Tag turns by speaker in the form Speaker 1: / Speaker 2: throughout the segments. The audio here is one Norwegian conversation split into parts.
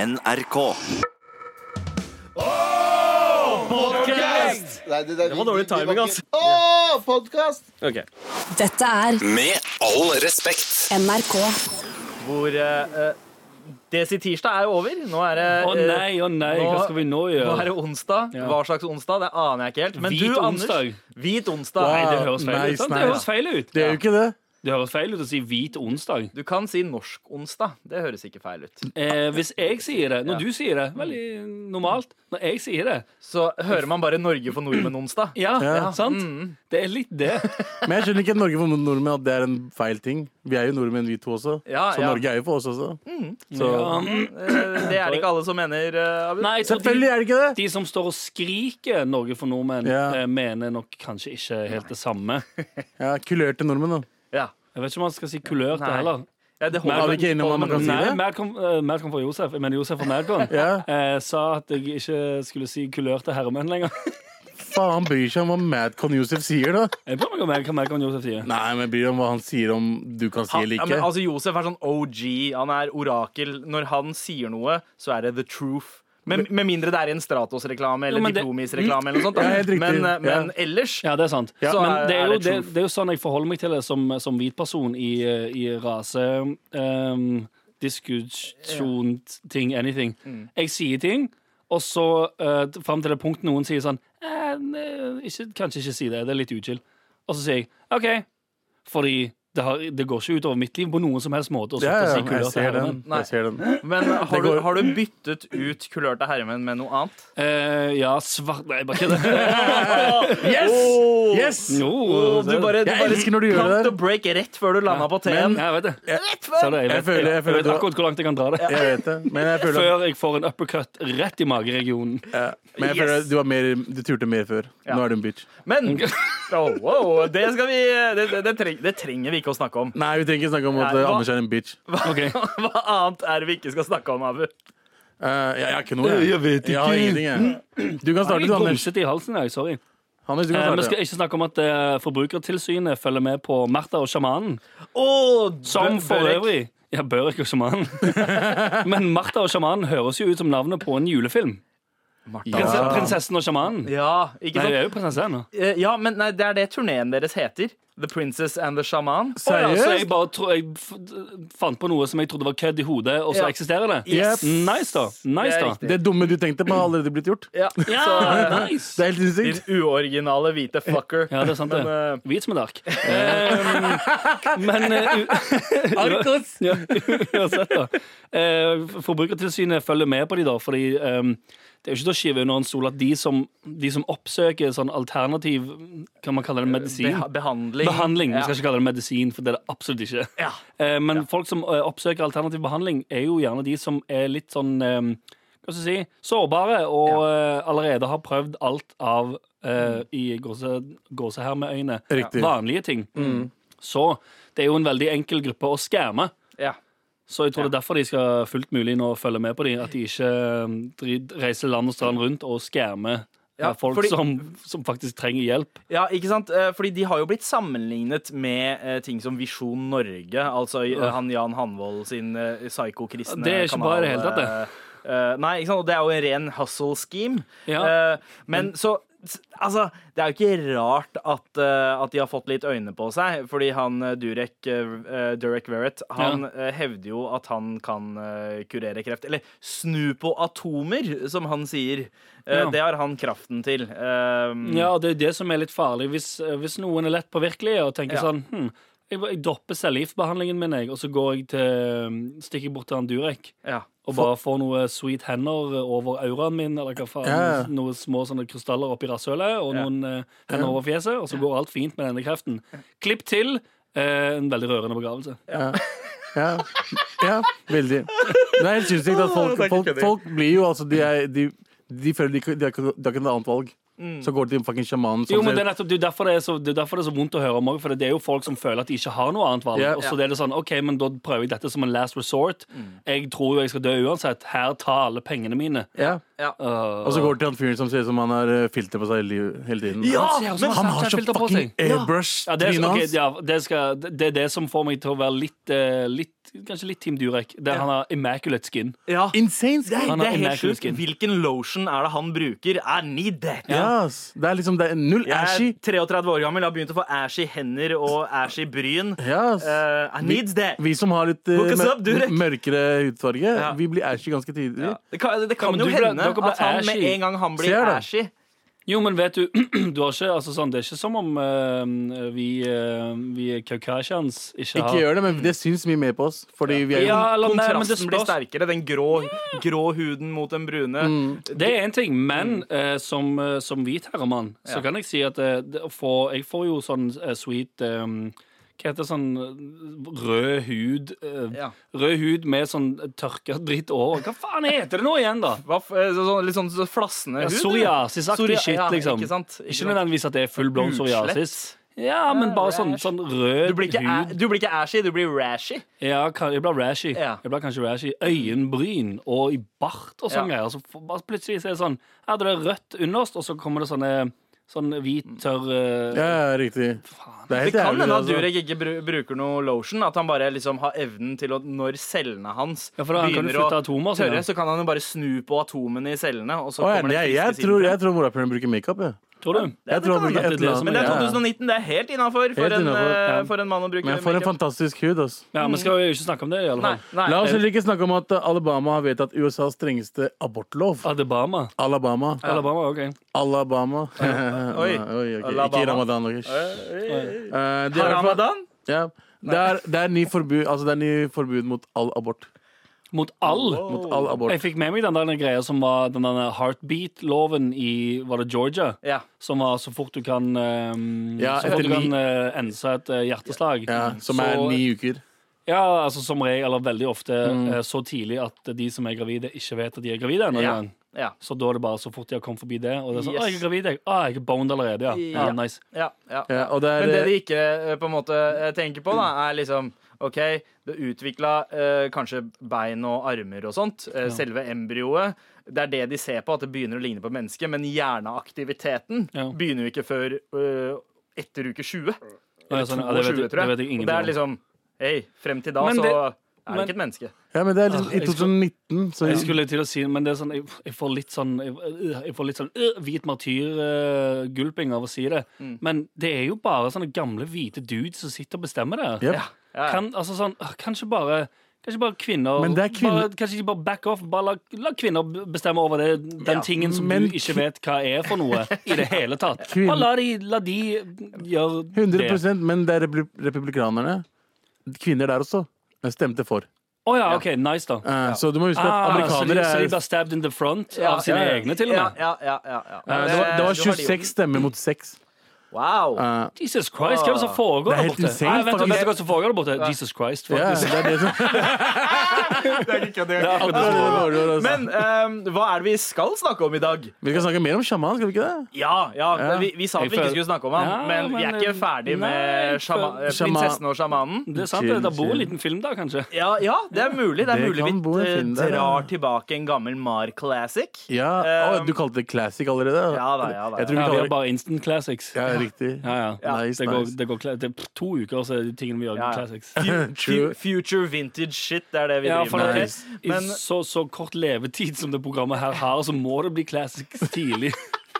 Speaker 1: NRK.
Speaker 2: Nei, det, det,
Speaker 3: var dårlig timing, altså.
Speaker 2: Å, podkast!
Speaker 3: Ok.
Speaker 4: Dette er
Speaker 1: Med all respekt.
Speaker 4: NRK.
Speaker 3: Hvor eh, eh, Desi tirsdag er jo over. Nå er det
Speaker 5: Å
Speaker 3: eh,
Speaker 5: nei, å nei, hva skal vi nå
Speaker 3: Nå er
Speaker 5: gjøre?
Speaker 3: det onsdag.
Speaker 5: Ja.
Speaker 3: Hva slags onsdag? Det aner jeg ikke helt. Men
Speaker 5: Hvit
Speaker 3: du,
Speaker 5: onsdag.
Speaker 3: Anders Hvit onsdag.
Speaker 5: Nei, det
Speaker 3: Nei,
Speaker 5: høres feil
Speaker 6: Nei,
Speaker 5: ut. sant?
Speaker 6: nei.
Speaker 5: Det høres feil ut.
Speaker 6: Det er jo ikke det.
Speaker 5: Det høres feil ut å si hvit onsdag.
Speaker 3: Du kan si norsk onsdag. Det høres ikke feil ut.
Speaker 5: Eh, hvis jeg sier det,
Speaker 3: Ja.
Speaker 5: når du sier det, veldig normalt. Når jeg sier det,
Speaker 3: Så hører man bare Norge for nordmenn onsdag.
Speaker 5: ja,
Speaker 6: Ja.
Speaker 5: sant?
Speaker 3: Mm.
Speaker 5: Det er litt det.
Speaker 6: Men jeg skjønner ikke at Norge for nordmenn at det er en feil ting. Vi er jo nordmenn, vi to også.
Speaker 3: Ja,
Speaker 6: så
Speaker 3: ja.
Speaker 6: Norge er jo for oss også. Så.
Speaker 5: Ja.
Speaker 3: Eh, Det er det ikke alle som mener, eh, Abu.
Speaker 5: Um, Nei, så
Speaker 6: Selvfølgelig
Speaker 5: de,
Speaker 6: er det ikke det!
Speaker 5: de som står og skriker 'Norge for nordmenn',
Speaker 6: Ja.
Speaker 5: eh, mener nok kanskje ikke helt det samme.
Speaker 6: Ja, Kulørte nordmenn, da.
Speaker 3: Ja.
Speaker 5: Jeg vet ikke om man skal si kulør til
Speaker 3: Nei.
Speaker 5: heller.
Speaker 3: Ja, det
Speaker 6: Men er
Speaker 3: holder
Speaker 6: vi ikke enige om hva man kan si
Speaker 5: Nei,
Speaker 6: det?
Speaker 5: Malcolm, eh, Malcolm fra Josef, jeg mener Josef fra Malcolm,
Speaker 6: Ja.
Speaker 5: eh, sa at jeg ikke skulle si kulør til herremenn lenger.
Speaker 6: Faen bryr seg om hva Madcon Josef sier, da.
Speaker 5: Jeg bryr meg om hva Malcolm Josef sier.
Speaker 6: Nei, men bryr deg om hva han sier om du kan si
Speaker 3: Han,
Speaker 6: eller
Speaker 3: ja,
Speaker 6: ikke.
Speaker 3: men, altså, Josef er sånn OG. Han er orakel. Når han sier noe, så er det the truth. Med, med mindre det er i en Stratos-reklame eller
Speaker 5: Jo, men det-
Speaker 3: Diplomis-reklame. eller noe sånt, da.
Speaker 6: Ja, helt riktig.
Speaker 3: men, eh, men
Speaker 6: Ja.
Speaker 3: ellers
Speaker 5: Ja, det er sant.
Speaker 3: Ja.
Speaker 5: Men
Speaker 3: Så
Speaker 5: det
Speaker 3: er
Speaker 5: er, jo,
Speaker 3: det
Speaker 5: det,
Speaker 3: truth.
Speaker 5: det er jo sånn jeg forholder meg til det som, som hvit person i, eh, i rase ehm, Diskusjon, ting, anything. Jeg sier ting, og så uh, fram til det punktet noen sier sånn eh, ne, ikke, Kanskje ikke si det, det er litt uchill. Og så sier jeg OK, fordi det, har, det går ikke utover mitt liv på noen som helst måte. Og så
Speaker 6: ja,
Speaker 5: til å
Speaker 6: ja,
Speaker 5: si kulør
Speaker 6: jeg
Speaker 5: til
Speaker 6: ser den.
Speaker 5: herremenn.
Speaker 3: Nei.
Speaker 6: Jeg ser den.
Speaker 3: Men har du,
Speaker 6: går-
Speaker 3: har du byttet ut kulørte herremenn med noe annet?
Speaker 5: Eh, ja, svart Nei, bare kødder.
Speaker 6: Yes! Yes!
Speaker 5: Jo,
Speaker 3: Åh, du
Speaker 5: det-
Speaker 3: bare, du
Speaker 6: Jeg
Speaker 3: bare
Speaker 6: elsker når du gjør
Speaker 3: cut
Speaker 6: det der.
Speaker 3: the break rett før du landa på T-en.
Speaker 5: Ja, jeg vet det.
Speaker 3: Rett før!
Speaker 5: Sa det, jeg, vet,
Speaker 6: Jeg føler- jeg
Speaker 5: jeg
Speaker 6: føler
Speaker 5: vet
Speaker 6: du-
Speaker 5: akkurat hvor langt jeg kan dra det.
Speaker 6: Jeg vet det. Men jeg føler,
Speaker 5: Før jeg får en uppercut rett i mageregionen.
Speaker 6: ja. men
Speaker 3: Yes.
Speaker 6: jeg føler at du, var mer, du turte mer før. Nå er du en bitch.
Speaker 3: Men Åh, wow, det, skal vi, det, det, det, treng, det trenger vi ikke å snakke om.
Speaker 6: Nei, vi trenger ikke snakke om at
Speaker 3: Nei, hva-
Speaker 6: eh, Anders er en bitch.
Speaker 5: Ok.
Speaker 3: Hva annet er det vi ikke skal snakke om, Abu?
Speaker 6: Eh, jeg, jeg har ikke noe. Jeg, vet ikke. Jeg har ingenting, jeg. Du kan
Speaker 5: Jeg
Speaker 6: starte,
Speaker 5: er
Speaker 6: du,
Speaker 5: litt
Speaker 6: Anders.
Speaker 5: grumsete i halsen. Jeg, sorry.
Speaker 6: Anders, du
Speaker 5: Eh,
Speaker 6: kan
Speaker 5: Vi skal
Speaker 6: starte.
Speaker 5: ikke snakke om at eh, Forbrukertilsynet følger med på Martha og sjamanen.
Speaker 3: Oh,
Speaker 5: Som for øvrig Ja, Børek og sjamanen. Men Martha og sjamanen høres jo ut som navnet på en julefilm. Prinse, prinsessen og sjamanen.
Speaker 3: Ja, ikke
Speaker 5: Nei,
Speaker 3: sant?
Speaker 5: det er jo prinsesse nå.
Speaker 3: Eh, Ja, men nei, det er det turneen deres heter. The Princess and the Shaman.
Speaker 5: Å ja, så jeg
Speaker 6: Seriøst?
Speaker 5: bare tro, jeg f fant på noe som jeg trodde var kødd i hodet, og så
Speaker 3: Ja.
Speaker 5: eksisterer det?
Speaker 3: Yes.
Speaker 5: Nice, da. Nice,
Speaker 3: Det er
Speaker 5: da.
Speaker 3: riktig.
Speaker 6: Det dumme du tenkte på, har allerede blitt gjort.
Speaker 3: Ja,
Speaker 5: Ja,
Speaker 3: så, eh,
Speaker 5: nice.
Speaker 6: Det er helt
Speaker 3: Din
Speaker 6: sinnssykt.
Speaker 3: uoriginale hvite fucker.
Speaker 5: Ja, det er sant, det.
Speaker 3: Men, eh,
Speaker 5: Hvit som en ark. Eh, men Arkos! ja, uansett, da. Eh, Forbrukertilsynet følger med på de da, fordi eh, det er jo ikke til å skyve under en stol at de som, de som oppsøker sånn alternativ Kan man kalle
Speaker 3: Eh,
Speaker 5: det medisin?
Speaker 3: Beha behandling.
Speaker 5: Behandling. Vi
Speaker 3: Ja.
Speaker 5: skal ikke kalle det medisin, for det er det absolutt ikke.
Speaker 3: Ja.
Speaker 5: Eh, Men folk som eh, oppsøker alternativ behandling, er jo gjerne de som er litt sånn eh, hva skal jeg si, sårbare og eh, allerede har prøvd alt av eh, i gåse, gåsehermeøyne
Speaker 6: Riktig.
Speaker 5: vanlige ting.
Speaker 3: Mm.
Speaker 5: Så det er jo en veldig enkel gruppe å skamme.
Speaker 3: Ja.
Speaker 5: Så jeg tror det er derfor de skal fullt mulig nå følge med på dem. At de ikke eh, dri- reiser land og strand rundt og skammer
Speaker 3: Ja,
Speaker 5: eh, folk
Speaker 3: fordi-
Speaker 5: som, som faktisk trenger hjelp.
Speaker 3: ja, ikke sant? Eh, Fordi de har jo blitt sammenlignet med eh, ting som Visjon Norge. Altså eh, han Jan Hanvold sin eh, psyko-kristne
Speaker 5: Det er ikke bra i det hele tatt, det.
Speaker 3: eh, eh, nei, ikke sant? og det er jo en ren hustle scheme.
Speaker 5: Ja.
Speaker 3: Eh, men så s- Altså, det er jo ikke rart at, eh, at de har fått litt øyne på seg. Fordi han eh, Durek, eh, Durek Verrett, han
Speaker 5: Ja.
Speaker 3: eh, hevder jo at han kan eh, kurere kreft. Eller snu på atomer, som han sier. Eh,
Speaker 5: Ja.
Speaker 3: Det har han kraften til. Eh,
Speaker 5: Ja, og det er det som er litt farlig. Hvis, eh, hvis noen er lett påvirkelige og tenker
Speaker 3: Ja.
Speaker 5: sånn hm, jeg, jeg dropper cellegiftbehandlingen min, jeg, og så går jeg til, mm, stikker jeg bort til han Durek
Speaker 3: ja.
Speaker 5: og bare får noe sweet hender over auraen min, eller hva faen.
Speaker 6: Ja.
Speaker 5: Noen små sånne krystaller oppi rasshølet og
Speaker 3: Ja.
Speaker 5: noen eh, hender over fjeset, og så går alt fint med denne kreften. Klipp til. eh, en veldig rørende begravelse.
Speaker 6: Ja. ja, veldig. Det er helt sinnssykt at folk, folk, folk blir jo altså De, er, de, de føler de, ikke- de, har ikke- de har ikke noe annet valg. Så går de til fucking sjamanen.
Speaker 5: Jo,
Speaker 6: som
Speaker 5: men Det
Speaker 6: ser-
Speaker 5: er nettopp det er derfor det er, så, det er derfor det er så vondt å høre om òg, for det er jo folk som føler at de ikke har noe annet valg.
Speaker 6: Ja. Mm.
Speaker 5: Og så er det sånn, ok, men da prøver jeg dette som en last resort. Jeg tror jo jeg skal dø uansett. Her tar alle pengene mine.
Speaker 6: Ja.
Speaker 3: Ja.
Speaker 5: Øh,
Speaker 6: Og så går det til han fyren som ser ut som han har eh, filter på seg hele liv- hele tiden.
Speaker 3: Ja,
Speaker 5: Han ser ut som
Speaker 3: men-
Speaker 5: han
Speaker 6: Han har så
Speaker 5: Snapchat-filter på
Speaker 6: fucking
Speaker 5: seg.
Speaker 6: airbrush
Speaker 5: Ja, det, er,
Speaker 6: trynet
Speaker 5: ok,
Speaker 6: hans.
Speaker 5: ja det, skal, det er det som får meg til å være litt, eh, litt Kanskje litt Team Durek. Der han har immaculate skin.
Speaker 3: Ja.
Speaker 6: Insane
Speaker 3: Det er,
Speaker 6: skin!
Speaker 5: Han
Speaker 3: det
Speaker 5: har
Speaker 3: er helt
Speaker 5: immaculate
Speaker 3: sjukt.
Speaker 5: skin.
Speaker 3: Hvilken lotion er det han bruker? I need that.
Speaker 6: Yes. Det er liksom det er null ashy.
Speaker 3: Jeg er 33 år gammel, har begynt å få ashy hender og ashy bryn.
Speaker 6: Yes.
Speaker 3: Eh, I needs that.
Speaker 6: Vi som har litt eh,
Speaker 3: Hook us
Speaker 6: mør-
Speaker 3: up, Durek.
Speaker 6: mørkere hudfarge,
Speaker 3: Ja.
Speaker 6: vi blir ashy ganske tidlig.
Speaker 3: Det kan, det
Speaker 5: Ja,
Speaker 3: kan
Speaker 5: men
Speaker 3: jo
Speaker 5: du ble-
Speaker 3: hende
Speaker 5: dere ble
Speaker 3: at han med
Speaker 5: ashy.
Speaker 3: en gang han blir
Speaker 6: Ser det.
Speaker 3: ashy
Speaker 5: Jo, men vet du, du har ikke, altså, sånn, det er ikke som om eh, vi, uh, vi kaukasians ikke har
Speaker 6: Ikke gjør det, men det syns mye mer på oss. Fordi vi er jo
Speaker 5: Ja, eller nei, men det
Speaker 3: Kontrasten blir
Speaker 5: spørs
Speaker 3: sterkere. Den grå, grå huden mot den brune.
Speaker 5: Det er en ting, men eh, som, eh, som hvit herremann
Speaker 3: Mm.
Speaker 5: så
Speaker 3: Ja.
Speaker 5: kan jeg si at eh, det, å få- jeg får jo sånn eh, sweet eh, Hva heter det, sånn eh, rød hud eh,
Speaker 3: Ja.
Speaker 5: Rød hud med sånn tørka dritt over. Hva faen heter det nå igjen, da?
Speaker 3: Hva f- eh, så- sånn- litt sånn så flassende
Speaker 5: Ja,
Speaker 3: hud.
Speaker 5: psoriasisaktig
Speaker 3: Psoria-
Speaker 5: shit,
Speaker 3: ja,
Speaker 5: liksom.
Speaker 3: Ikke sant? Ikke
Speaker 5: Ikke
Speaker 3: sant?
Speaker 5: nødvendigvis at det er full blown
Speaker 3: Utslett.
Speaker 5: psoriasis. Ja, men bare sånn, sånn rød
Speaker 3: Du blir, ikke, a-
Speaker 5: hud.
Speaker 3: du blir ikke ashy, du blir rashy.
Speaker 5: Ja, kan- jeg blir rashy.
Speaker 3: Ja.
Speaker 5: Jeg blir kanskje rashy. Øyenbryn og i bart og sånne
Speaker 3: Ja.
Speaker 5: greier. Så f- bare plutselig så er det sånn Her er det rødt underst, og så kommer det sånne Sånn hvit, tørr eh,
Speaker 6: Ja, ja, riktig. Det er
Speaker 3: Det
Speaker 6: helt
Speaker 3: kan
Speaker 6: jævlig.
Speaker 3: hende at
Speaker 6: altså.
Speaker 3: Durek ikke bru- bruker noe lotion. At han bare liksom har evnen til å Når cellene hans
Speaker 5: Ja, for da kan du
Speaker 3: begynner å
Speaker 5: flytte atomer, sånn, ja.
Speaker 3: tørre, så kan han jo bare snu på atomene i cellene. Og så
Speaker 6: Å, ja,
Speaker 3: kommer det
Speaker 6: jeg,
Speaker 3: friske
Speaker 6: jeg,
Speaker 3: sider
Speaker 6: tror,
Speaker 3: til.
Speaker 6: jeg tror morapuleren bruker makeup. jeg.
Speaker 5: Tror du?
Speaker 6: Jeg tror
Speaker 3: kan
Speaker 6: han bruker
Speaker 3: hende.
Speaker 6: et eller
Speaker 5: det som
Speaker 6: annet.
Speaker 3: Men det er sånn
Speaker 6: Ja, ja.
Speaker 3: 2019. Det er helt innafor for,
Speaker 6: Helt
Speaker 3: en,
Speaker 6: innenfor,
Speaker 3: eh,
Speaker 6: ja.
Speaker 3: for en mann å bruke
Speaker 6: Men for en
Speaker 3: makeup.
Speaker 6: fantastisk hud. ass.
Speaker 5: Ja, men skal vi jo ikke snakke om det, i alle
Speaker 3: Nei,
Speaker 5: fall.
Speaker 3: nei. Eh,
Speaker 6: La oss heller ikke snakke om at uh, Alabama har vedtatt USAs strengeste abortlov.
Speaker 5: Alabama.
Speaker 6: Alabama.
Speaker 5: Alabama, ok.
Speaker 6: Alabama.
Speaker 3: Oi.
Speaker 6: ok. Ikke
Speaker 3: Alabama.
Speaker 6: ramadan. ok. Eh, det, er i hvert fall-
Speaker 3: Ramadan?
Speaker 6: ja. det, er, det, er ny forbud, altså, det er ny forbud mot all abort.
Speaker 5: Mot all.
Speaker 6: Mot
Speaker 3: Oh.
Speaker 6: all abort.
Speaker 5: Jeg fikk med meg den der greia som var den der heartbeat-loven i Var det Georgia?
Speaker 3: Ja.
Speaker 5: Som var så fort du kan um,
Speaker 6: Ja,
Speaker 5: Så fort
Speaker 6: etter
Speaker 5: du kan eh, ense et eh, hjerteslag.
Speaker 6: Ja, som er
Speaker 5: Så-
Speaker 6: ni uker.
Speaker 5: Ja, altså som regel, eller veldig ofte,
Speaker 3: Mm.
Speaker 5: eh, så tidlig at de som er gravide, ikke vet at de er gravide ennå.
Speaker 3: Ja.
Speaker 5: engang.
Speaker 3: Ja.
Speaker 5: Så da er det bare så fort de har kommet forbi det. Og det er sånn,
Speaker 3: Yes.
Speaker 5: å, jeg er gravid, jeg. Å, jeg er boned allerede, ja. ja.
Speaker 3: Ja.
Speaker 5: nice.
Speaker 3: ja, ja.
Speaker 6: Ja, og det er,
Speaker 3: Men det de ikke eh, på en måte eh, tenker på, da, er liksom OK, det utvikla eh, kanskje bein og armer og sånt. Eh, Selve embryoet. Det er det de ser på, at det begynner å ligne på mennesket. Men hjerneaktiviteten
Speaker 5: Ja.
Speaker 3: begynner jo ikke før eh, etter uke 20.
Speaker 5: Ja,
Speaker 3: Eller
Speaker 5: sånn,
Speaker 3: 22,
Speaker 5: ja, det vet
Speaker 3: tror jeg.
Speaker 5: jeg- det vet jeg
Speaker 3: og det
Speaker 5: ingenting om.
Speaker 3: er liksom Hei, frem til da
Speaker 5: Men det-
Speaker 3: så er det ikke
Speaker 5: men-
Speaker 3: et menneske.
Speaker 6: ja, men det er liksom
Speaker 5: Ah,
Speaker 6: i
Speaker 5: jeg skulle-
Speaker 6: 2019. Så,
Speaker 5: Jeg skulle til å si, men det er sånn, jeg, jeg får litt sånn, jeg, jeg får litt sånn øh, hvit martyrgulping av å si det.
Speaker 3: Mm.
Speaker 5: Men det er jo bare sånne gamle hvite dudes som sitter og bestemmer det.
Speaker 6: Jep.
Speaker 3: Ja, ja.
Speaker 5: Kan, altså sånn, øh, kanskje bare Kanskje bare kvinner,
Speaker 6: Men det er kvinner-
Speaker 5: bare, Kanskje ikke bare back off, bare la, la kvinner b- bestemme over det, den
Speaker 6: Ja,
Speaker 5: tingen som
Speaker 6: men
Speaker 5: du ikke vet hva er for noe i det hele tatt.
Speaker 6: Kvinn-
Speaker 5: Bare la de, la de gjøre det.
Speaker 6: 100 Men det er republi- republikanerne. Kvinner der også. Stemte for.
Speaker 5: Å ja, OK, nice, da.
Speaker 6: Eh, Så du må huske at
Speaker 5: Ah, så, de,
Speaker 6: amerikanere
Speaker 5: så de
Speaker 6: er
Speaker 5: blir stabbed in the front
Speaker 3: Ja,
Speaker 5: av sine
Speaker 3: ja, ja.
Speaker 5: egne, til og med?
Speaker 3: Ja, ja, ja, ja, ja.
Speaker 6: Eh, det, var, det var
Speaker 3: du har de jo.
Speaker 6: 26 stemmer mot 6.
Speaker 3: Wow.
Speaker 6: Eh,
Speaker 5: Jesus Christ, hva er det som foregår
Speaker 6: Ah.
Speaker 5: der
Speaker 6: Det er helt
Speaker 5: borte?
Speaker 6: insane,
Speaker 5: Nei, vent, vent,
Speaker 6: faktisk.
Speaker 5: vet du hva som foregår der borte? Jesus Christ,
Speaker 6: ja,
Speaker 5: faktisk.
Speaker 6: det er det som det
Speaker 5: Det er akkurat det som foregår.
Speaker 6: var det, altså.
Speaker 3: Men eh, hva er det vi skal snakke om i dag?
Speaker 6: Vi skal snakke mer om sjaman, skal vi ikke det?
Speaker 3: Ja, ja,
Speaker 6: Ja.
Speaker 3: Vi, vi sa at
Speaker 5: Jeg
Speaker 3: vi ikke
Speaker 5: føler-
Speaker 3: skulle snakke om han,
Speaker 5: Ja,
Speaker 3: men vi er
Speaker 5: men-
Speaker 3: ikke
Speaker 6: eh,
Speaker 3: ferdig
Speaker 5: Nei,
Speaker 3: med sjama
Speaker 5: for-
Speaker 6: Sjama-
Speaker 3: prinsessen og sjamanen.
Speaker 5: Det er sant,
Speaker 6: Chill,
Speaker 5: det bor en
Speaker 6: chill.
Speaker 5: liten film der, kanskje.
Speaker 3: Ja, ja, det er mulig. Det er
Speaker 6: Det
Speaker 3: mulig
Speaker 6: kan bo
Speaker 3: vi
Speaker 6: en
Speaker 3: eh,
Speaker 6: film der,
Speaker 3: drar
Speaker 6: ja.
Speaker 3: tilbake en gammel Mar Classic.
Speaker 6: Ja,
Speaker 3: Eh,
Speaker 6: Å, Du kalte det classic allerede?
Speaker 3: Ja da, ja da,
Speaker 6: Jeg
Speaker 5: Ja,
Speaker 6: tror vi
Speaker 5: vi har
Speaker 6: kaller det
Speaker 5: bare instant classics.
Speaker 6: ja, riktig.
Speaker 5: Ja, ja.
Speaker 6: Nice,
Speaker 5: det, går,
Speaker 6: nice.
Speaker 5: det, går, kla- det er to uker, så er de tingene vi gjør,
Speaker 3: Ja, ja.
Speaker 5: classics.
Speaker 3: Fu-
Speaker 6: True.
Speaker 3: fu- Future vintage shit, det er det vi
Speaker 5: Ja, for
Speaker 3: driver
Speaker 5: det,
Speaker 3: med.
Speaker 5: er-
Speaker 6: Nice.
Speaker 5: I
Speaker 3: Men-
Speaker 5: så, så kort levetid som det programmet her har, så må det bli classics tidlig.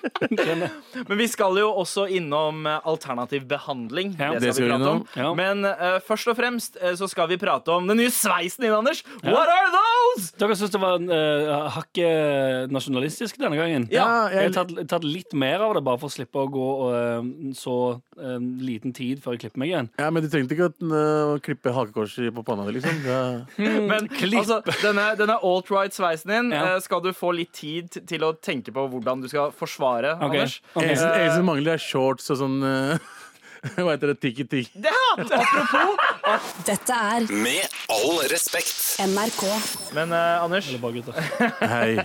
Speaker 5: Skjønner?
Speaker 3: Men vi skal jo også innom eh, alternativ behandling.
Speaker 5: Ja,
Speaker 3: det skal
Speaker 6: det skal
Speaker 3: vi
Speaker 6: vi
Speaker 3: prate om.
Speaker 5: innom, ja.
Speaker 3: Men eh, først og fremst eh, så skal vi prate om den nye sveisen din, Anders. What are those?
Speaker 5: Dere syns det var uh, hakket nasjonalistisk denne gangen?
Speaker 6: Ja,
Speaker 5: Jeg har
Speaker 6: jeg,
Speaker 5: tatt, tatt litt mer av det, bare for å slippe å gå eh, så eh, liten tid før jeg klipper meg igjen.
Speaker 6: ja, men du trengte ikke å øh, klippe hakekorset på panna di, liksom. Ja.
Speaker 3: Men altså, denne, denne alt-right-sveisen din
Speaker 5: Ja.
Speaker 3: eh, skal du få litt tid t- til å tenke på hvordan du skal forsvare,
Speaker 5: Ok.
Speaker 3: Anders.
Speaker 5: Ok.
Speaker 6: Eneste eneste som mangler, er shorts og sånn øh, Hva heter det? Tikki-tikki.
Speaker 3: Ja, apropos
Speaker 4: Dette er
Speaker 1: Med all respekt.
Speaker 4: NRK.
Speaker 3: Men eh, Anders,
Speaker 5: Eller bare gutter.
Speaker 6: Hei.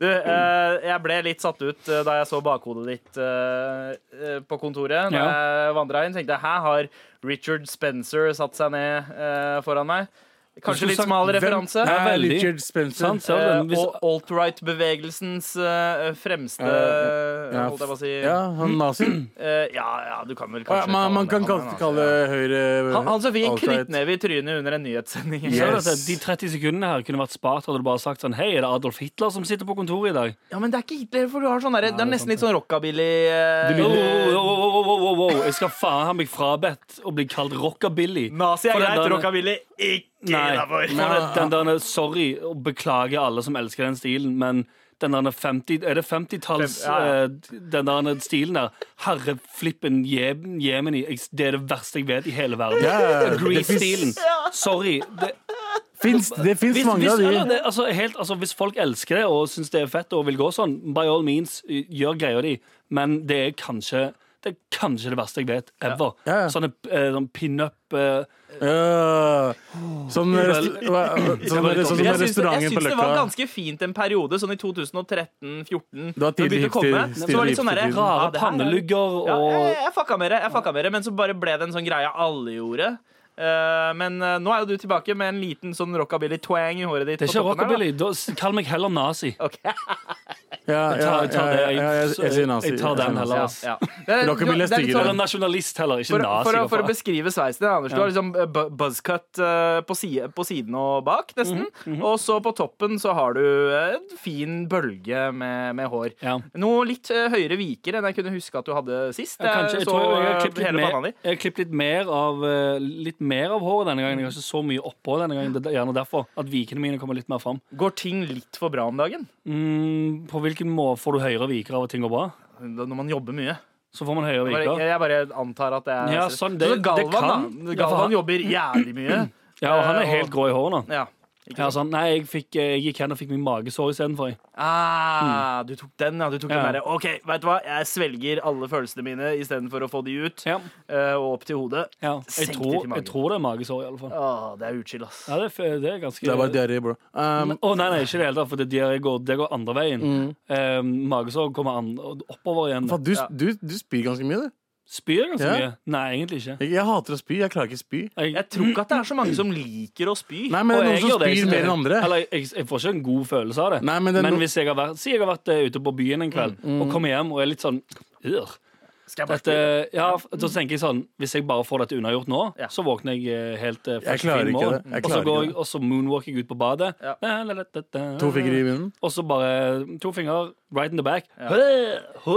Speaker 3: du, eh, jeg ble litt satt ut eh, da jeg så bakhodet ditt eh, eh, på kontoret. Da jeg vandra inn, tenkte jeg hæ, har Richard Spencer satt seg ned eh, foran meg? Kanskje
Speaker 5: skulle
Speaker 3: litt
Speaker 5: sagt
Speaker 3: smal
Speaker 5: hvem-
Speaker 3: referanse.
Speaker 5: Nei,
Speaker 6: Ja,
Speaker 5: veldig.
Speaker 6: Richard Spencer.
Speaker 5: Sant, så den-
Speaker 3: Eh,
Speaker 5: hvis-
Speaker 3: og alt-right-bevegelsens eh, fremste
Speaker 6: Eh, Ja,
Speaker 3: Holdt jeg på å si.
Speaker 6: ja, han nazien.
Speaker 3: Eh, ja, ja, du kan vel
Speaker 6: Å ja,
Speaker 3: kanskje
Speaker 6: man, man kan
Speaker 3: han det,
Speaker 6: kalle,
Speaker 3: han,
Speaker 6: kalle
Speaker 3: altså.
Speaker 6: Høyre
Speaker 3: han, han som fikk en
Speaker 6: alt-right.
Speaker 3: knyttneve i trynet under en nyhetssending.
Speaker 5: Så er det
Speaker 6: Yes.
Speaker 5: at De 30 sekundene her kunne vært spart hadde du bare sagt sånn Hei, er det Adolf Hitler som sitter på kontoret i dag?
Speaker 3: Ja, men det er ikke Hitler, for du har sånn derre- Det er
Speaker 5: det er
Speaker 3: nesten litt sånn rockabilly eh,
Speaker 5: Wow, wow, wow, wow, wow, wow, wow. Jeg skal faen ha meg frabedt å bli kalt rockabilly.
Speaker 3: Nazi
Speaker 5: For
Speaker 3: er
Speaker 5: den
Speaker 3: greit,
Speaker 5: der-
Speaker 3: rockabilly ikke
Speaker 5: Nei.
Speaker 3: innafor.
Speaker 5: for det- sånn Den der, sorry å beklage alle som elsker den stilen, men den der 50, er det 50-talls
Speaker 3: Fem- ja, ja.
Speaker 5: eh, Den der stilen der. Herre flippen Jemen- Jemeni. jeg- Det er det verste jeg vet i hele verden.
Speaker 6: Ja, ja, ja.
Speaker 5: Grease-stilen. Sorry. Det,
Speaker 6: Finns, det fins
Speaker 5: hvis,
Speaker 6: mange
Speaker 5: hvis,
Speaker 6: av
Speaker 5: eller,
Speaker 6: de.
Speaker 5: det, altså, helt, altså, hvis folk elsker det og syns det er fett og vil gå sånn, by all means, y- gjør greia di. Men det er kanskje det er kanskje det verste jeg vet ever.
Speaker 6: Ja, ja.
Speaker 5: Sånne eh, sånn pin-up eh,
Speaker 6: Ja. Sånn
Speaker 5: Uvel.
Speaker 6: rest- hva- sånn-
Speaker 5: Jeg
Speaker 6: sånn-
Speaker 3: Jeg
Speaker 6: sånn
Speaker 3: syns, jeg
Speaker 6: restauranten
Speaker 3: syns
Speaker 6: på
Speaker 3: det var
Speaker 6: Løkka.
Speaker 3: ganske fint en periode, sånn i 2013-14.
Speaker 6: Det var tidlig hipster-
Speaker 3: Så var det litt sånn derre
Speaker 6: tidlig
Speaker 5: rare
Speaker 3: ja, det her er-
Speaker 5: pannelugger
Speaker 3: Ja,
Speaker 5: og
Speaker 3: jeg, jeg fucka med det, jeg fucka med det, men så bare ble det en sånn greie alle gjorde. Eh, men eh, nå er jo du tilbake med en liten sånn rockabilly-twang i håret ditt.
Speaker 5: Det
Speaker 3: på
Speaker 5: er ikke
Speaker 3: toppen her, da.
Speaker 5: rockabilly. Da, s- kall meg heller nazi.
Speaker 3: Ok.
Speaker 6: Ja,
Speaker 5: Jeg tar, jeg
Speaker 6: ja, ja,
Speaker 5: tar det.
Speaker 6: ja, ja, jeg- jeg sier nazi.
Speaker 5: jeg tar
Speaker 6: Jeg sier
Speaker 5: den
Speaker 6: nazi.
Speaker 5: heller.
Speaker 3: Ja,
Speaker 5: ass.
Speaker 3: ja. Det er-
Speaker 6: Rockabilly er
Speaker 3: det er litt
Speaker 6: styggere.
Speaker 5: Eller
Speaker 3: sånn-
Speaker 5: nasjonalist heller, ikke
Speaker 3: For,
Speaker 5: nazi.
Speaker 3: for, å, for å
Speaker 5: hva faen.
Speaker 3: beskrive sveisen din, Anders. Du har liksom eh, bu- buzzcut eh, på, side, på siden og bak, nesten.
Speaker 5: Mhm,
Speaker 3: Og så på toppen så har du eh, en fin bølge med, med hår.
Speaker 5: Ja.
Speaker 3: Noe litt eh, høyere viker enn jeg kunne huske at du hadde sist.
Speaker 5: Ja, kanskje.
Speaker 3: Jeg
Speaker 5: Jeg
Speaker 3: så
Speaker 5: tror jeg har
Speaker 3: eh,
Speaker 5: klippet litt,
Speaker 3: hele panna
Speaker 5: mer-
Speaker 3: di.
Speaker 5: jeg har klippet litt mer av eh, Litt mer av håret denne gangen. Jeg har ikke så mye oppå denne gangen. Det er gjerne derfor at vikene mine kommer litt mer fram.
Speaker 3: Går ting litt for bra om dagen?
Speaker 5: Mm, på hvilken måte får du høyere viker av at ting går bra?
Speaker 3: Da- Når man jobber mye.
Speaker 5: Så får man høyere
Speaker 3: Bare, jeg,
Speaker 5: viker.
Speaker 3: jeg bare antar at det er
Speaker 5: Ja, sånn, det-
Speaker 3: Så Galvan,
Speaker 5: det kan.
Speaker 3: da.
Speaker 5: Ja, for
Speaker 3: Galvan
Speaker 5: han-
Speaker 3: jobber jævlig mye. Eh,
Speaker 5: Ja, og han er helt grå i håret nå.
Speaker 3: Ja.
Speaker 5: Ja, sånn, nei, jeg, fikk, jeg gikk hen og fikk min magesår istedenfor. jeg.
Speaker 3: Ah, Du tok den, ja. Du tok den
Speaker 5: Ja.
Speaker 3: derre OK, vet du hva, jeg svelger alle følelsene mine istedenfor å få de ut.
Speaker 5: Ja,
Speaker 3: eh, og opp til hodet.
Speaker 5: ja. Jeg,
Speaker 3: Senk det
Speaker 5: tror,
Speaker 3: til magen.
Speaker 5: jeg tror det er magesår, i alle fall.
Speaker 3: Åh, det er utskill, ass.
Speaker 5: Ja, det, er, f- det er ganske
Speaker 6: Det er bare diaré, bro. Um,
Speaker 5: Å, nei, nei, ikke i det hele tatt, for det, diaré går, det går andre veien.
Speaker 6: Mm.
Speaker 5: Eh, magesår kommer an, oppover igjen.
Speaker 6: faen, du,
Speaker 3: Ja.
Speaker 6: du, du spyr ganske mye, du.
Speaker 5: Spyr ganske
Speaker 6: Ja.
Speaker 5: mye. Nei, egentlig ikke.
Speaker 6: Jeg, jeg hater å spy. Jeg klarer ikke å spy.
Speaker 5: Jeg,
Speaker 3: Jeg tror ikke at det er så mange som liker å spy.
Speaker 6: Nei, men det
Speaker 5: Og jeg
Speaker 6: er noen som
Speaker 5: gjør det,
Speaker 6: spyr
Speaker 5: jeg-
Speaker 6: mer enn andre.
Speaker 5: Eller, jeg, jeg får ikke en god følelse av det.
Speaker 6: Nei, men det er
Speaker 5: men
Speaker 6: no- Mm,
Speaker 5: hvis jeg har vært, si jeg har vært eh, ute på byen en kveld og kommer hjem og er litt sånn Ur.
Speaker 3: Skal jeg bare
Speaker 5: Dette, ja, f- da tenker jeg sånn Hvis jeg bare får dette unnagjort nå,
Speaker 3: Ja.
Speaker 5: så våkner jeg eh, helt eh,
Speaker 6: Jeg
Speaker 5: fresh
Speaker 6: klarer
Speaker 5: fin
Speaker 6: ikke
Speaker 5: morgen.
Speaker 6: det. Jeg
Speaker 5: Og så
Speaker 6: klarer
Speaker 5: går
Speaker 6: ikke
Speaker 5: jeg, og så moonwalker jeg ut på badet.
Speaker 3: Ja.
Speaker 5: Da, da, da, da, da.
Speaker 6: To fingre i munnen.
Speaker 5: Og så bare to fingre right in the back. Hø,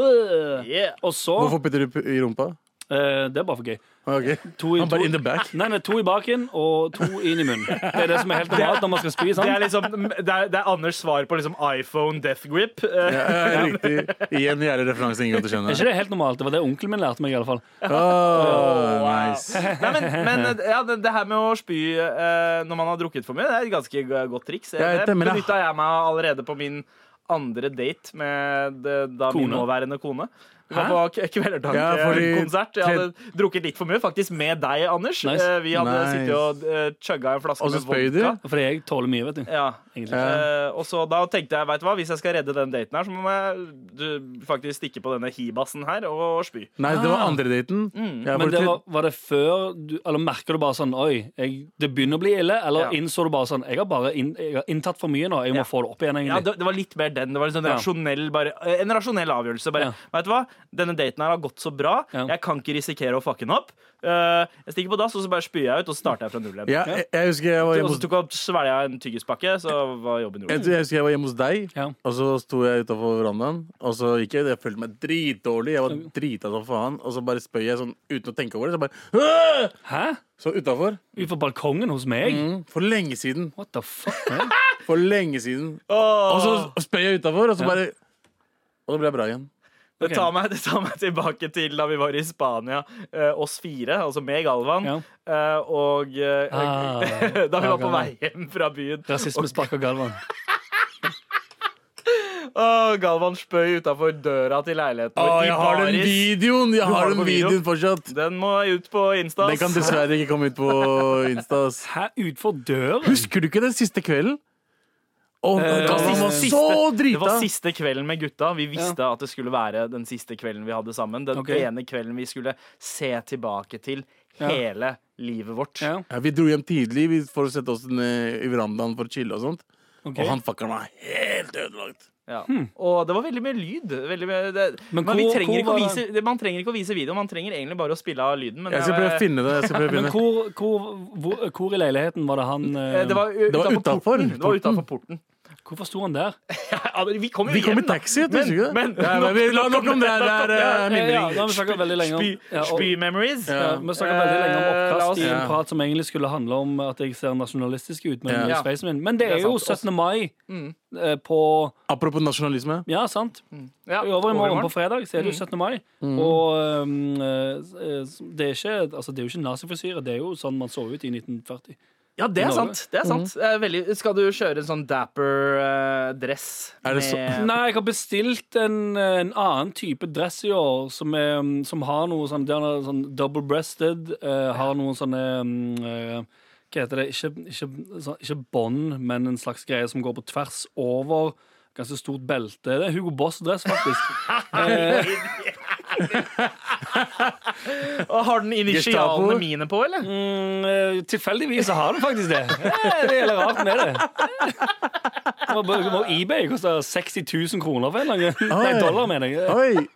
Speaker 5: hø.
Speaker 3: Yeah.
Speaker 5: Og så
Speaker 6: Hvorfor putter du p- i rumpa?
Speaker 5: eh, Det er bare for gøy.
Speaker 6: Ok.
Speaker 5: To i,
Speaker 6: Han bare in
Speaker 5: to,
Speaker 6: the back.
Speaker 5: nei, nei, to i baken og to inn i munnen. Det er det som er helt normalt når man skal spy.
Speaker 3: Det
Speaker 5: sant?
Speaker 3: er, liksom, det, er, det er Anders svar på liksom iPhone death grip. Eh,
Speaker 6: Ja, ja, riktig. Igjen jævlig referanse ingen kommer til å
Speaker 5: Er
Speaker 6: skjønne.
Speaker 5: ikke det helt normalt? Det var det onkelen min lærte meg. i alle fall
Speaker 6: Åh, nice.
Speaker 3: Nei, men, men eh, ja, det, det her med å spy eh, når man har drukket for mye, det er et ganske g- godt triks.
Speaker 6: Jeg
Speaker 3: Det
Speaker 6: vet det, men jeg-
Speaker 3: benytta jeg meg av allerede på min andre date med eh, da min
Speaker 5: Kone.
Speaker 3: nåværende kone. Vi var på k-
Speaker 6: Ja, fordi-
Speaker 3: Kvelertak-konsert. Jeg hadde drukket litt for mye, faktisk med deg, Anders.
Speaker 5: Nice.
Speaker 3: Eh, Vi hadde
Speaker 6: Nice.
Speaker 3: sittet og eh, chugga en flaske
Speaker 6: Og så
Speaker 3: med
Speaker 6: spøy du?
Speaker 3: vodka.
Speaker 5: Fordi jeg tåler mye, vet du.
Speaker 3: Ja.
Speaker 5: Egentlig.
Speaker 6: Ja.
Speaker 3: Eh, og så da tenkte jeg, vet du hva, hvis jeg skal redde den daten her, så må jeg du, faktisk stikke på denne hibassen her og spy.
Speaker 6: Nei, det var andre daten. Ja,
Speaker 5: Men
Speaker 6: for
Speaker 5: det
Speaker 6: til-
Speaker 5: var, var det før du, Eller merker du bare sånn Oi, jeg, det begynner å bli ille? Eller
Speaker 3: Ja.
Speaker 5: innså du bare sånn Jeg har bare inn, jeg har inntatt for mye nå. Jeg må
Speaker 3: Ja.
Speaker 5: få det opp igjen,
Speaker 3: Ja,
Speaker 5: egentlig.
Speaker 3: det, det var litt mer den. Det var litt sånn
Speaker 5: Ja.
Speaker 3: rasjonell, bare, eh, en rasjonell avgjørelse. Bare,
Speaker 5: Ja.
Speaker 3: vet du hva? Denne daten her har gått så bra.
Speaker 5: Ja.
Speaker 3: Jeg kan ikke risikere å fucke den opp. Eh, jeg stikker på dass, og så bare spyr jeg ut, og så starter jeg fra null igjen.
Speaker 6: ja, jeg, jeg husker jeg var
Speaker 3: Og
Speaker 6: hjemme
Speaker 3: så
Speaker 6: hos
Speaker 3: tok jeg opp svelga en tyggispakke, så var jobben
Speaker 6: jeg,
Speaker 3: gjort.
Speaker 6: jeg husker jeg var hjemme hos deg,
Speaker 5: Ja.
Speaker 6: og så sto jeg utafor verandaen. Og så gikk jeg, jeg følte meg dritdårlig, jeg var drita som faen. Og så bare spøy jeg sånn uten å tenke over det. Så bare «Åh!»
Speaker 5: Hæ?
Speaker 6: Så utafor.
Speaker 5: Utenfor balkongen hos meg?
Speaker 6: For lenge siden.
Speaker 5: What the fuck? man?
Speaker 6: For lenge siden. Og
Speaker 3: Åh,
Speaker 6: så spøy jeg utafor, og så bare Og da ble jeg bra igjen.
Speaker 3: det,
Speaker 5: ok.
Speaker 3: tar meg, det tar meg tilbake til da vi var i Spania, eh, oss fire, altså meg, Galvan,
Speaker 5: Ja.
Speaker 3: eh, og eh,
Speaker 5: Ah,
Speaker 3: da vi var på vei
Speaker 5: Galvan.
Speaker 3: hjem fra byen.
Speaker 5: Rasisme sparker Galvan.
Speaker 3: Åh, Galvan spøy utafor døra til leiligheten
Speaker 6: Å,
Speaker 3: vår. i
Speaker 6: jeg har den
Speaker 3: baris.
Speaker 6: videoen! Jeg
Speaker 3: Du har
Speaker 6: har
Speaker 3: det
Speaker 6: den
Speaker 3: på video?
Speaker 6: videoen fortsatt.
Speaker 3: Den må ut på Insta.
Speaker 6: Den kan
Speaker 3: ass.
Speaker 6: dessverre ikke komme ut på Insta. ass.
Speaker 5: Hæ? Utenfor døren?
Speaker 6: Husker du ikke den siste kvelden? Å,
Speaker 5: Eh,
Speaker 6: Galvan Altså, var
Speaker 5: siste-
Speaker 6: så
Speaker 3: Det
Speaker 6: drita!
Speaker 3: var siste kvelden med gutta. Vi visste at det skulle være den siste kvelden vi hadde sammen. Den
Speaker 5: Ok.
Speaker 3: ene kvelden vi skulle se tilbake til hele livet vårt.
Speaker 5: Ja.
Speaker 6: Ja, vi dro hjem tidlig vi- for å sette oss ned i verandaen for å chille og sånt.
Speaker 5: ok.
Speaker 6: Og han fucker meg helt ødelagt.
Speaker 3: Ja.
Speaker 6: Hmm.
Speaker 3: Og det var veldig mye lyd. Veldig mye, det,
Speaker 5: Men
Speaker 3: men
Speaker 5: hvor-
Speaker 3: vi trenger
Speaker 5: hvor
Speaker 3: ikke å
Speaker 5: var det-
Speaker 3: vise, det- man trenger ikke å vise videoen, man trenger egentlig bare å spille av lyden. Men
Speaker 6: Jeg skal prøve å finne det. Jeg skal prøve å
Speaker 5: Men
Speaker 6: finne. det.
Speaker 5: hvor, hvor, hvor, hvor i leiligheten var det han eh,
Speaker 3: Eh, Det var,
Speaker 6: Det var
Speaker 3: utenfor
Speaker 6: utenfor
Speaker 3: porten. Det var utenfor porten.
Speaker 5: Hvorfor sto han der?
Speaker 3: Ja, men vi kom jo
Speaker 6: Vi kom i
Speaker 3: hjem, da.
Speaker 6: taxi,
Speaker 3: Men-
Speaker 6: tror du ikke det?
Speaker 3: men-
Speaker 6: Ja, men vi- La nok om det her. Det er eh,
Speaker 5: Ja, ja,
Speaker 6: mimring.
Speaker 5: da har vi snakket veldig lenge om
Speaker 3: Spy,
Speaker 5: ja, og-
Speaker 3: spy memories.
Speaker 5: Ja, Vi snakket veldig lenge om
Speaker 3: Eh, la oss-
Speaker 5: oppkast i en
Speaker 6: Ja.
Speaker 5: prat som egentlig skulle handle om at jeg ser nasjonalistisk ut. Men,
Speaker 3: Ja.
Speaker 5: sveisen min. men det er
Speaker 3: Det er
Speaker 5: jo
Speaker 3: sant. Mm.
Speaker 5: 17. mai eh, på
Speaker 6: Apropos nasjonalisme.
Speaker 5: Ja, sant.
Speaker 3: Ja,
Speaker 5: I overmorgen,
Speaker 3: overmorgen.
Speaker 5: på fredag, så
Speaker 3: Mm.
Speaker 5: er det jo 17. mai. Og um, eh, det, er ikke, altså, det er jo ikke nazifrisyre. Det er jo sånn man så ut i 1940.
Speaker 3: Ja, det er
Speaker 5: I Norge.
Speaker 3: sant. Det er
Speaker 6: Mhm.
Speaker 3: sant. Eh, Veldig, skal du kjøre en sånn dapper eh, dress?
Speaker 6: Er det så-
Speaker 3: med-
Speaker 5: Nei, jeg har bestilt en, eh, en annen type dress i år som, er, um, som har noe sånn, den er sånn double-breasted, eh, har noen sånne um, eh, Hva heter det? Ikke, ikke, sånn, ikke bånd, men en slags greie som går på tvers over. Ganske stort belte. Det er Hugo Boss-dress, faktisk. Eh,
Speaker 3: Og Har den
Speaker 6: Gestapo.
Speaker 3: initialene mine på, eller?
Speaker 5: mm, eh, tilfeldigvis så har den faktisk det. Eh, Det er jævlig rart, men det er det. Det var bare- det var eBay koster 60 000 kroner for en eller annen Nei,
Speaker 6: Oi.
Speaker 5: dollar, mener jeg.
Speaker 6: Oi!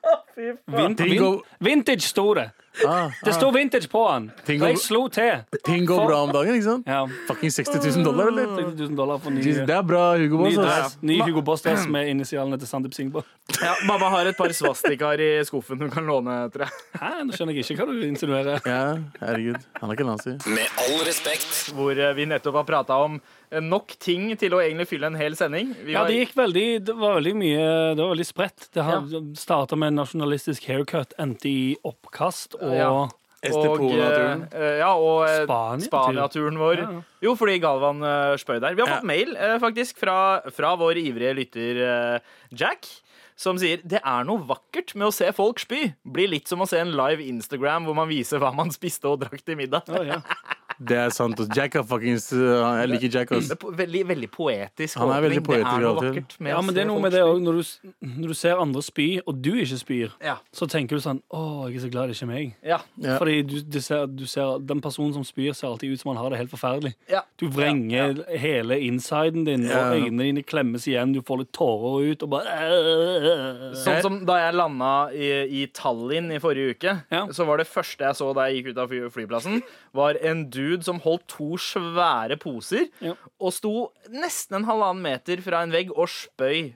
Speaker 5: Vin,
Speaker 6: Ting
Speaker 5: vin,
Speaker 6: går-
Speaker 5: vintage sto det.
Speaker 6: Ah,
Speaker 5: Det sto vintage på han.
Speaker 6: Ting
Speaker 5: Og jeg
Speaker 6: om- Mm.
Speaker 5: slo til.
Speaker 6: ting går bra om dagen, ikke sant?
Speaker 5: Ja.
Speaker 6: Fucking 60 000 dollar, eller?
Speaker 5: 60 000 dollar for ny,
Speaker 6: Jesus, Det er bra, Hugo
Speaker 5: ny,
Speaker 6: Boss. ass.
Speaker 5: dress, ny Hugo Boss-dress med initialene til Sandeep Singh på.
Speaker 3: Ja, mamma har et par svastikaer i skuffen hun kan låne, tror jeg.
Speaker 5: Hæ, nå skjønner jeg ikke hva du insinuerer.
Speaker 6: Ja, herregud. Han er ikke nazi.
Speaker 1: Med all respekt.
Speaker 3: hvor eh, vi nettopp har prata om eh, nok ting til å egentlig fylle en hel sending. Vi
Speaker 5: Ja,
Speaker 3: var-
Speaker 5: det gikk veldig Det var veldig mye Det var veldig spredt. Det starta med en nasjonalistisk haircut, endte i oppkast og
Speaker 3: Ja. og,
Speaker 6: Estepona-turen.
Speaker 3: eh, eh, ja, og eh,
Speaker 5: Spania-turen.
Speaker 3: Spania-turen vår.
Speaker 5: Ja, ja.
Speaker 3: Jo, fordi Galvan eh, spør der. Vi har
Speaker 6: Ja.
Speaker 3: fått mail eh, faktisk fra, fra vår ivrige lytter eh, Jack. Som sier det er noe vakkert med å se folk spy. Blir litt som å se en live Instagram hvor man viser hva man spiste og drakk til middag.
Speaker 5: Å, ja.
Speaker 6: Det er sant. ass. Jack er fuckings uh, Jeg liker Jack, ass.
Speaker 3: Det er po- veldig, veldig poetisk.
Speaker 6: Han er veldig
Speaker 3: åpning. det
Speaker 6: poetisk
Speaker 3: er noe
Speaker 6: av og til.
Speaker 3: vakkert med
Speaker 5: ja,
Speaker 3: å
Speaker 5: men det
Speaker 3: se
Speaker 5: er noe
Speaker 3: folk
Speaker 5: med det
Speaker 3: spy.
Speaker 5: òg. Når, du- når du ser andre spy, og du ikke spyr,
Speaker 3: Ja.
Speaker 5: så tenker du sånn Å, jeg er så glad det ikke er meg.
Speaker 3: Ja.
Speaker 6: Ja.
Speaker 5: Fordi du, du ser, du ser, Den personen som spyr, ser alltid ut som han har det helt forferdelig.
Speaker 3: Ja.
Speaker 5: Du vrenger hele insiden din,
Speaker 6: Ja.
Speaker 5: og øynene dine klemmes igjen, du får litt tårer ut, og bare Eh.
Speaker 3: Sånn som da jeg landa i, i Tallinn i forrige uke,
Speaker 5: Ja.
Speaker 3: så var det første jeg så da jeg gikk ut av fly- flyplassen, var en dude som holdt to svære poser
Speaker 5: Ja.
Speaker 3: og sto nesten en halvannen meter fra en vegg og spøy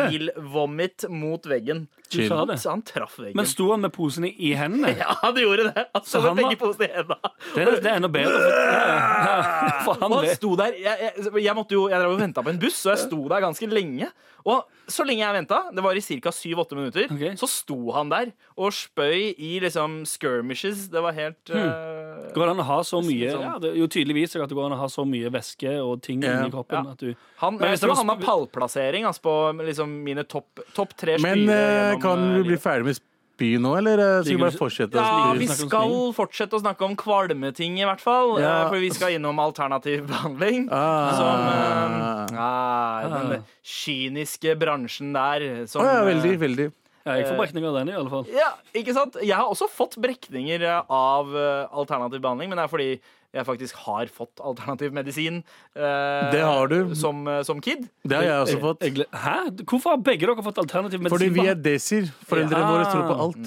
Speaker 3: prosjektilvomit mot veggen.
Speaker 5: Du sa det.
Speaker 3: Så han traff veggen.
Speaker 5: Men sto han med posene i hendene?
Speaker 3: ja, han gjorde det. Han sto
Speaker 5: han
Speaker 3: med
Speaker 5: var-
Speaker 3: begge posene i henda.
Speaker 5: Det er, det er enda bedre. For, for han
Speaker 3: Og han
Speaker 5: det.
Speaker 3: sto der Jeg, jeg, jeg måtte jo Jeg drev og venta på en buss, og jeg sto der ganske lenge. Og så lenge jeg venta, det var i ca. 7-8 minutter,
Speaker 5: Ok.
Speaker 3: så sto han der og spøy i liksom skirmishes. Det var helt
Speaker 6: Hmm.
Speaker 3: eh,
Speaker 5: Går det an å ha så mye
Speaker 3: Sånn.
Speaker 5: ja, det, er Jo tydeligvis at det går an å ha så mye væske og ting
Speaker 6: Ja.
Speaker 5: inni kroppen
Speaker 3: Ja.
Speaker 5: at du
Speaker 3: han,
Speaker 5: Men
Speaker 3: Jeg
Speaker 5: hvis det
Speaker 3: tror
Speaker 5: var
Speaker 3: han har
Speaker 5: sp-
Speaker 3: pallplassering altså, på liksom, mine topp topp tre
Speaker 6: Men
Speaker 3: spyere
Speaker 6: eh,
Speaker 3: gjennom,
Speaker 6: kan
Speaker 3: eh,
Speaker 6: vi bli
Speaker 3: livet.
Speaker 6: ferdig med spy nå, eller eh, skal vi bare fortsette? å
Speaker 3: ja,
Speaker 6: spy?
Speaker 3: vi
Speaker 5: snakke om
Speaker 3: skal fortsette å snakke om kvalmeting, i hvert fall.
Speaker 6: Ja.
Speaker 3: eh, For vi skal innom alternativ behandling.
Speaker 6: Ah.
Speaker 3: Som eh, ah, den kyniske bransjen der. Som,
Speaker 6: Å ja,
Speaker 3: eh,
Speaker 6: veldig, veldig.
Speaker 5: Ja, jeg får brekning av den, i alle fall.
Speaker 3: Ja, ikke sant? Jeg har også fått brekninger av eh, alternativ behandling, men det er fordi jeg faktisk har fått alternativ medisin eh,
Speaker 6: Det har du.
Speaker 3: Som, eh, som kid.
Speaker 6: Det har jeg også fått.
Speaker 5: Jeg gle- Hæ? Hvorfor har begge dere fått alternativ medisin?
Speaker 6: Fordi vi er
Speaker 5: på-
Speaker 6: desir. Foreldrene
Speaker 5: Ja.
Speaker 6: våre tror på alt.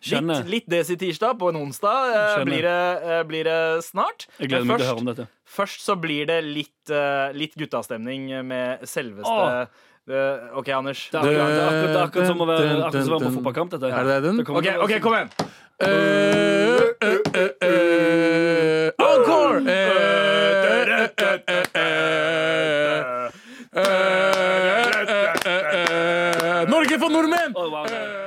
Speaker 5: Skjønner.
Speaker 3: Litt, litt desi-tirsdag på en onsdag eh,
Speaker 5: Skjønner.
Speaker 3: blir, det, eh, blir det snart.
Speaker 5: Jeg gleder
Speaker 3: Men
Speaker 5: meg til å høre
Speaker 3: først,
Speaker 5: om dette.
Speaker 3: først så blir det litt, eh, litt guttastemning med selveste
Speaker 5: Åh.
Speaker 3: eh, OK, Anders.
Speaker 5: Det er akkurat, det er akkurat, det er akkurat som å være,
Speaker 6: Dun, dun,
Speaker 5: akkurat som å være på
Speaker 6: dun.
Speaker 5: fotballkamp. Dette.
Speaker 6: Er det den?
Speaker 5: kommer
Speaker 3: OK,
Speaker 5: til å-
Speaker 3: ok, kom igjen!
Speaker 6: Eh, eh, eh, eh, Encore! Eh, eh, eh, eh, eh, eh, eh, eh, Norge for nordmenn!
Speaker 5: Å, wow, det-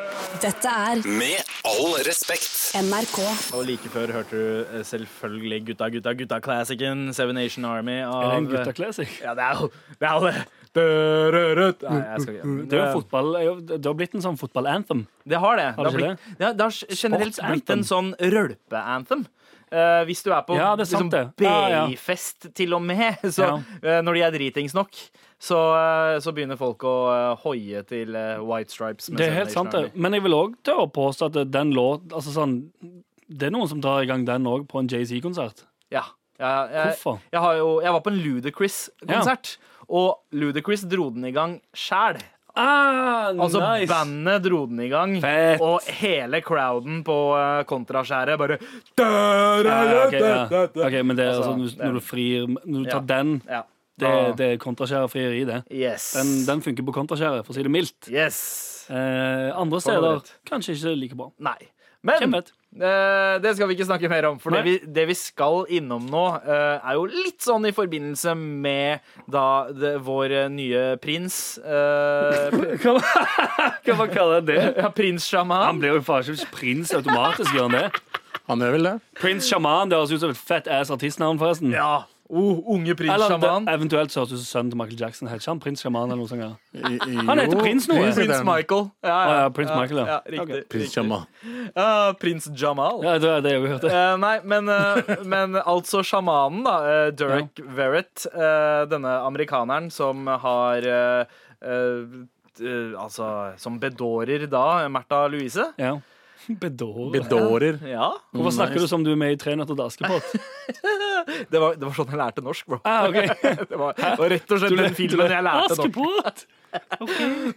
Speaker 4: Dette er
Speaker 1: Med all respekt.
Speaker 4: NRK.
Speaker 3: Og like før hørte du eh, selvfølgelig Gutta, gutta, gutta-classicen Seven Nation Army
Speaker 5: Er det
Speaker 3: av
Speaker 5: en
Speaker 3: eh,
Speaker 5: gutta-classic?
Speaker 3: Ja, det er jo det. Er jo det. Dørørøt. Nei, jeg skal ikke men
Speaker 5: Det, er jo fotball, er jo- det har blitt en sånn fotball-anthem.
Speaker 3: Det har det. det, har
Speaker 5: Har det ikke
Speaker 3: blitt, ja, det har generelt blitt en sånn rølpeanthem. Eh, hvis du er på
Speaker 5: Ja, det er sant, det. Ja, ja.
Speaker 3: BI-fest til og med, så eh, når de er dritings nok, så, eh, så begynner folk å eh, hoie til eh, White Stripes. med
Speaker 5: Det er
Speaker 3: Seven
Speaker 5: helt
Speaker 3: Nation
Speaker 5: sant, det.
Speaker 3: Army.
Speaker 5: Men jeg vil òg tørre å påstå at den låt Altså sånn det er noen som drar i gang den òg på en JC-konsert.
Speaker 3: Ja. ja jeg,
Speaker 5: Hvorfor?
Speaker 3: jeg, har jo, jeg var på en Ludacris-konsert, og Ludacris dro den i gang sjæl.
Speaker 5: Ah,
Speaker 3: Altså,
Speaker 5: nice.
Speaker 3: bandet dro den i gang,
Speaker 5: Fett.
Speaker 3: og hele crowden på eh, kontraskjæret bare
Speaker 5: Ja, ok, ja. Ok, men det er
Speaker 3: Altså,
Speaker 5: altså, hvis- når du frir Når du
Speaker 3: Ja.
Speaker 5: tar den,
Speaker 3: Ja.
Speaker 5: det, det er kontraskjærefrieri, det.
Speaker 3: Yes.
Speaker 5: Den, den funker på kontraskjæret, for å si det mildt.
Speaker 3: Yes.
Speaker 5: Eh, andre
Speaker 3: noe
Speaker 5: steder
Speaker 3: rett.
Speaker 5: kanskje ikke like bra.
Speaker 3: Nei.
Speaker 5: Hvem
Speaker 3: Men
Speaker 5: vet?
Speaker 3: Eh, det skal vi ikke snakke mer om. For det vi,
Speaker 5: Nei.
Speaker 3: det vi skal innom nå, eh, er jo litt sånn i forbindelse med da det, vår eh, nye prins eh, pr-
Speaker 5: Hva hva man kaller det?
Speaker 3: ja, Prins
Speaker 5: Han
Speaker 3: Shaman.
Speaker 5: blir jo faen ikke prins automatisk, gjør han det?
Speaker 6: Han gjør vel det?
Speaker 5: Prins Sjaman, det høres ut som et fett ass artistnavn, forresten.
Speaker 3: Ja. Oh, unge prins
Speaker 5: Eller
Speaker 3: Shaman.
Speaker 5: det, eventuelt så høres det ut som sønnen til Michael Jackson. Heter ikke han prins Sjaman eller noe sånt? Ja.
Speaker 6: I- i-
Speaker 5: Han heter
Speaker 6: jo,
Speaker 5: prins nå, ja.
Speaker 6: heter
Speaker 3: Prins
Speaker 6: han.
Speaker 3: Michael. Ja,
Speaker 5: Å, ja, prins Michael, ja.
Speaker 3: riktig.
Speaker 5: Ok.
Speaker 6: Prins
Speaker 3: riktig.
Speaker 6: Jamal.
Speaker 3: Ja, prins Jamal.
Speaker 5: Ja, det er det jeg har hørt.
Speaker 3: Eh, nei, men, eh, men altså sjamanen, da. eh, Derek Verrett, eh, denne amerikaneren som har eh, eh, t- eh, altså, som bedårer da Märtha Louise.
Speaker 5: Ja. Bedårer.
Speaker 6: Bedårer.
Speaker 3: Ja.
Speaker 5: Hvorfor snakker du som du er med i Tre nøtter til Askepott?
Speaker 3: Det var, det var sånn jeg lærte norsk, bro.
Speaker 5: Ah, ok.
Speaker 3: Det var, det var rett og slett den filmen jeg lærte norsk.
Speaker 5: Askepott!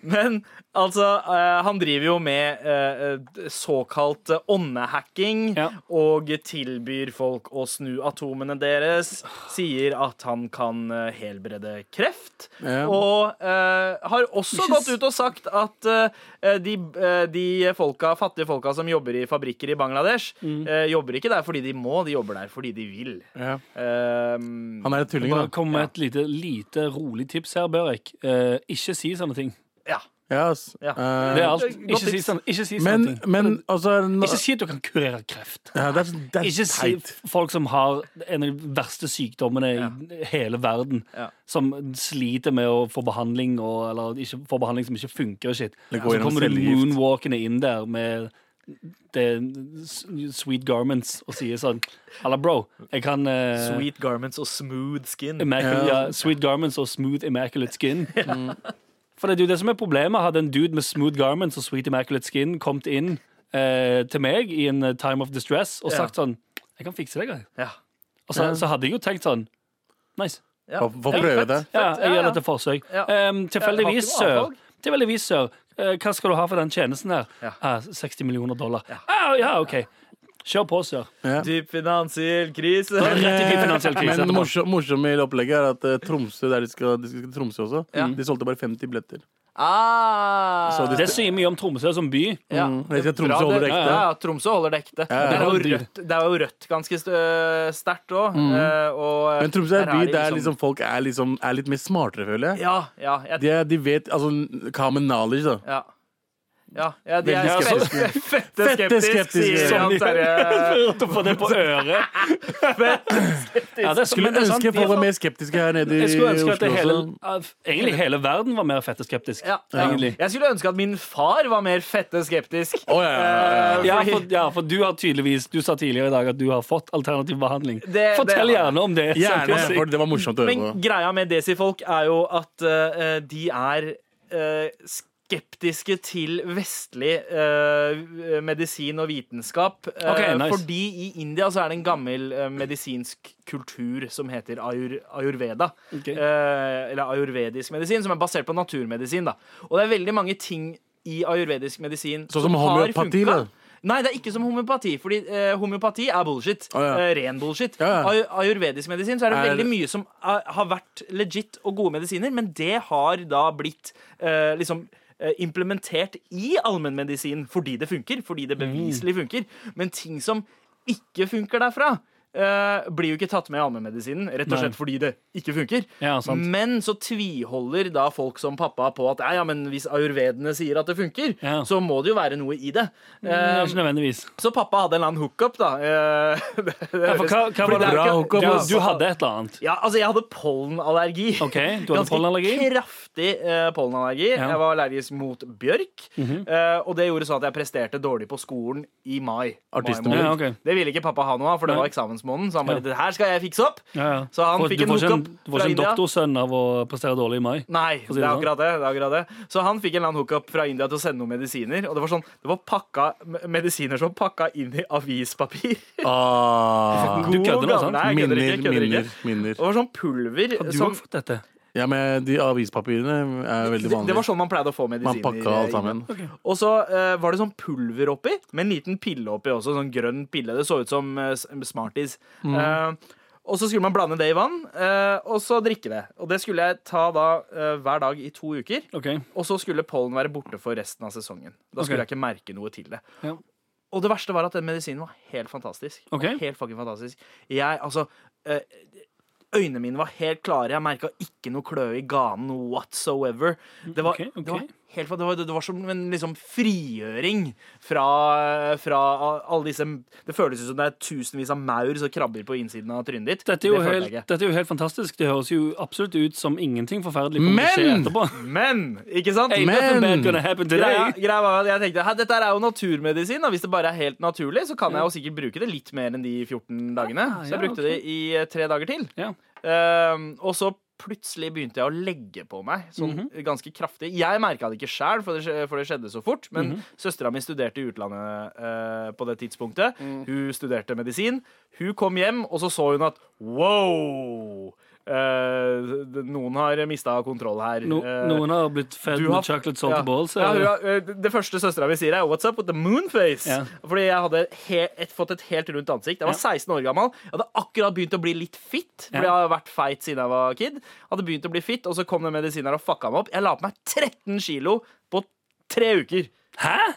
Speaker 3: Men altså, eh, han driver jo med eh, eh, såkalt eh, åndehacking
Speaker 5: Ja.
Speaker 3: og tilbyr folk å snu atomene deres. Sier at han kan eh, helbrede kreft.
Speaker 6: Ja.
Speaker 3: Og eh, har også gått ut og sagt at eh, de, eh, de folka, fattige folka som jobber i fabrikker i Bangladesh,
Speaker 5: Mm.
Speaker 3: eh, jobber ikke der fordi de må, de jobber der fordi de vil.
Speaker 6: Ja.
Speaker 3: Eh,
Speaker 6: Han er et tulling,
Speaker 5: Bare
Speaker 6: da.
Speaker 5: kom med et lite, lite rolig tips her, Børek. Eh, ikke si sånne ting.
Speaker 3: ja.
Speaker 6: Ja, ass.
Speaker 3: Ja.
Speaker 6: Eh,
Speaker 5: Det er alt.
Speaker 3: Godt
Speaker 5: Ikke si
Speaker 3: tips.
Speaker 5: sånne, ikke si sånne
Speaker 6: men,
Speaker 5: ting.
Speaker 6: men altså nå-
Speaker 5: Ikke si at du kan kurere kreft.
Speaker 6: ja, Det er, så- det er
Speaker 5: Ikke si
Speaker 6: teit.
Speaker 5: folk som har en av de verste sykdommene i hele verden,
Speaker 3: Ja.
Speaker 5: som sliter med å få behandling og, eller ikke få behandling som ikke funker og shit.
Speaker 6: Det går
Speaker 5: Så
Speaker 6: gjennom
Speaker 5: kommer du
Speaker 6: cellegift.
Speaker 5: moonwalkende inn der med det, s- sweet garments og sier sånn Halla, bro, jeg kan eh,
Speaker 3: Sweet garments og smooth skin.
Speaker 5: Immaculate, ja. Sweet garments og smooth immaculate skin.
Speaker 6: Mm.
Speaker 5: For det er jo det som er problemet. Hadde en dude med smooth garments og sweet immaculate skin kommet inn eh, til meg i en eh, time of distress og
Speaker 3: Ja.
Speaker 5: sagt sånn Jeg kan fikse det, jeg.
Speaker 3: Ja.
Speaker 5: Og så, så hadde jeg jo tenkt sånn Nice.
Speaker 3: Ja.
Speaker 6: Få få prøve det.
Speaker 3: Fett,
Speaker 5: Ja,
Speaker 3: ja,
Speaker 5: jeg gjør
Speaker 3: ja.
Speaker 5: dette forsøk.
Speaker 3: Ja.
Speaker 5: Ehm, tilfeldigvis,
Speaker 3: Ja, har ikke noe
Speaker 5: sør.
Speaker 3: annet valg.
Speaker 5: Tilfeldigvis, sør. eh, hva skal du ha for den tjenesten der?
Speaker 3: Ja.
Speaker 5: Ah, 60 millioner dollar. Ah, ja, OK. Kjør på, sør.
Speaker 6: Ja.
Speaker 3: Dyp finansiell krise.
Speaker 5: Rett i dyp finansiell krise
Speaker 6: eh, Men det
Speaker 5: etterpå.
Speaker 6: morsom- morsomme i det opplegget er at eh, Tromsø der de skal, de skal til Tromsø også,
Speaker 3: Ja.
Speaker 6: de solgte bare 50 billetter.
Speaker 3: Ah.
Speaker 6: Så
Speaker 5: Det sier mye om Tromsø som by.
Speaker 3: ja.
Speaker 6: Mm, det skal Tromsø
Speaker 3: Bra,
Speaker 6: holde det
Speaker 3: det-
Speaker 6: ekte.
Speaker 3: Ja, ja, Tromsø holder det ekte.
Speaker 6: ja.
Speaker 3: Det, er jo rødt, det er jo rødt ganske st- øh, sterkt eh, òg.
Speaker 6: Mm. Men Tromsø er en by der
Speaker 3: liksom
Speaker 6: liksom folk er, liksom, er litt mer smartere, føler jeg.
Speaker 3: Ja, ja. Jeg,
Speaker 6: De, er, de vet altså common knowledge, da.
Speaker 3: ja. Ja, ja, de er
Speaker 6: Veldig
Speaker 3: skeptiske. Fette
Speaker 6: Fette
Speaker 3: skeptisk,
Speaker 6: skeptiske.
Speaker 3: sier Jan Terje.
Speaker 5: Hørte på det på øret. Ja, det
Speaker 6: Skulle
Speaker 5: men det er sant,
Speaker 6: ønske
Speaker 5: de er
Speaker 6: folk var
Speaker 5: sant.
Speaker 6: mer skeptiske her nede i
Speaker 5: Jeg skulle
Speaker 6: Oslo
Speaker 5: ønske at det hele,
Speaker 6: også.
Speaker 5: at egentlig hele verden var mer fetteskeptisk.
Speaker 3: Ja, ja.
Speaker 5: Egentlig.
Speaker 3: Jeg skulle ønske at min far var mer fette skeptisk.
Speaker 6: Å, ja, ja, ja, ja.
Speaker 5: Ja, for, ja, for du har tydeligvis Du sa tidligere i dag at du har fått alternativ behandling.
Speaker 3: det har
Speaker 5: Fortell
Speaker 3: jeg.
Speaker 5: gjerne om det.
Speaker 6: Gjerne,
Speaker 5: Sankt Josef.
Speaker 6: for det var morsomt å høre
Speaker 3: Men
Speaker 6: på.
Speaker 3: greia med desifolk er jo at eh, de er eh, skeptiske til vestlig eh, medisin og vitenskap. eh,
Speaker 5: Ok, nice.
Speaker 3: Fordi i India så er det en gammel eh, medisinsk kultur som heter ayur, ayurveda.
Speaker 5: Ok.
Speaker 3: Eh, eller ayurvedisk medisin, som er basert på naturmedisin. Da. Og det er veldig mange ting i ayurvedisk medisin
Speaker 6: Sånn som
Speaker 3: har
Speaker 6: homeopati,
Speaker 3: funka.
Speaker 6: da?
Speaker 3: Nei, det er ikke som homeopati, fordi eh, homeopati er bullshit.
Speaker 6: Å, ja.
Speaker 3: Eh, ren bullshit.
Speaker 6: Ja, ja.
Speaker 3: Ay- Ayurvedisk medisin så er det
Speaker 6: Er-
Speaker 3: veldig mye som er, har vært legit og gode medisiner, men det har da blitt eh, liksom eh, implementert i allmennmedisin fordi det funker, fordi det
Speaker 5: Mm.
Speaker 3: beviselig funker. Men ting som ikke funker derfra, eh, blir jo ikke tatt med i allmennmedisinen, rett og
Speaker 5: Nei.
Speaker 3: slett fordi det ikke funker.
Speaker 5: Ja, sant.
Speaker 3: Men så tviholder da folk som pappa på at ja, ja, men hvis ayurvedene sier at det funker,
Speaker 5: Ja.
Speaker 3: så må det jo være noe i det.
Speaker 5: Eh,
Speaker 3: Eh,
Speaker 5: Ikke nødvendigvis.
Speaker 3: så pappa hadde en eller annen hookup, da. Eh, det- det
Speaker 5: Ja, for
Speaker 3: høres-
Speaker 5: hva, hva var
Speaker 3: det er
Speaker 5: det
Speaker 3: ikke-
Speaker 5: du,
Speaker 3: Ja,
Speaker 5: du hadde et eller annet.
Speaker 3: ja, altså jeg hadde pollenallergi.
Speaker 5: OK, du hadde
Speaker 3: Ganske
Speaker 5: pollenallergi?
Speaker 3: kraftig eh, pollenallergi.
Speaker 5: Ja. Mhm.
Speaker 3: Jeg var allergisk mot bjørk. eh, og det gjorde sånn at jeg presterte dårlig på skolen i mai. mai
Speaker 6: Artisten
Speaker 3: måned.
Speaker 5: Ja, ok.
Speaker 3: Det ville ikke pappa ha noe av, for det var eksamensår. demensmåneden, så han
Speaker 5: Ja.
Speaker 3: bare 'Det her skal jeg fikse opp'.
Speaker 5: Ja, ja.
Speaker 3: Så han
Speaker 5: For
Speaker 3: fikk
Speaker 5: du
Speaker 3: en
Speaker 5: får ikke
Speaker 3: hookup
Speaker 5: Du får
Speaker 3: fra
Speaker 5: ikke en
Speaker 3: India.
Speaker 5: doktorsønn av å prestere dårlig i mai.
Speaker 3: Nei,
Speaker 5: For å si
Speaker 3: det er
Speaker 5: det sånn.
Speaker 3: akkurat det. det, er akkurat det. Så han fikk en eller annen hookup fra India til å sende noen medisiner. Og det var sånn, det var pakka, me- medisiner som var pakka inn i avispapir.
Speaker 6: Ah,
Speaker 5: Du kødder altså? nå,
Speaker 3: God gamle-
Speaker 5: sant?
Speaker 3: Nei, jeg
Speaker 6: minner,
Speaker 3: kødder ikke. jeg kødder
Speaker 6: minner,
Speaker 3: ikke.
Speaker 6: minner.
Speaker 3: Det var sånn pulver
Speaker 5: Har du
Speaker 3: som
Speaker 5: òg fått dette?
Speaker 6: Ja, men de avispapirene er
Speaker 3: det,
Speaker 6: veldig
Speaker 3: det var
Speaker 6: vanlige.
Speaker 3: sånn man pleide å få medisiner.
Speaker 6: Man pakka alt sammen.
Speaker 3: Og så eh, var det sånn pulver oppi, med en liten pille oppi også. Sånn grønn pille. Det så ut som eh, s- Smarties.
Speaker 6: Mm.
Speaker 3: Eh, og så skulle man blande det i vann, eh, og så drikke det. Og det skulle jeg ta da eh, hver dag i to uker.
Speaker 5: OK.
Speaker 3: Og så skulle pollen være borte for resten av sesongen. Da skulle
Speaker 5: Ok.
Speaker 3: jeg ikke merke noe til det.
Speaker 5: Ja.
Speaker 3: Og det verste var at den medisinen var helt fantastisk. Den var
Speaker 5: Ok.
Speaker 3: Helt fucking fantastisk. Jeg, altså eh, Øynene mine var helt klare. Jeg merka ikke noe kløe i ganen whatsoever. Det var,
Speaker 5: ok, ok.
Speaker 3: Det var, helt, fa- det var, det var som en liksom frigjøring fra, fra alle disse Det føles ut som det er tusenvis av maur som krabber på innsiden av trynet ditt.
Speaker 5: Dette er, jo
Speaker 3: det følte jeg
Speaker 5: helt,
Speaker 3: ikke.
Speaker 5: dette er jo helt fantastisk. Det høres jo absolutt ut som ingenting forferdelig kommer
Speaker 6: Men!
Speaker 5: til å skje etterpå.
Speaker 3: Men! Ikke sant?
Speaker 5: Ain't nothing
Speaker 6: Men-
Speaker 5: bad gonna happen today.
Speaker 3: Greia, greia var at jeg tenkte «Hæ, Dette her er jo naturmedisin. Da. Hvis det bare er helt naturlig, så kan jeg jo sikkert bruke det litt mer enn de 14 dagene.
Speaker 5: Ah,
Speaker 3: Så jeg
Speaker 5: ja,
Speaker 3: brukte
Speaker 5: ok.
Speaker 3: det i eh, tre dager til.
Speaker 5: Ja.
Speaker 3: Ehm, og så plutselig begynte jeg å legge på meg sånn
Speaker 5: Mhm.
Speaker 3: ganske kraftig. Jeg merka det ikke sjæl, for, det skje- for det skjedde så fort. Men
Speaker 5: Mhm.
Speaker 3: søstera mi studerte i utlandet eh, på det tidspunktet.
Speaker 5: Mm.
Speaker 3: Hun studerte medisin. Hun kom hjem, og så så hun at wow! eh, d- noen har mista kontroll her.
Speaker 5: No,
Speaker 3: Eh,
Speaker 5: noen har blitt fed
Speaker 3: du har-
Speaker 5: med chocolate salty
Speaker 3: ja.
Speaker 5: balls.
Speaker 3: Ja, hun
Speaker 5: eller?
Speaker 3: har- eh, det første søstera mi sier, er 'What's up with the moon face?'
Speaker 5: Ja.
Speaker 3: Fordi jeg hadde he et, fått et helt rundt ansikt. Jeg var
Speaker 5: Ja.
Speaker 3: 16 år gammel. Jeg hadde akkurat begynt å bli litt fit, fordi
Speaker 5: Ja.
Speaker 3: jeg har vært feit siden jeg var kid. Hadde begynt å bli fit, Og så kom den medisinen her og fucka meg opp. Jeg la på meg 13 kilo på tre uker.
Speaker 5: Hæ?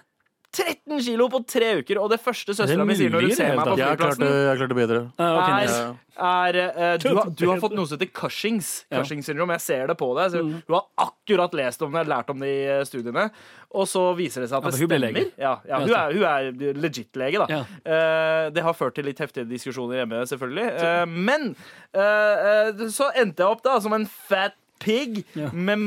Speaker 3: 13 kilo på tre uker, og det første søstera mi sier når
Speaker 5: mulig i
Speaker 3: hun
Speaker 5: det
Speaker 3: ser
Speaker 5: hele
Speaker 3: meg på
Speaker 5: tatt?
Speaker 6: Jeg har klart
Speaker 3: flyplassen,
Speaker 6: det, jeg har klart det bedre.
Speaker 5: Ah, ok,
Speaker 3: er,
Speaker 5: nice.
Speaker 3: er eh, du, har, du har fått noe som heter Cushings. Cushings syndrom, Jeg ser det på deg. Så
Speaker 5: Mm.
Speaker 3: hun har akkurat lest om det, lært om det i eh, studiene. Og så viser det seg at
Speaker 5: Ja,
Speaker 3: det
Speaker 5: for hun ble
Speaker 3: stemmer.
Speaker 5: lege.
Speaker 3: Ja, ja, hun, er, hun er legit lege, da.
Speaker 5: Ja.
Speaker 3: Eh, det har ført til litt heftige diskusjoner hjemme, selvfølgelig. Eh, men eh, eh, så endte jeg opp da som en fat pig
Speaker 5: Ja.
Speaker 3: med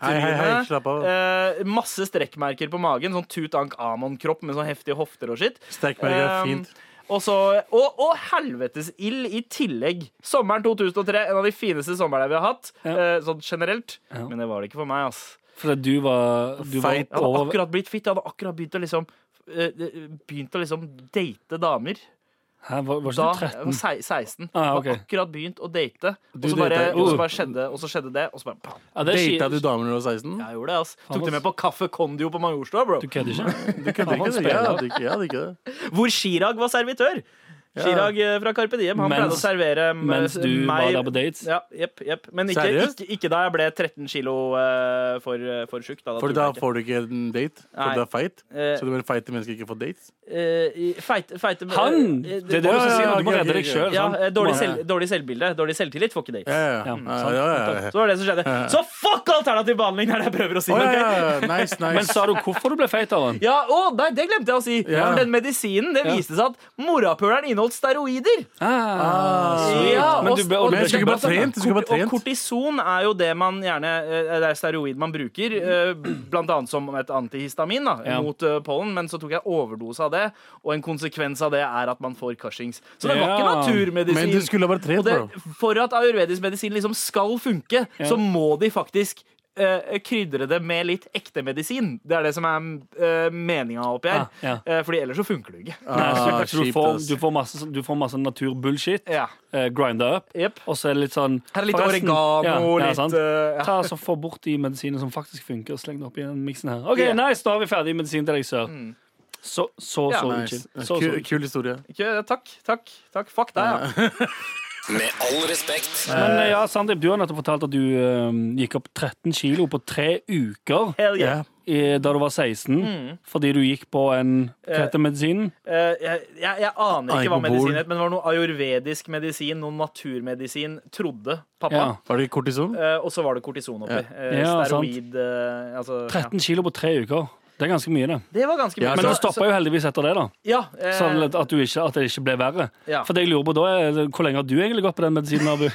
Speaker 6: Hei, hei, hei, slapp av.
Speaker 3: månetrine. Eh, masse strekkmerker på magen. Sånn Tut Ank Amon-kropp med sånn heftige hofter og skitt.
Speaker 6: Strekkmerker er
Speaker 3: Um,
Speaker 6: fint.
Speaker 3: Og, så, og, og helvetesild i tillegg. Sommeren 2003, en av de fineste somrene vi har hatt.
Speaker 5: Ja.
Speaker 3: eh, sånn generelt.
Speaker 5: Ja.
Speaker 3: Men det var det ikke for meg. ass
Speaker 5: Fordi du var, du var
Speaker 6: Feit.
Speaker 3: Jeg hadde
Speaker 5: over-
Speaker 3: akkurat blitt fit. Jeg hadde akkurat begynt å liksom eh, Begynt å liksom date damer.
Speaker 5: Hæ, var, var
Speaker 3: Da
Speaker 5: ikke du
Speaker 3: jeg var
Speaker 5: 13?
Speaker 3: sei- 16.
Speaker 5: Ah,
Speaker 3: Jeg
Speaker 5: ok. Uh.
Speaker 3: hadde akkurat begynt å date, og
Speaker 6: Du
Speaker 3: så bare,
Speaker 6: datet,
Speaker 3: og
Speaker 6: oh.
Speaker 3: så bare skjedde og så skjedde det. Og så bare bam,
Speaker 5: Ja, det er
Speaker 6: Data
Speaker 5: skit-
Speaker 6: du damer når du var 16?
Speaker 3: Jeg gjorde det, ass. Tok
Speaker 5: ass.
Speaker 3: det med på Kaffe Kondio på Majorstua, bro.
Speaker 5: Du kødder ikke?
Speaker 6: Du kødder ikke? det. Jeg hadde ikke, jeg hadde ikke det.
Speaker 3: Hvor Chirag var servitør. Chirag eh, fra Carpe Diem. Han
Speaker 5: Mens-
Speaker 3: pleide å servere eh,
Speaker 5: Mens du var
Speaker 3: meg
Speaker 5: der på dates?
Speaker 3: Ja, jepp, jepp. Men ikke,
Speaker 6: Seriøst?
Speaker 3: ikke, ikke da jeg ble 13 kilo eh, for, eh, for tjukk. Da, da
Speaker 6: For
Speaker 3: turte
Speaker 6: da
Speaker 3: jeg ikke.
Speaker 6: får du ikke en date.
Speaker 3: Nei.
Speaker 6: For du er feit.
Speaker 3: Eh.
Speaker 6: Så du blir feit til mennesker ikke får dates.
Speaker 3: Eh, i- feite, feite,
Speaker 5: Han!
Speaker 3: eh,
Speaker 5: Det er det du skal si. Du må
Speaker 6: ja,
Speaker 5: redde deg
Speaker 6: ja,
Speaker 5: sjøl.
Speaker 3: Ja, eh, dårlig, selv, dårlig selvbilde. Dårlig selvtillit får ikke date.
Speaker 6: Ja, ja, ja.
Speaker 5: Ja,
Speaker 6: ja, ja, ja, ja.
Speaker 3: Så var det det som skjedde. Så fuck alternativ behandling! Det er det jeg prøver å si.
Speaker 6: Å, ja,
Speaker 3: ok?
Speaker 6: ja, ja. Nice,
Speaker 5: Men
Speaker 6: nice.
Speaker 5: sa du hvorfor du ble feit av han?
Speaker 3: Ja, å, nei, det glemte jeg å si!
Speaker 6: Ja.
Speaker 3: For den medisinen det
Speaker 5: Ja.
Speaker 3: viste seg at morapuleren inneholdt steroider.
Speaker 5: Ah, sweet.
Speaker 3: Ja,
Speaker 5: men
Speaker 3: og-
Speaker 5: du ble, og
Speaker 3: og-
Speaker 5: du ble
Speaker 6: Men jeg skulle
Speaker 5: ikke
Speaker 6: bare
Speaker 5: blåst av det.
Speaker 6: trent. Jeg skulle bare
Speaker 3: Og
Speaker 6: trent.
Speaker 3: kortison er jo det man gjerne eh, Det er steroid man bruker, eh, blant annet som et antihistamin da,
Speaker 5: Ja.
Speaker 3: mot eh, pollen. Men så tok jeg overdose av det, og en konsekvens av det er at man får Cushings. Så det var ikke
Speaker 5: Ja.
Speaker 3: naturmedisin.
Speaker 6: Men du skulle bare trent,
Speaker 3: og det,
Speaker 6: bro.
Speaker 3: for at ayurvedisk medisin liksom skal funke, så må de faktisk eh, krydre det med litt ekte medisin. Det er det som er uh, meninga oppi her.
Speaker 5: Ah, ja.
Speaker 3: Eh, fordi ellers så funker det jo ikke.
Speaker 5: Nei, så
Speaker 6: Ah,
Speaker 5: kanskje du
Speaker 6: kjipt,
Speaker 5: får,
Speaker 6: ass.
Speaker 5: du får masse, sånn- du får masse naturbullshit.
Speaker 3: Ja.
Speaker 5: Eh, grinda opp.
Speaker 3: Jep.
Speaker 5: Og så er det litt sånn
Speaker 3: Her er litt
Speaker 5: forresten-
Speaker 3: oregano,
Speaker 5: ja, ja,
Speaker 3: litt
Speaker 5: sant.
Speaker 3: eh, ja.
Speaker 5: Ta altså, Få bort de medisinene som faktisk funker, og sleng det opp i den miksen her. OK,
Speaker 3: Ja.
Speaker 5: nice, da har vi ferdig medisin til deg, sør. Så, så,
Speaker 3: Ja,
Speaker 5: så
Speaker 6: Nice.
Speaker 5: chill. Så, så
Speaker 6: Kul,
Speaker 5: chill.
Speaker 6: kul historie.
Speaker 3: Ikke- Takk, takk, takk. Fuck deg, ja.
Speaker 1: Med all respekt.
Speaker 5: Men eh, ja, Sandeep, du har nettopp fortalt at du eh, gikk opp 13 kilo på tre uker
Speaker 3: Hell yeah.
Speaker 6: Ja.
Speaker 5: i, da du var 16, fordi du gikk på en Hva heter medisinen?
Speaker 3: Eh, jeg, jeg, jeg aner ikke hva
Speaker 6: Aibobol.
Speaker 3: medisin het, men det var noe ayurvedisk medisin, noe naturmedisin, trodde pappa.
Speaker 5: Ja.
Speaker 6: Var det kortison?
Speaker 3: Eh, og så var det kortison oppi. Eh,
Speaker 5: Ja, sant.
Speaker 3: steroid eh, altså, ja.
Speaker 5: 13 kilo på tre uker. Det er ganske mye, det.
Speaker 3: Det var ganske mye.
Speaker 6: Ja,
Speaker 5: Men
Speaker 6: så-
Speaker 5: det stoppa jo heldigvis etter det, da.
Speaker 3: ja, eh,
Speaker 5: Sånn at, du ikke, at det ikke ble verre.
Speaker 3: Ja.
Speaker 5: For det jeg lurer på da er Hvor lenge har du egentlig gått på den medisinen? Abu?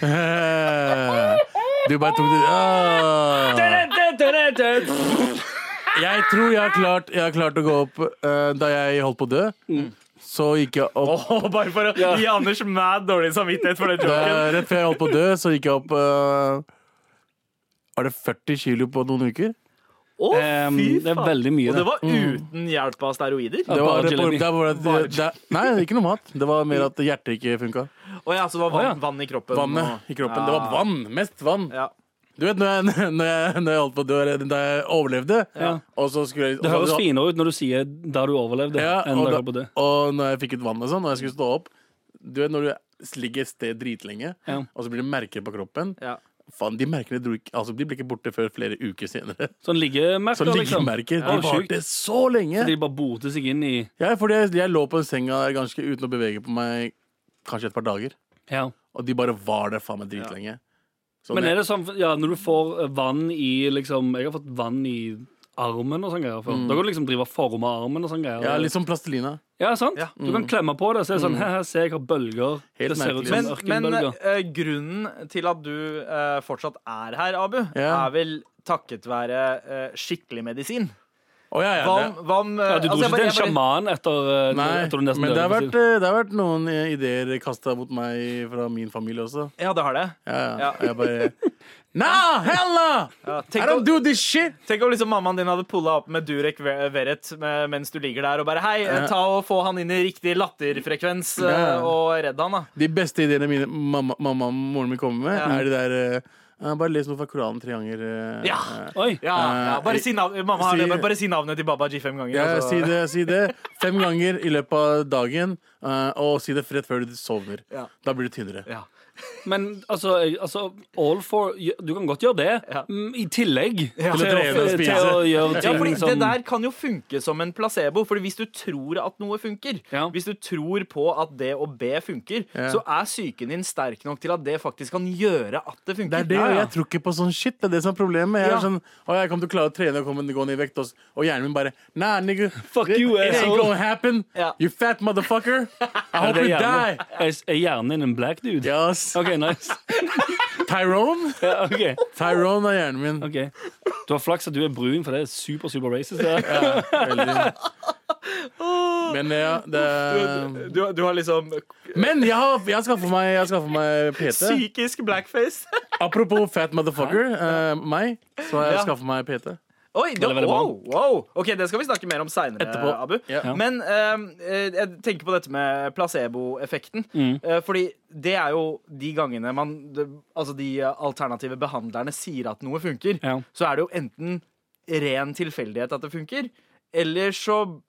Speaker 6: Eh, Du bare tok det ah. Jeg tror jeg har klart, jeg har klart å gå opp eh, da jeg holdt på å dø. Så gikk jeg opp
Speaker 3: Åh, bare for å gi Anders mad dårlig samvittighet for den
Speaker 6: Da-
Speaker 3: joken.
Speaker 6: Rett før jeg holdt på å dø, så gikk jeg opp eh, Er det 40 kilo på noen uker?
Speaker 3: Å,
Speaker 5: Ehm,
Speaker 3: fy
Speaker 5: det er
Speaker 3: faen.
Speaker 5: veldig mye,
Speaker 3: Og det
Speaker 5: det.
Speaker 3: var uten hjelp av steroider?
Speaker 5: Ja.
Speaker 6: Det var,
Speaker 5: Bare
Speaker 6: det, var-
Speaker 5: jalebi.
Speaker 6: det var, det,
Speaker 3: Bare-
Speaker 6: det, nei, ikke noe mat. Det var mer at hjertet ikke funka.
Speaker 3: Å ja, så det var vann,
Speaker 5: Å, ja.
Speaker 3: vann i kroppen? og-
Speaker 6: Vannet i kroppen. Det var
Speaker 3: Ja.
Speaker 6: vann. Mest vann.
Speaker 3: Ja.
Speaker 6: Du vet når jeg, når jeg, når jeg holdt på å dø, eller da jeg overlevde, og så skulle jeg
Speaker 5: Det høres
Speaker 6: og så-
Speaker 5: finere ut når du sier da du overlevde,
Speaker 6: ja,
Speaker 5: enn
Speaker 6: og,
Speaker 5: da du
Speaker 6: da,
Speaker 5: på det.
Speaker 6: og når jeg fikk ut vann og sånn, og jeg skulle stå opp Du vet når du ligger et sted dritlenge,
Speaker 5: Ja.
Speaker 6: og så blir det merker på kroppen.
Speaker 3: Ja.
Speaker 6: Faen, de merkene dro ikke, altså, de ble ikke borte før flere uker senere.
Speaker 5: Sånn
Speaker 6: Så
Speaker 5: liggemerker, liksom.
Speaker 6: liggemerker
Speaker 5: Ja,
Speaker 6: de
Speaker 5: sjukt.
Speaker 6: varte så lenge!
Speaker 5: De bare boter seg inn i
Speaker 6: Ja, fordi jeg, jeg lå på senga der ganske uten å bevege på meg kanskje et par dager.
Speaker 5: ja.
Speaker 6: Og de bare var der faen meg dritlenge. Så
Speaker 5: Men
Speaker 6: når
Speaker 5: er det sånn, ja, når du får eh, vann i liksom Jeg har fått vann i armen og sånn greier
Speaker 3: Mm.
Speaker 5: før. Da kan du liksom drive og forme armen og sånn greier.
Speaker 6: jeg- ja, litt som plastelina.
Speaker 5: Ja, sant?
Speaker 3: Ja. Mm.
Speaker 5: Du kan klemme på det, så er det sånn Her, se, jeg har bølger.
Speaker 6: Helt
Speaker 5: det ser
Speaker 6: merkelig.
Speaker 5: ut
Speaker 3: Men,
Speaker 5: som
Speaker 3: men
Speaker 5: ørkenbølger.
Speaker 3: eh, grunnen til at du eh, fortsatt er her, Abu,
Speaker 6: Ja.
Speaker 3: er vel takket være eh, skikkelig medisin.
Speaker 6: Å, ja,
Speaker 3: Hva
Speaker 6: ja,
Speaker 3: om,
Speaker 6: det,
Speaker 3: hva om eh,
Speaker 5: Ja, du dro
Speaker 3: altså, jeg
Speaker 5: ikke til en
Speaker 3: bare- jeg bare-
Speaker 5: sjaman etter, eh,
Speaker 6: nei,
Speaker 5: etter du nesten
Speaker 6: men
Speaker 5: døde?
Speaker 6: det har,
Speaker 5: for å si
Speaker 6: vært, eh, det har vært noen eh, ideer kasta mot meg fra min familie også.
Speaker 3: Ja, det har det.
Speaker 6: Ja,
Speaker 3: Ja.
Speaker 6: ja. Jeg bare Nah, hella!
Speaker 3: Ja,
Speaker 6: I
Speaker 3: tenk,
Speaker 6: don't
Speaker 3: om,
Speaker 6: do this shit!
Speaker 3: tenk om liksom mammaen din hadde pulla opp med Durek Ve- Verrett med- mens du ligger der, og bare Hei, eh, ta og få han inn i riktig latterfrekvens, eh,
Speaker 6: Ja.
Speaker 3: og redd han, da.
Speaker 6: De beste ideene mine mamma mamma og moren min kommer med,
Speaker 3: Ja.
Speaker 6: er de der eh, Bare les noe fra Koranen tre ganger. eh,
Speaker 3: Ja.
Speaker 6: eh,
Speaker 5: det. Oi.
Speaker 3: Ja, ja. Bare, si navn, mamma, har
Speaker 6: si-
Speaker 3: det, bare, bare si navnet til Babaji fem ganger. altså.
Speaker 6: Ja,
Speaker 3: og så-
Speaker 6: si det, si det fem ganger i løpet av dagen, eh, og si det rett før du sovner.
Speaker 3: Ja.
Speaker 6: Da blir du tynnere.
Speaker 3: Ja.
Speaker 5: Men altså, jeg- altså All for Du kan godt gjøre det.
Speaker 3: Ja.
Speaker 5: Mm, I tillegg
Speaker 3: Ja.
Speaker 5: til,
Speaker 6: Til
Speaker 5: å,
Speaker 6: å trene og
Speaker 5: til å gjøre
Speaker 3: Ja,
Speaker 5: ting
Speaker 3: fordi
Speaker 6: liksom
Speaker 5: som
Speaker 3: Det der kan jo funke som en placebo. Fordi Hvis du tror at noe funker,
Speaker 5: Ja.
Speaker 3: hvis du tror på at det å be funker,
Speaker 6: Ja.
Speaker 3: så er psyken din sterk nok til at det faktisk kan gjøre at det funker.
Speaker 6: Det er det, og jeg tror ikke på sånn shit. Det er det som er problemet. Jeg
Speaker 3: Ja.
Speaker 6: er sånn, å, jeg kommer til å klare å trene og komme gå ned i vekt, og, s- og hjernen min bare Nah, nigga.
Speaker 5: Fuck
Speaker 6: it-
Speaker 5: you,
Speaker 6: It ain't
Speaker 5: asshole."
Speaker 6: gonna happen.
Speaker 3: Ja.
Speaker 6: You fat motherfucker. I
Speaker 5: Er
Speaker 6: hope
Speaker 5: det
Speaker 6: you
Speaker 5: hjernen-
Speaker 6: die.
Speaker 5: Er er hjernen din en black dude?
Speaker 6: Yes.
Speaker 5: OK, nice.
Speaker 6: Tyrone?
Speaker 5: Ja, ok.
Speaker 6: Tyrone er hjernen min.
Speaker 5: Ok. Du har flaks at du er brun, for det er super, super racist. Det. der.
Speaker 6: Veldig. Men ja, det er-
Speaker 3: Du, du har liksom
Speaker 6: Men jeg har, jeg har skaffa meg, jeg har skaffet meg PT.
Speaker 3: psykisk blackface.
Speaker 6: Apropos fat motherfucker, eh, meg, så har jeg
Speaker 3: Ja.
Speaker 6: skaffa meg PT.
Speaker 3: Oi, det,
Speaker 5: Veldig, veldig bra.
Speaker 3: wow, wow. Ok, Det skal vi snakke mer om seinere,
Speaker 6: Etterpå.
Speaker 3: Abu.
Speaker 6: Ja.
Speaker 3: Men ehm, eh, jeg tenker på dette med placeboeffekten.
Speaker 6: Mm.
Speaker 3: Eh, fordi det er jo de gangene man det, Altså de eh, alternative behandlerne sier at noe funker,
Speaker 5: Ja.
Speaker 3: så er det jo enten ren tilfeldighet at det funker, eller så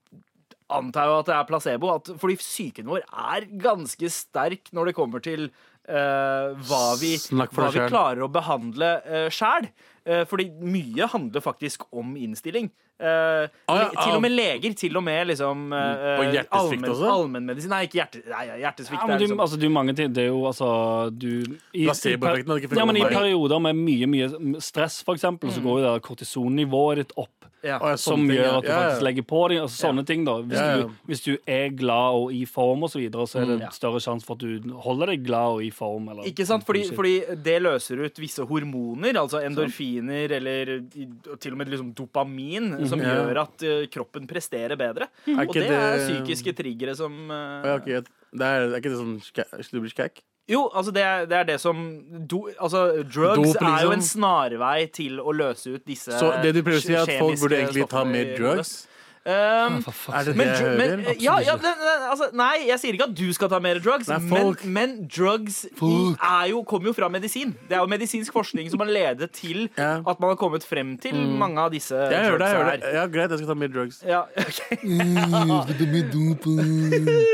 Speaker 3: antar jeg at det er placebo. At, fordi psyken vår er ganske sterk når det kommer til eh, hva vi,
Speaker 6: Snakk for
Speaker 3: hva
Speaker 6: deg
Speaker 3: vi
Speaker 6: selv.
Speaker 3: klarer å behandle uh, sjæl. Eh, fordi mye handler faktisk om innstilling. Eh,
Speaker 6: Ah, ja,
Speaker 3: Til og
Speaker 6: ah.
Speaker 3: med leger. Til og med liksom eh,
Speaker 6: Og hjertesvikt
Speaker 3: allmenn-
Speaker 6: også?
Speaker 3: Allmennmedisin. Nei, ikke hjerte, nei, hjertesvikt.
Speaker 5: Ja,
Speaker 3: det
Speaker 5: men
Speaker 3: er
Speaker 5: du,
Speaker 3: liksom,
Speaker 5: altså, du, mange ting, det er jo altså du, i,
Speaker 6: Placeboeffekten hadde ikke funket
Speaker 5: ja, men I
Speaker 6: på meg.
Speaker 5: perioder med mye mye stress, for eksempel, så går jo det der kortisonnivået ditt opp.
Speaker 3: ja.
Speaker 6: Å, Mm. ja, sånne
Speaker 5: Som
Speaker 6: ting,
Speaker 5: gjør
Speaker 6: ja.
Speaker 5: at du
Speaker 6: Ja, ja.
Speaker 5: faktisk legger på deg altså, sånne ting. da hvis,
Speaker 6: Ja, Mm. ja.
Speaker 5: Du, hvis du er glad og i form, og så, videre, så er det en større sjanse for at du holder deg glad og i form. Eller,
Speaker 3: Ikke sant? Fordi,
Speaker 5: Shit.
Speaker 3: fordi det løser ut visse hormoner, altså endorfiner eller i- til og med liksom dopamin, som
Speaker 6: Ja.
Speaker 3: gjør at eh, kroppen presterer bedre. Og
Speaker 6: ikke
Speaker 3: det er
Speaker 6: det-
Speaker 3: psykiske triggere som eh,
Speaker 6: Og jeg har ikke, det er, er ikke det sånn ska- du blir skækk?
Speaker 3: Jo, altså det er det, er det som do, Altså, drugs
Speaker 6: Dop,
Speaker 3: er jo
Speaker 6: liksom.
Speaker 3: en snarvei til å løse ut disse
Speaker 6: Så det du prøver å si, er at folk
Speaker 3: kjemiske
Speaker 6: burde egentlig ta
Speaker 3: stoffene
Speaker 6: mer
Speaker 3: i
Speaker 6: drugs?
Speaker 3: hodet. Um,
Speaker 5: For fuck's
Speaker 6: Er
Speaker 5: sake.
Speaker 6: det det
Speaker 3: men,
Speaker 6: jeg
Speaker 3: dr- men,
Speaker 6: hører?
Speaker 3: ja, ja, men, men, altså, nei, jeg sier ikke at du skal ta mer drugs,
Speaker 6: Nei,
Speaker 3: men,
Speaker 6: folk.
Speaker 3: men drugs i,
Speaker 6: Folk.
Speaker 3: er jo, kommer jo fra medisin. Det er jo medisinsk forskning som har ledet til
Speaker 6: Ja.
Speaker 3: at man har kommet frem til mange av disse
Speaker 6: Jeg hører det. jeg hører
Speaker 3: drugsa
Speaker 6: det Ja, Greit, jeg skal ta mer drugs.
Speaker 3: her. Ja, ok.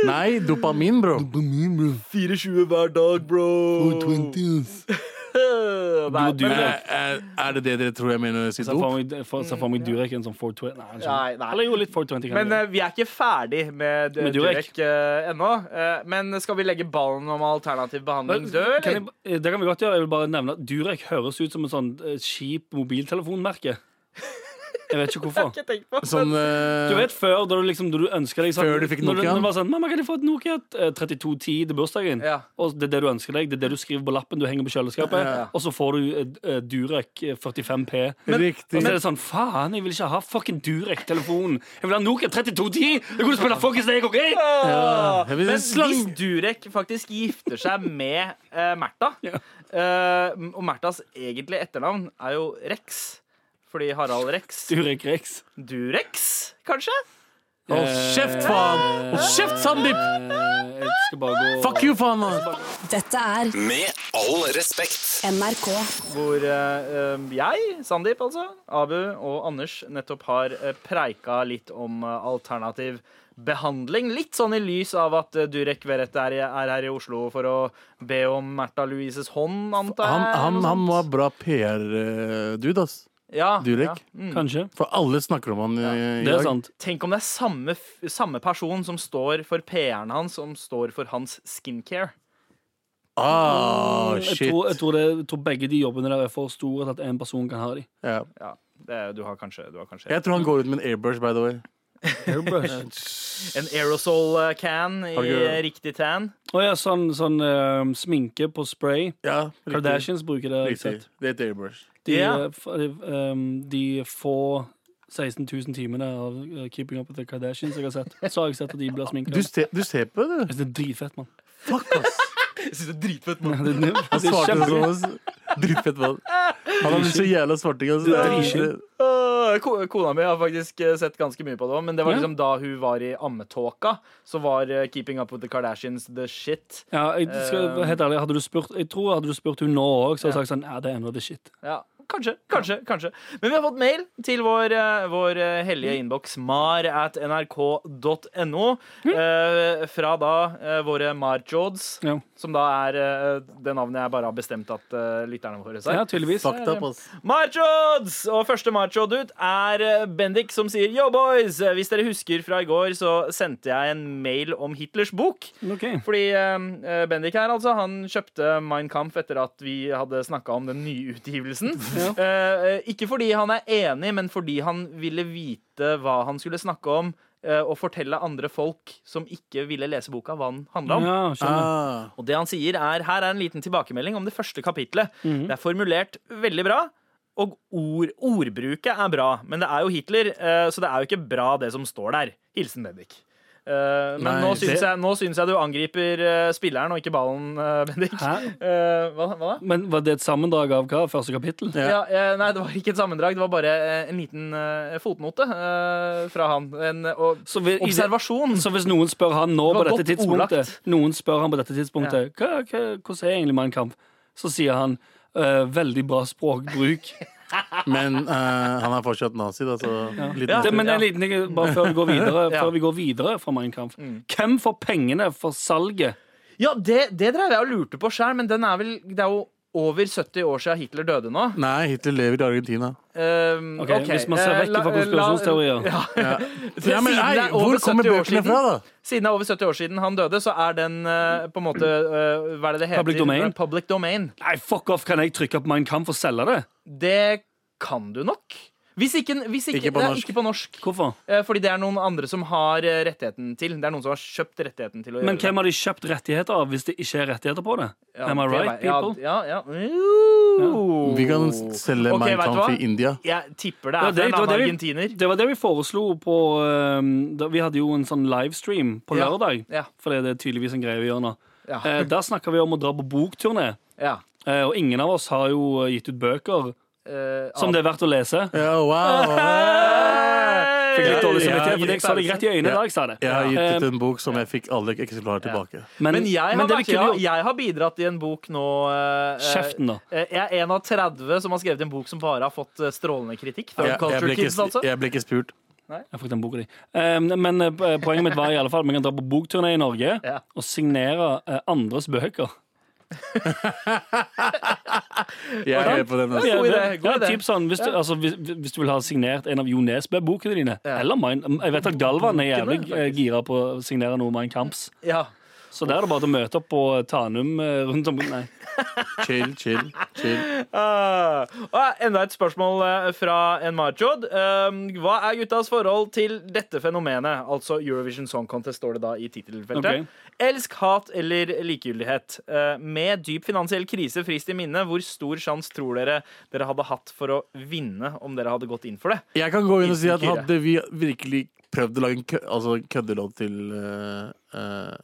Speaker 6: Nei, dopamin, bro.
Speaker 3: 24 hver dag, bro. Nei,
Speaker 5: Du- du-
Speaker 3: men-
Speaker 6: Er, er, Eh, er det det dere tror jeg mener når jeg sier
Speaker 5: Se for
Speaker 6: dop? Mm,
Speaker 5: meg- for- se for meg Durek i en sånn 420. Nei, han
Speaker 3: Nei,
Speaker 5: skjønner.
Speaker 3: nei.
Speaker 5: Eller jo, litt 420 kan
Speaker 3: Men
Speaker 5: det
Speaker 3: eh, vi er ikke ferdig med, eh,
Speaker 5: Med
Speaker 3: Durek
Speaker 5: Durek.
Speaker 3: eh, ennå. Eh, men skal vi legge ballen om alternativ behandling død, eller?
Speaker 5: Kan jeg, det kan vi godt gjøre. Jeg vil bare nevne at Durek høres ut som en sånn eh, kjip mobiltelefonmerke. eh, Jeg vet ikke hvorfor.
Speaker 3: Ikke tenk på
Speaker 6: Sånn eh,
Speaker 5: Du vet før, da du liksom da du ønska deg sånn-
Speaker 6: Før du fikk
Speaker 5: når
Speaker 6: Nokiaen?
Speaker 5: når du var sånn, Mamma, kan jeg få et Nokia eh, 3210 til bursdagen?
Speaker 3: Ja.
Speaker 5: Og det er det du ønsker deg, det er det du skriver på lappen du henger på kjøleskapet, og så får du eh, eh, Durek eh, 45P.
Speaker 6: Riktig.
Speaker 5: og så er det sånn Faen, jeg vil ikke ha fucking Durek-telefonen. Jeg vil ha Nokia 3210! Jeg kunne spille fuckings deg, OK?
Speaker 3: Ah,
Speaker 6: jeg vil
Speaker 3: Men
Speaker 6: slang-
Speaker 3: hvis Durek faktisk gifter seg med eh, Märtha eh, Og Märthas egentlige etternavn er jo Rex. Fordi Harald Rex
Speaker 5: Durek Rex.
Speaker 3: Durex, kanskje?
Speaker 6: Hold kjeft, faen! Hold kjeft, Sandeep!
Speaker 5: Eh, Jeg skal bare gå
Speaker 6: Fuck you, faen! ass.
Speaker 4: Dette er
Speaker 1: Med all respekt.
Speaker 4: NRK.
Speaker 3: Hvor eh, eh, jeg, Sandeep altså, Abu og Anders nettopp har eh, preika litt om eh, alternativ behandling. Litt sånn i lys av at eh, Durek Verrett er, i- er her i Oslo for å be om Märtha Louises hånd, antar jeg.
Speaker 6: Han, han,
Speaker 3: eller noe
Speaker 6: han
Speaker 3: sånt.
Speaker 6: var bra PR-dude, ass.
Speaker 3: ja,
Speaker 6: Durek.
Speaker 3: Ja. Mm.
Speaker 5: Kanskje.
Speaker 6: For alle snakker om han eh, i
Speaker 5: Det
Speaker 6: dag.
Speaker 5: er sant.
Speaker 3: Tenk om det er samme, f- samme person som står for PR-en hans, som står for hans skincare.
Speaker 6: Ah,
Speaker 5: Jeg
Speaker 6: shit.
Speaker 5: tror, jeg, tror det, jeg tror begge de jobbene der er for store til at én person kan ha de.
Speaker 6: Ja.
Speaker 3: Ja, det, er- du har kanskje, du har kanskje
Speaker 6: Jeg tror han går ut med en airbrush, by the way.
Speaker 3: En aerosol-can i
Speaker 6: Har du ikke-
Speaker 3: riktig tan.
Speaker 5: Å ja, sånn, sånn eh, sminke på spray.
Speaker 6: Ja, riktig.
Speaker 5: Kardashians bruker det. har jeg
Speaker 6: Riktig.
Speaker 5: sett.
Speaker 6: Det er et airbrush.
Speaker 5: De, eh,
Speaker 3: Ja.
Speaker 5: f- de, ehm, de få 16 000 timene av eh, Keeping Up With The Kardashians jeg har sett, så har jeg sett at de blir sminka.
Speaker 6: Du, se, du ser på det, du.
Speaker 5: Det er dritfett, mann.
Speaker 6: Fuck, ass.
Speaker 3: Jeg synes det er dritfett
Speaker 5: Det er, det
Speaker 6: Han
Speaker 5: er
Speaker 6: svarte
Speaker 5: kjempe-
Speaker 6: sånn. ass. Dritfett mann. Han hadde så jævla svarting. ass. Det er-
Speaker 5: Dritskyld.
Speaker 3: Øh, ko- Kona mi har faktisk eh, sett ganske mye på det òg, men det var
Speaker 5: Ja.
Speaker 3: liksom da hun var i ammetåka, så var eh, Keeping Up With The Kardashians the shit.
Speaker 5: ja, jeg, skal,
Speaker 6: Eh.
Speaker 5: være helt ærlig, hadde du spurt, jeg tror hadde du spurt hun nå òg, så hadde jeg sagt sånn Ja, det er ennå the shit.
Speaker 3: Ja, kanskje, kanskje, kanskje. Men vi har fått mail til vår, eh, vår eh, hellige
Speaker 5: Mm.
Speaker 3: innboks mar at nrk.no
Speaker 5: Mm.
Speaker 3: eh, fra da eh, våre marjods,
Speaker 5: Ja,
Speaker 3: som da er eh, det navnet jeg bare har bestemt at eh, lytterne våre sier.
Speaker 5: ja tydeligvis.
Speaker 6: Fucked up, ass.
Speaker 3: Marchods! Og første marchod ut er eh, Bendik som sier Yo boys! Eh, Hvis dere husker fra i går, så sendte jeg en mail om Hitlers bok.
Speaker 5: Ok.
Speaker 3: Fordi eh, Bendik her, altså, han kjøpte Mein Kampf etter at vi hadde snakka om den nye utgivelsen. Eh, ikke fordi han er enig, men fordi han ville vite hva han skulle snakke om, eh, og fortelle andre folk som ikke ville lese boka, hva den handla om.
Speaker 5: Ja, skjønner.
Speaker 6: Ah.
Speaker 3: Og det han sier er, her er en liten tilbakemelding om det første kapitlet.
Speaker 5: Mhm.
Speaker 3: Det er formulert veldig bra, og ord, ordbruket er bra. Men det er jo Hitler, eh, så det er jo ikke bra det som står der. Hilsen Bendik. Eh, men
Speaker 6: Nei,
Speaker 3: nå, syns
Speaker 6: det-
Speaker 3: jeg, nå syns jeg du angriper eh, spilleren og ikke ballen, eh, Bendik.
Speaker 5: Hæ?
Speaker 3: Eh, hva, hva da?
Speaker 5: Men var det et sammendrag av hva? Første kapittel?
Speaker 3: Ja,
Speaker 6: Ja.
Speaker 3: eh, nei, det var ikke et sammendrag. Det var bare eh, en liten eh, fotnote eh, fra han. En, eh, og,
Speaker 5: Så vi- i det-
Speaker 3: observasjon.
Speaker 5: Så hvis noen spør han nå
Speaker 3: Det
Speaker 5: på
Speaker 3: var
Speaker 5: dette
Speaker 3: godt
Speaker 5: tidspunktet
Speaker 3: ordlagt.
Speaker 5: Noen spør han på dette tidspunktet hva, hva, Hvordan er egentlig Mein Kampf? Så sier han «Eh, veldig bra språkbruk.
Speaker 6: Men eh, han er fortsatt nazi, da, så litt
Speaker 3: Ja,
Speaker 5: Det, men en
Speaker 3: Ja.
Speaker 5: liten ting bare før vi går videre,
Speaker 3: Ja. Mm.
Speaker 5: før vi går videre fra Mein Kampf. Hvem får pengene for salget?
Speaker 3: ja, det, det drev jeg og lurte på sjøl, men den er vel, det er jo over 70 år siden Hitler døde nå.
Speaker 6: Nei, Hitler lever i Argentina.
Speaker 3: Um,
Speaker 5: Ok, Hvis man ser
Speaker 3: eh,
Speaker 5: vekk
Speaker 3: la-
Speaker 5: fra konspirasjonsteorier.
Speaker 3: la-
Speaker 6: Ja.
Speaker 3: Siden
Speaker 6: Ja, men,
Speaker 3: det er
Speaker 6: ei,
Speaker 3: over
Speaker 6: hvor kommer
Speaker 3: 70 år
Speaker 6: bøkene
Speaker 3: siden-
Speaker 6: fra, da?
Speaker 3: Siden det er over 70 år siden han døde, så er den eh, på en måte eh, Hva er det det heter?
Speaker 5: Public domain?
Speaker 3: Public domain.
Speaker 5: Nei, fuck off! Kan jeg trykke på Mein Kampf og selge det?
Speaker 3: Det kan du nok. Hvis ikke, hvis ikke,
Speaker 6: Ikke på
Speaker 3: nei,
Speaker 6: norsk.
Speaker 3: Ikke på norsk.
Speaker 5: Hvorfor?
Speaker 3: Eh, Fordi det er noen andre som har eh, rettigheten til. Det er noen som har kjøpt rettigheten til å
Speaker 5: Men
Speaker 3: gjøre
Speaker 5: hvem har de kjøpt rettigheter av hvis det ikke er rettigheter på det?
Speaker 3: Eh, Ja,
Speaker 5: Am I
Speaker 3: det
Speaker 5: right,
Speaker 3: vei- ja,
Speaker 5: people?
Speaker 3: Ja, ja. Jo.
Speaker 6: Vi kan s- selge
Speaker 3: Oh. Ok,
Speaker 6: Mein
Speaker 3: vet du hva?
Speaker 6: Kampf i India.
Speaker 3: Jeg tipper det
Speaker 5: Ja,
Speaker 3: er
Speaker 5: det-
Speaker 3: fra en
Speaker 5: det var
Speaker 3: annen
Speaker 5: det vi-
Speaker 3: argentiner.
Speaker 5: Det var det vi foreslo på ehm, da, Vi hadde jo en sånn livestream på
Speaker 3: Ja,
Speaker 5: lørdag.
Speaker 3: ja.
Speaker 5: Fordi det er tydeligvis en greie vi gjør nå.
Speaker 3: Ja.
Speaker 5: Eh, der snakka vi om å dra på bokturné.
Speaker 3: Ja.
Speaker 5: Eh, og ingen av oss har jo eh, gitt ut bøker
Speaker 3: Eh,
Speaker 5: som det er verdt å lese.
Speaker 6: Ja, wow.
Speaker 5: Fikk
Speaker 3: Ja,
Speaker 5: litt dårlig
Speaker 6: ja,
Speaker 5: samvittighet,
Speaker 6: ja,
Speaker 5: fordi jeg sa det rett i øynene
Speaker 6: ja.
Speaker 5: da jeg sa det.
Speaker 6: Jeg har gitt ut
Speaker 5: Eh,
Speaker 6: en bok som jeg fikk alle eksemplarer tilbake.
Speaker 5: men,
Speaker 3: Men jeg Um, har,
Speaker 5: men det vi
Speaker 3: vært,
Speaker 5: kunne
Speaker 3: jeg,
Speaker 5: gjort
Speaker 3: jeg har bidratt i en bok nå eh,
Speaker 5: Kjeften, da.
Speaker 3: eh, Jeg er en av 30 som har skrevet en bok som bare har fått eh, strålende kritikk. Fra
Speaker 6: Jeg, jeg,
Speaker 3: Culture
Speaker 6: ble
Speaker 3: Kids, altså.
Speaker 6: ikke, jeg ble ikke spurt.
Speaker 5: Jeg fikk den boka di. Eh, men eh, poenget mitt var i alle fall at vi kan dra på bokturné i Norge
Speaker 3: Ja.
Speaker 5: og signere eh, andres bøker.
Speaker 6: Jeg er med på den. Altså.
Speaker 5: Ja,
Speaker 3: God idé,
Speaker 5: det-
Speaker 3: god
Speaker 5: ja,
Speaker 3: idé.
Speaker 5: typ sånn, hvis, du, altså, hvis, hvis du vil ha signert en av Jo Nesbø-bokene dine, eller mine Jeg vet at Galvan er jævlig eh, gira på å signere noe Mein Kamps.
Speaker 3: Ja.
Speaker 5: Så der er det bare til å møte opp på Tanum eh, rundt om Nei.
Speaker 6: Chill, chill, chill.
Speaker 3: Ah, og enda et spørsmål eh, fra en Marchod. Um, hva er guttas forhold til dette fenomenet? Altså Eurovision Song Contest står det da i tittelfeltet.
Speaker 5: Ok.
Speaker 3: Elsk, hat eller likegyldighet? Eh, med dyp finansiell krise frist i minne, hvor stor sjanse tror dere dere hadde hatt for å vinne om dere hadde gått inn for det?
Speaker 6: Jeg kan gå inn og si at
Speaker 3: Instinkt.
Speaker 6: hadde vi virkelig prøvd å lage en kø, altså en køddelåt til eh, eh,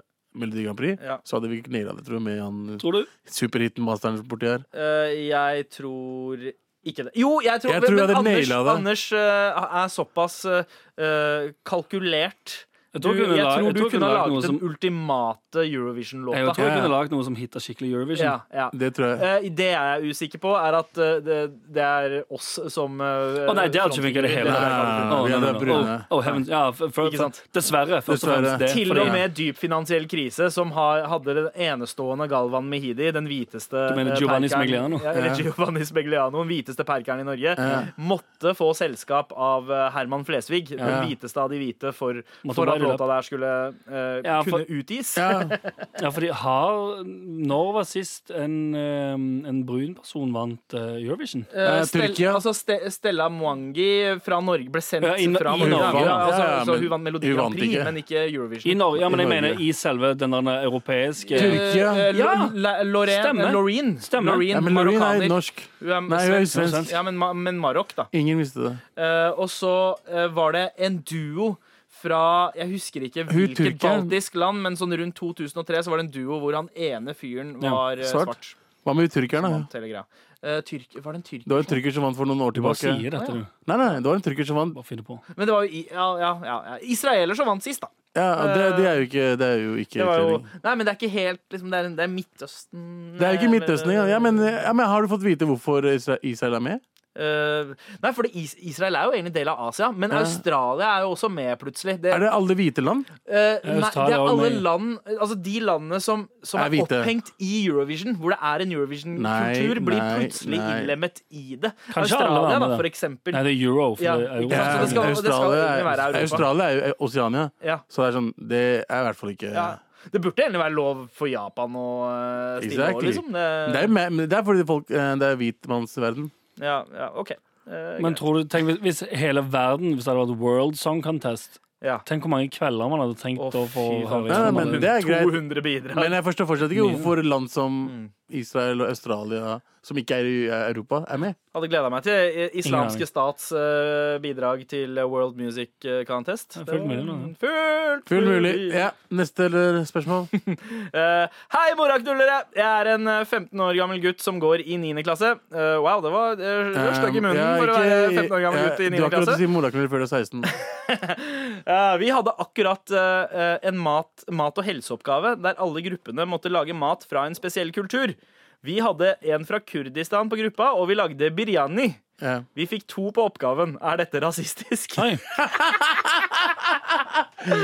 Speaker 6: Melodi Grand Prix,
Speaker 3: Ja.
Speaker 6: så hadde vi ikke naila det, tror jeg, med han
Speaker 5: Tror du?
Speaker 6: superhiten masteren borti her.
Speaker 3: Eh, jeg tror ikke det. Jo, jeg tror,
Speaker 6: Jeg tror jeg
Speaker 3: men
Speaker 6: hadde
Speaker 3: Anders,
Speaker 6: naila det.
Speaker 3: Anders eh, er såpass eh, kalkulert.
Speaker 5: Jeg
Speaker 3: Du,
Speaker 5: tror
Speaker 3: jeg
Speaker 5: jeg kunne la-
Speaker 3: tror
Speaker 5: jeg
Speaker 3: du
Speaker 5: tror
Speaker 3: kunne
Speaker 5: jeg kunne
Speaker 3: ha
Speaker 5: lagd noe
Speaker 3: laget den
Speaker 5: som-
Speaker 3: ultimate
Speaker 5: Jeg tror
Speaker 3: Eurovision-låta.
Speaker 5: jeg kunne lagd noe som hitta skikkelig Eurovision.
Speaker 3: Ja, ja.
Speaker 6: Det tror jeg.
Speaker 3: Eh, det jeg er usikker på, er at eh, det, det er oss som eh, Å
Speaker 5: Å nei, det hadde ikke funka i det hele
Speaker 6: Nei,
Speaker 5: tatt.
Speaker 6: vi
Speaker 5: Å, nei,
Speaker 6: hadde
Speaker 5: nei, nei.
Speaker 6: brune.
Speaker 5: Å, å, heavens. Ja, for, for,
Speaker 3: Ikke sant?
Speaker 5: dessverre. Først og
Speaker 6: Dessverre.
Speaker 5: fremst det.
Speaker 3: Til
Speaker 5: Eh, fordi-
Speaker 3: og med dyp finansiell krise, som har, hadde den enestående Galvan Mehidi, den hviteste
Speaker 5: Du mener
Speaker 3: eh,
Speaker 5: Giovanni
Speaker 3: perkeren-
Speaker 5: Smigliano?
Speaker 3: Ja, eller
Speaker 6: Ja.
Speaker 3: Giovanni Smigliano, den hviteste perkeren i Norge,
Speaker 6: Ja.
Speaker 3: måtte få selskap av eh, Herman Flesvig,
Speaker 6: Ja.
Speaker 3: den hviteste av de hvite, for,
Speaker 5: Måtte
Speaker 3: for at
Speaker 5: bare
Speaker 3: låta der skulle eh,
Speaker 5: Ja, for-
Speaker 3: kunne utgis.
Speaker 6: Ja.
Speaker 5: Ja, for de har Når var sist en, eh, en brun person vant eh, Eurovision?
Speaker 3: Eh,
Speaker 6: Eh,
Speaker 3: Stel-
Speaker 6: Tyrkia.
Speaker 3: Altså Ste Stella Mwangi fra Norge ble sendt
Speaker 5: Ja, i-
Speaker 3: fra
Speaker 5: i
Speaker 3: Norge.
Speaker 5: Norge,
Speaker 3: ja,
Speaker 5: ja.
Speaker 3: altså,
Speaker 6: Ja, ja,
Speaker 3: så
Speaker 6: men
Speaker 3: hun vant Melodi
Speaker 6: hun
Speaker 3: Grand
Speaker 6: vant
Speaker 3: Prix,
Speaker 6: ikke.
Speaker 3: men ikke Eurovision.
Speaker 5: I Norge, ja, men
Speaker 6: I
Speaker 5: jeg
Speaker 6: Norge.
Speaker 5: mener i selve den der europeiske
Speaker 6: Tyrkia.
Speaker 3: Eh, eh,
Speaker 5: Ja.
Speaker 3: Lo- La- Lorraine-
Speaker 5: Stemmer.
Speaker 3: eh, Loreen.
Speaker 5: Stemmer.
Speaker 3: Loreen,
Speaker 6: ja, men Loreen er
Speaker 3: marokkaner.
Speaker 6: norsk.
Speaker 3: Hun er
Speaker 6: Nei, hun er
Speaker 3: svensk.
Speaker 6: svensk.
Speaker 3: Ja, men, ma- men Marokk, da.
Speaker 6: Ingen visste det.
Speaker 3: Eh, og så eh, var det en duo fra Jeg husker ikke
Speaker 6: Hun
Speaker 3: hvilket
Speaker 6: tyrkeren.
Speaker 3: baltisk land, men sånn rundt 2003 så var det en duo hvor han ene fyren
Speaker 5: Ja,
Speaker 3: var eh,
Speaker 6: svart.
Speaker 3: svart.
Speaker 6: Hva med tyrkerne?
Speaker 3: Vant hele greia. Eh, tyrk, var det en tyrker?
Speaker 6: Det var en tyrker som vant for noen år
Speaker 5: Du bare
Speaker 6: tilbake.
Speaker 5: sier dette, du.
Speaker 6: Nei, nei, det var en tyrker som vant.
Speaker 5: Bare finner på.
Speaker 3: Men det var jo i, ja, ja, ja, ja. Israeler som vant sist, da.
Speaker 6: Ja, det, det er jo ikke Det er jo ikke
Speaker 3: Det var jo,
Speaker 6: kledning.
Speaker 3: nei, men det er ikke helt liksom, det, er, det er Midtøsten eh,
Speaker 6: Det er jo ikke Midtøsten engang. Ja, men, ja, men har du fått vite hvorfor Isra- Israel er med?
Speaker 3: Eh, nei, for det, Is- Israel er jo egentlig del av Asia, men Australia er jo også med, plutselig. Det,
Speaker 6: Er det alle hvite land?
Speaker 3: eh, nei, det er
Speaker 5: Australia er jo
Speaker 3: alle
Speaker 5: med.
Speaker 3: land Altså de landene som, som
Speaker 6: Er
Speaker 3: er,
Speaker 6: hvite.
Speaker 3: opphengt i Eurovision, hvor det er en Eurovision-kultur,
Speaker 6: Nei,
Speaker 3: blir
Speaker 6: nei,
Speaker 3: plutselig
Speaker 6: nei.
Speaker 3: innlemmet i det.
Speaker 5: Kanskje alle
Speaker 3: Australia,
Speaker 5: er med
Speaker 3: da,
Speaker 5: det.
Speaker 3: for eksempel.
Speaker 5: Nei, det er euro. For
Speaker 3: Ja.
Speaker 5: det er
Speaker 3: Ja, så
Speaker 5: jo,
Speaker 3: det skal- og det skal
Speaker 6: Australia,
Speaker 3: egentlig være
Speaker 6: er,
Speaker 3: Europa.
Speaker 6: Australia er jo Oceania.
Speaker 3: Ja.
Speaker 6: Så det er sånn Det er i hvert fall ikke
Speaker 3: Ja. eh. Det burde egentlig være lov for Japan å eh, stille over,
Speaker 6: Exactly.
Speaker 3: liksom. Det,
Speaker 6: Det er, jo me- men det er fordi folk, eh, det er hvitmannsverden.
Speaker 3: ja, ja, OK. Eh,
Speaker 5: men tror du, tenk, hvis- hvis hele verden Hvis det hadde vært World Song Contest
Speaker 3: ja.
Speaker 5: Tenk hvor mange kvelder man hadde trengt
Speaker 3: Å,
Speaker 5: å få
Speaker 3: fy faen.
Speaker 5: høre.
Speaker 6: Nei, nei, men det er greit.
Speaker 3: 200 bidrag.
Speaker 6: Men jeg forstår fortsatt ikke
Speaker 3: Mm.
Speaker 6: hvorfor land som Israel og Australia, som ikke er i eh, Europa, er med.
Speaker 3: Hadde gleda meg til i-
Speaker 5: Ingen
Speaker 3: islamske stats eh, bidrag til World Music eh, Contest.
Speaker 5: er fullt mulig, da.
Speaker 3: Det var- Fullt
Speaker 6: Full mulig. Ja, neste eller spørsmål?
Speaker 3: Eh, hei, moraknullere! Jeg er en eh, 15 år gammel gutt som går i 9. klasse. Eh, wow, det var uh, stygg i munnen
Speaker 6: Eh, Ja,
Speaker 3: for å
Speaker 6: ikke-
Speaker 3: være 15 år gammel
Speaker 6: ja,
Speaker 3: gutt i
Speaker 6: Du
Speaker 3: 9.
Speaker 6: har ikke lov til
Speaker 3: klasse.
Speaker 6: å si moraknuller før du er 16.
Speaker 3: Eh, vi hadde akkurat eh, eh, en mat, mat- og helseoppgave der alle gruppene måtte lage mat fra en spesiell kultur. Vi hadde en fra Kurdistan på gruppa, og vi lagde biryani.
Speaker 6: Ja.
Speaker 3: Vi fikk to på oppgaven. Er dette rasistisk?
Speaker 5: Oi. Men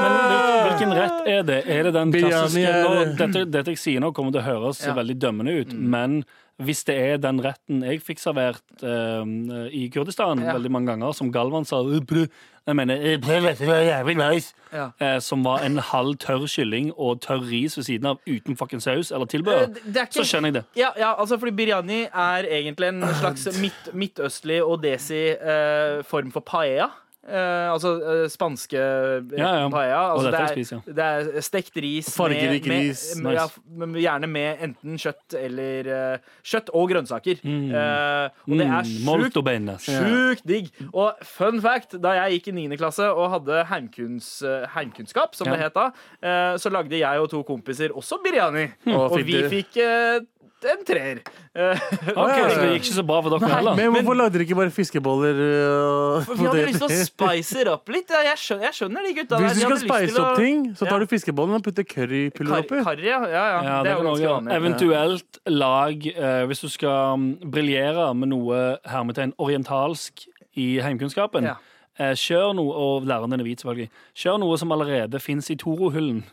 Speaker 5: hvil- hvilken rett er det? Er det den
Speaker 6: Biryani
Speaker 5: klassiske
Speaker 6: er-
Speaker 5: nå, dette, dette jeg sier nå, kommer til å høres veldig dømmende ut,
Speaker 3: Mm.
Speaker 5: men hvis det er den retten jeg fikk servert eh, i Kurdistan
Speaker 3: Ja.
Speaker 5: veldig mange ganger, som Galvan sa «Øh, brø», Jeg mener «Øh, brø, dette var jævlig nice»,
Speaker 3: Ja.
Speaker 5: eh, som var en halv tørr kylling og tørr ris ved siden av uten fucking saus eller tilbehør,
Speaker 3: Eh, det- det er ikke-
Speaker 5: så skjønner jeg det.
Speaker 3: Ja, ja, altså fordi biryani er egentlig en slags midt, midtøstlig odesi eh, form for paella. Eh, altså eh, spanske eh,
Speaker 5: Ja, ja.
Speaker 3: paella.
Speaker 5: Og
Speaker 3: Altså,
Speaker 5: dette
Speaker 3: det,
Speaker 5: har
Speaker 3: er,
Speaker 5: jeg spist, ja.
Speaker 3: det er stekt ris
Speaker 6: Fargerik ris,
Speaker 3: med, ja,
Speaker 5: nice.
Speaker 3: men gjerne med enten kjøtt eller eh, Kjøtt og grønnsaker. Eh, og det er
Speaker 5: Mm,
Speaker 3: sjukt
Speaker 5: Molto bene.
Speaker 3: Sjukt digg. Og fun fact, da jeg gikk i 9. klasse og hadde heimkuns, eh, heimkunnskap, som
Speaker 5: Ja.
Speaker 3: det het da, eh, så lagde jeg og to kompiser også biryani. Og,
Speaker 6: fikk
Speaker 3: vi
Speaker 6: du-
Speaker 3: fikk eh, en treer. Eh,
Speaker 5: Ok,
Speaker 6: ja, ja.
Speaker 5: så det gikk ikke så bra for dere heller.
Speaker 6: Men hvorfor lagde dere ikke bare fiskeboller eh, og
Speaker 3: Vi hadde lyst til å spice det opp litt. Ja, jeg, skjønner, jeg skjønner de gutta De
Speaker 6: Hvis du skal
Speaker 3: hadde lyst til
Speaker 6: spice
Speaker 3: å-
Speaker 6: opp ting, så
Speaker 3: Ja.
Speaker 6: tar du fiskebollene og putter currypulver
Speaker 3: Kar-
Speaker 6: oppi.
Speaker 3: Karri, ja. ja, ja.
Speaker 5: Ja,
Speaker 3: det er jo
Speaker 5: kan
Speaker 3: ganske
Speaker 5: også-
Speaker 3: vanlig.
Speaker 5: Eventuelt lag eh, Hvis du skal mm, briljere med noe hermetegn orientalsk i heimkunnskapen,
Speaker 3: Ja.
Speaker 5: eh, kjør noe og læreren din er hvit, selvfølgelig. Kjør noe som allerede fins i Toro-hyllen,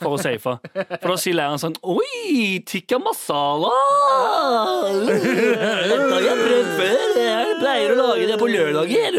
Speaker 5: for å safe. For da sier læreren sånn Oi, tikka masala! Dette har jeg prøvd før. Jeg pleier å lage det på lørdager.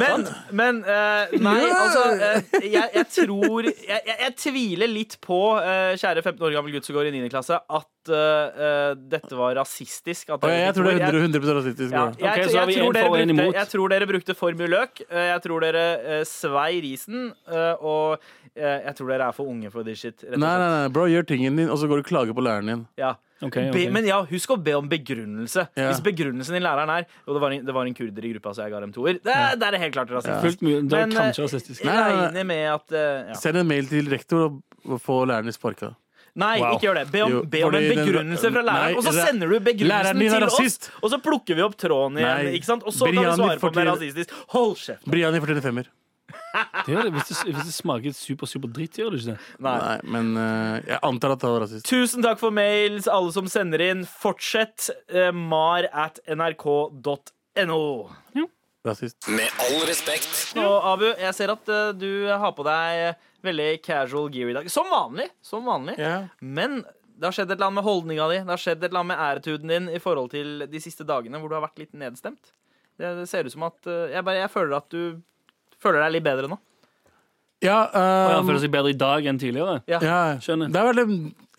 Speaker 3: Men, men eh, nei, altså eh, jeg, jeg tror jeg, jeg, jeg tviler litt på, eh, kjære 15 år gammel gutt som går i 9. klasse, at eh, eh, dette var rasistisk. At
Speaker 6: Og jeg, jeg tror det er
Speaker 3: Jeg-
Speaker 6: 100, 100 rasistisk.
Speaker 3: ja,
Speaker 6: bror.
Speaker 3: jeg,
Speaker 5: Ok, så
Speaker 3: jeg,
Speaker 5: har vi en
Speaker 3: tror dere
Speaker 5: for og en
Speaker 3: brukte,
Speaker 5: imot.
Speaker 3: jeg tror dere brukte for mye løk. eh, Jeg tror dere eh, svei risen. eh, Og eh, jeg tror dere er for unge for this shit. Rett og
Speaker 6: Nei, nei,
Speaker 3: slett.
Speaker 6: nei, bro, gjør tingen din, og så går du og klager på læreren din.
Speaker 3: Ja.
Speaker 5: Ok, ok.
Speaker 3: Be, men ja, husk å be om begrunnelse.
Speaker 6: Ja.
Speaker 3: Hvis begrunnelsen din læreren er Og det var en, det var en kurder i gruppa, så jeg ga dem toer. Det, det er helt klart rasistisk.
Speaker 5: Fullt mulig. Det
Speaker 3: Men,
Speaker 5: var
Speaker 3: eh,
Speaker 5: kanskje rasistisk.
Speaker 3: Jeg
Speaker 6: Nei, nei, nei.
Speaker 3: regner med at eh, ja.
Speaker 6: Send en mail til rektor og og få læreren din sparka.
Speaker 3: Nei,
Speaker 5: Wow.
Speaker 3: ikke gjør det. Be om,
Speaker 6: Jo,
Speaker 3: be om en
Speaker 6: fordi den-
Speaker 3: begrunnelse fra læreren,
Speaker 6: Nei,
Speaker 3: og så
Speaker 6: læ-
Speaker 3: sender du
Speaker 6: læreren
Speaker 3: begrunnelsen
Speaker 6: din er
Speaker 3: til oss.
Speaker 6: rasist.
Speaker 3: Og så plukker vi opp tråden igjen.
Speaker 6: Nei,
Speaker 3: Ikke sant? Og så kan
Speaker 6: Briani
Speaker 3: vi svare på om det er
Speaker 6: fortjener-
Speaker 3: rasistisk. Hold kjeft.
Speaker 6: Briani fortjener femmer.
Speaker 5: Det gjør det. Hvis, det, hvis det smaker super, super dritt, gjør det ikke det?
Speaker 3: Nei.
Speaker 6: Nei, men eh, jeg antar at han var rasist.
Speaker 3: Tusen takk for mails, alle som sender inn. Fortsett eh, mar at nrk.no.
Speaker 6: rasist.
Speaker 1: Med all respekt.
Speaker 3: Og Abu, jeg ser at eh, du har på deg eh, veldig casual gear i dag. Som vanlig. Som vanlig.
Speaker 6: Ja.
Speaker 3: Men det har skjedd et eller annet med holdninga di, det har skjedd et eller annet med æretuden din i forhold til de siste dagene hvor du har vært litt nedstemt. Det, det ser ut som at eh, jeg, bare, jeg føler at du føler deg litt bedre nå.
Speaker 6: Ja,
Speaker 5: Og
Speaker 6: eh,
Speaker 3: Um,
Speaker 5: han føler seg bedre i dag enn tidligere.
Speaker 3: Ja.
Speaker 6: ja,
Speaker 5: Skjønner.
Speaker 6: Det er vel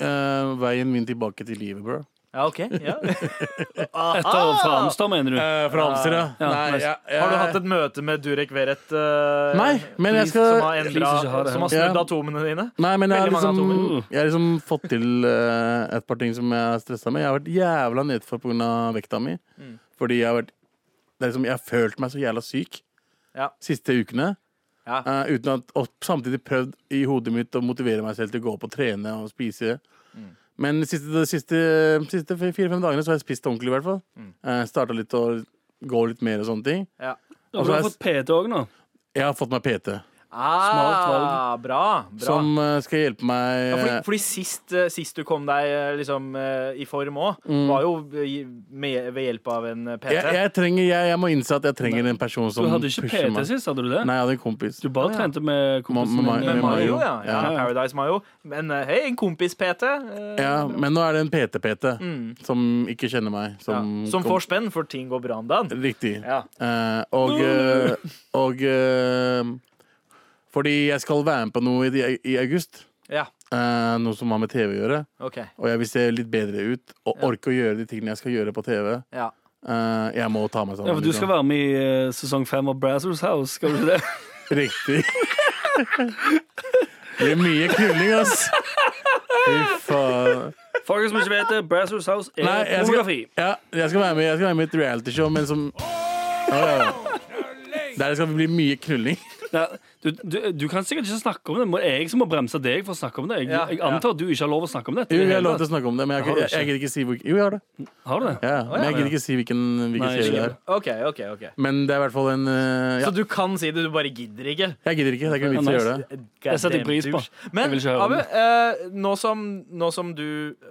Speaker 6: eh, veien min tilbake til livet, bro.
Speaker 3: Ja, ok. Ja.
Speaker 5: Etter å
Speaker 6: Ah!
Speaker 5: Framstad, mener du?
Speaker 6: Eh, fra Amsterdam.
Speaker 5: Ja, nice.
Speaker 3: Har du hatt et møte med Durek Verrett eh,
Speaker 6: Nei, men jeg
Speaker 3: som
Speaker 6: skal
Speaker 3: har,
Speaker 5: Please ikke ha
Speaker 3: endret,
Speaker 5: det.
Speaker 3: som har snudd
Speaker 6: Ja.
Speaker 3: atomene dine?
Speaker 6: Nei, men jeg har
Speaker 3: Veldig mange
Speaker 6: liksom,
Speaker 5: atomer.
Speaker 6: jeg har liksom fått til eh, et par ting som jeg er stressa med. Jeg har vært jævla nedfor pga. vekta mi.
Speaker 3: Mm.
Speaker 6: Fordi jeg har vært det er liksom, Jeg har følt meg så jævla syk
Speaker 3: Ja.
Speaker 6: siste ukene.
Speaker 3: Ja.
Speaker 6: eh, uten at, og samtidig prøvd i hodet mitt å motivere meg selv til å gå opp og trene og spise.
Speaker 3: Mm.
Speaker 6: Men de siste, de siste, siste fire-fem dagene så har jeg spist ordentlig, i hvert fall. Mm. Starta litt å gå litt mer og sånne ting.
Speaker 3: Ja.
Speaker 5: Og du har
Speaker 6: altså,
Speaker 5: fått PT òg nå.
Speaker 6: Jeg har fått meg PT,
Speaker 3: Ah, bra. bra.
Speaker 6: som eh, skal hjelpe meg
Speaker 3: Ja, fordi,
Speaker 6: eh,
Speaker 3: fordi sist, eh, sist du kom deg eh, liksom, eh, i form òg, var jo i- med, ved hjelp av en eh, PT.
Speaker 6: Mm. jeg, jeg, trenger, jeg, jeg må innse at jeg trenger en person
Speaker 5: Du
Speaker 6: som
Speaker 5: hadde ikke
Speaker 6: pusher
Speaker 5: PT
Speaker 6: meg.
Speaker 5: sist, hadde du det?
Speaker 6: Nei, jeg hadde en kompis.
Speaker 5: Du bare trente med kompisen
Speaker 6: Ma- ma-
Speaker 5: din.
Speaker 3: Med
Speaker 6: Med
Speaker 3: Mayo,
Speaker 6: Mayo,
Speaker 3: ja. ja.
Speaker 5: ja.
Speaker 3: Paradise Mayo. Men eh, hei, en kompis, PT. eh,
Speaker 6: Ja, men nå er det en PT-PT
Speaker 5: Mm.
Speaker 6: som ikke kjenner meg.
Speaker 3: ja.
Speaker 6: Som,
Speaker 3: Som
Speaker 6: Mm, kom-
Speaker 3: får spenn, for ting går bra om dagen.
Speaker 6: Riktig.
Speaker 3: Ja.
Speaker 6: Eh, og eh, og eh, Fordi jeg skal være med på noe i, i august.
Speaker 3: ja.
Speaker 6: eh, noe som har med TV å gjøre.
Speaker 3: OK.
Speaker 6: Og jeg vil se litt bedre ut og orke å gjøre de tingene jeg skal gjøre på TV.
Speaker 3: Ja.
Speaker 6: Eh, jeg må ta meg sammen. liksom.
Speaker 5: Ja, for du skal være med i eh, sesong fem av Brazzers House, skal du det?
Speaker 6: Riktig. Det er mye knulling, ass. Fy faen.
Speaker 5: Folk som ikke vet det, Brazzers House er
Speaker 6: Nei, jeg skal,
Speaker 5: pornografi.
Speaker 6: ja, jeg skal være med Jeg skal være med i et realityshow, men som ja, ja. Der skal det bli mye knulling.
Speaker 5: Ja, du, du, du kan sikkert ikke snakke om det. men Det er jeg som må bremse deg for å snakke om det. Jeg,
Speaker 3: Ja,
Speaker 5: jeg
Speaker 3: ja.
Speaker 5: antar at du ikke har lov å snakke om dette. i det
Speaker 6: Jo, jeg har
Speaker 5: hele
Speaker 6: lov til å
Speaker 5: tatt.
Speaker 6: snakke om det, men jeg,
Speaker 5: Har du
Speaker 6: jeg,
Speaker 5: ikke?
Speaker 6: jeg gidder ikke si hvor Jo, jeg har det.
Speaker 5: Har du det?
Speaker 6: Ja, men jeg gidder ikke si hvilken, hvilken
Speaker 5: Nei,
Speaker 6: serie det
Speaker 5: ikke.
Speaker 6: er.
Speaker 3: OK, OK. ok
Speaker 6: Men det er i hvert fall en eh,
Speaker 3: Så
Speaker 6: ja.
Speaker 3: du kan si det, du bare gidder ikke.
Speaker 6: Jeg gidder ikke. Det er ikke noe vits i å gjøre det.
Speaker 3: Jeg
Speaker 5: setter pris på. Jeg
Speaker 3: Men
Speaker 5: vil ikke høre om
Speaker 3: Abu, eh, nå, som, nå som du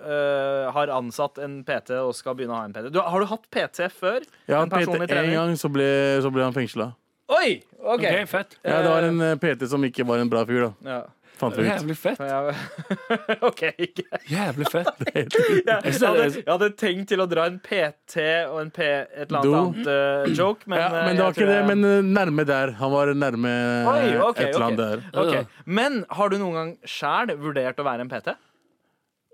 Speaker 3: eh, har ansatt en PT og skal begynne å ha en PT du, Har du hatt PT før?
Speaker 6: Jeg
Speaker 3: En
Speaker 6: har hatt
Speaker 3: personlig
Speaker 6: PT én
Speaker 3: trener?
Speaker 6: gang, så ble, så ble han fengsla.
Speaker 3: Oi! OK.
Speaker 5: Ok, fett.
Speaker 6: Ja, det var en eh, PT som ikke var en bra fyr, da.
Speaker 3: Ja.
Speaker 6: Fant vi ut.
Speaker 5: Jævlig fett.
Speaker 3: Ja, OK, ikke
Speaker 5: Jævlig fett.
Speaker 3: Jeg hadde, jeg hadde tenkt til å dra en PT og en P, et eller annet,
Speaker 6: Do.
Speaker 3: annet eh, joke, men,
Speaker 6: Ja,
Speaker 3: eh,
Speaker 6: men det
Speaker 3: jeg
Speaker 6: var ikke
Speaker 3: tror
Speaker 6: det,
Speaker 3: jeg-
Speaker 6: men eh, nærme der. Han var nærme eh,
Speaker 3: Oi, ok,
Speaker 6: et eller annet
Speaker 3: ok.
Speaker 6: der.
Speaker 3: Ok. Men har du noen gang sjæl vurdert å være en PT?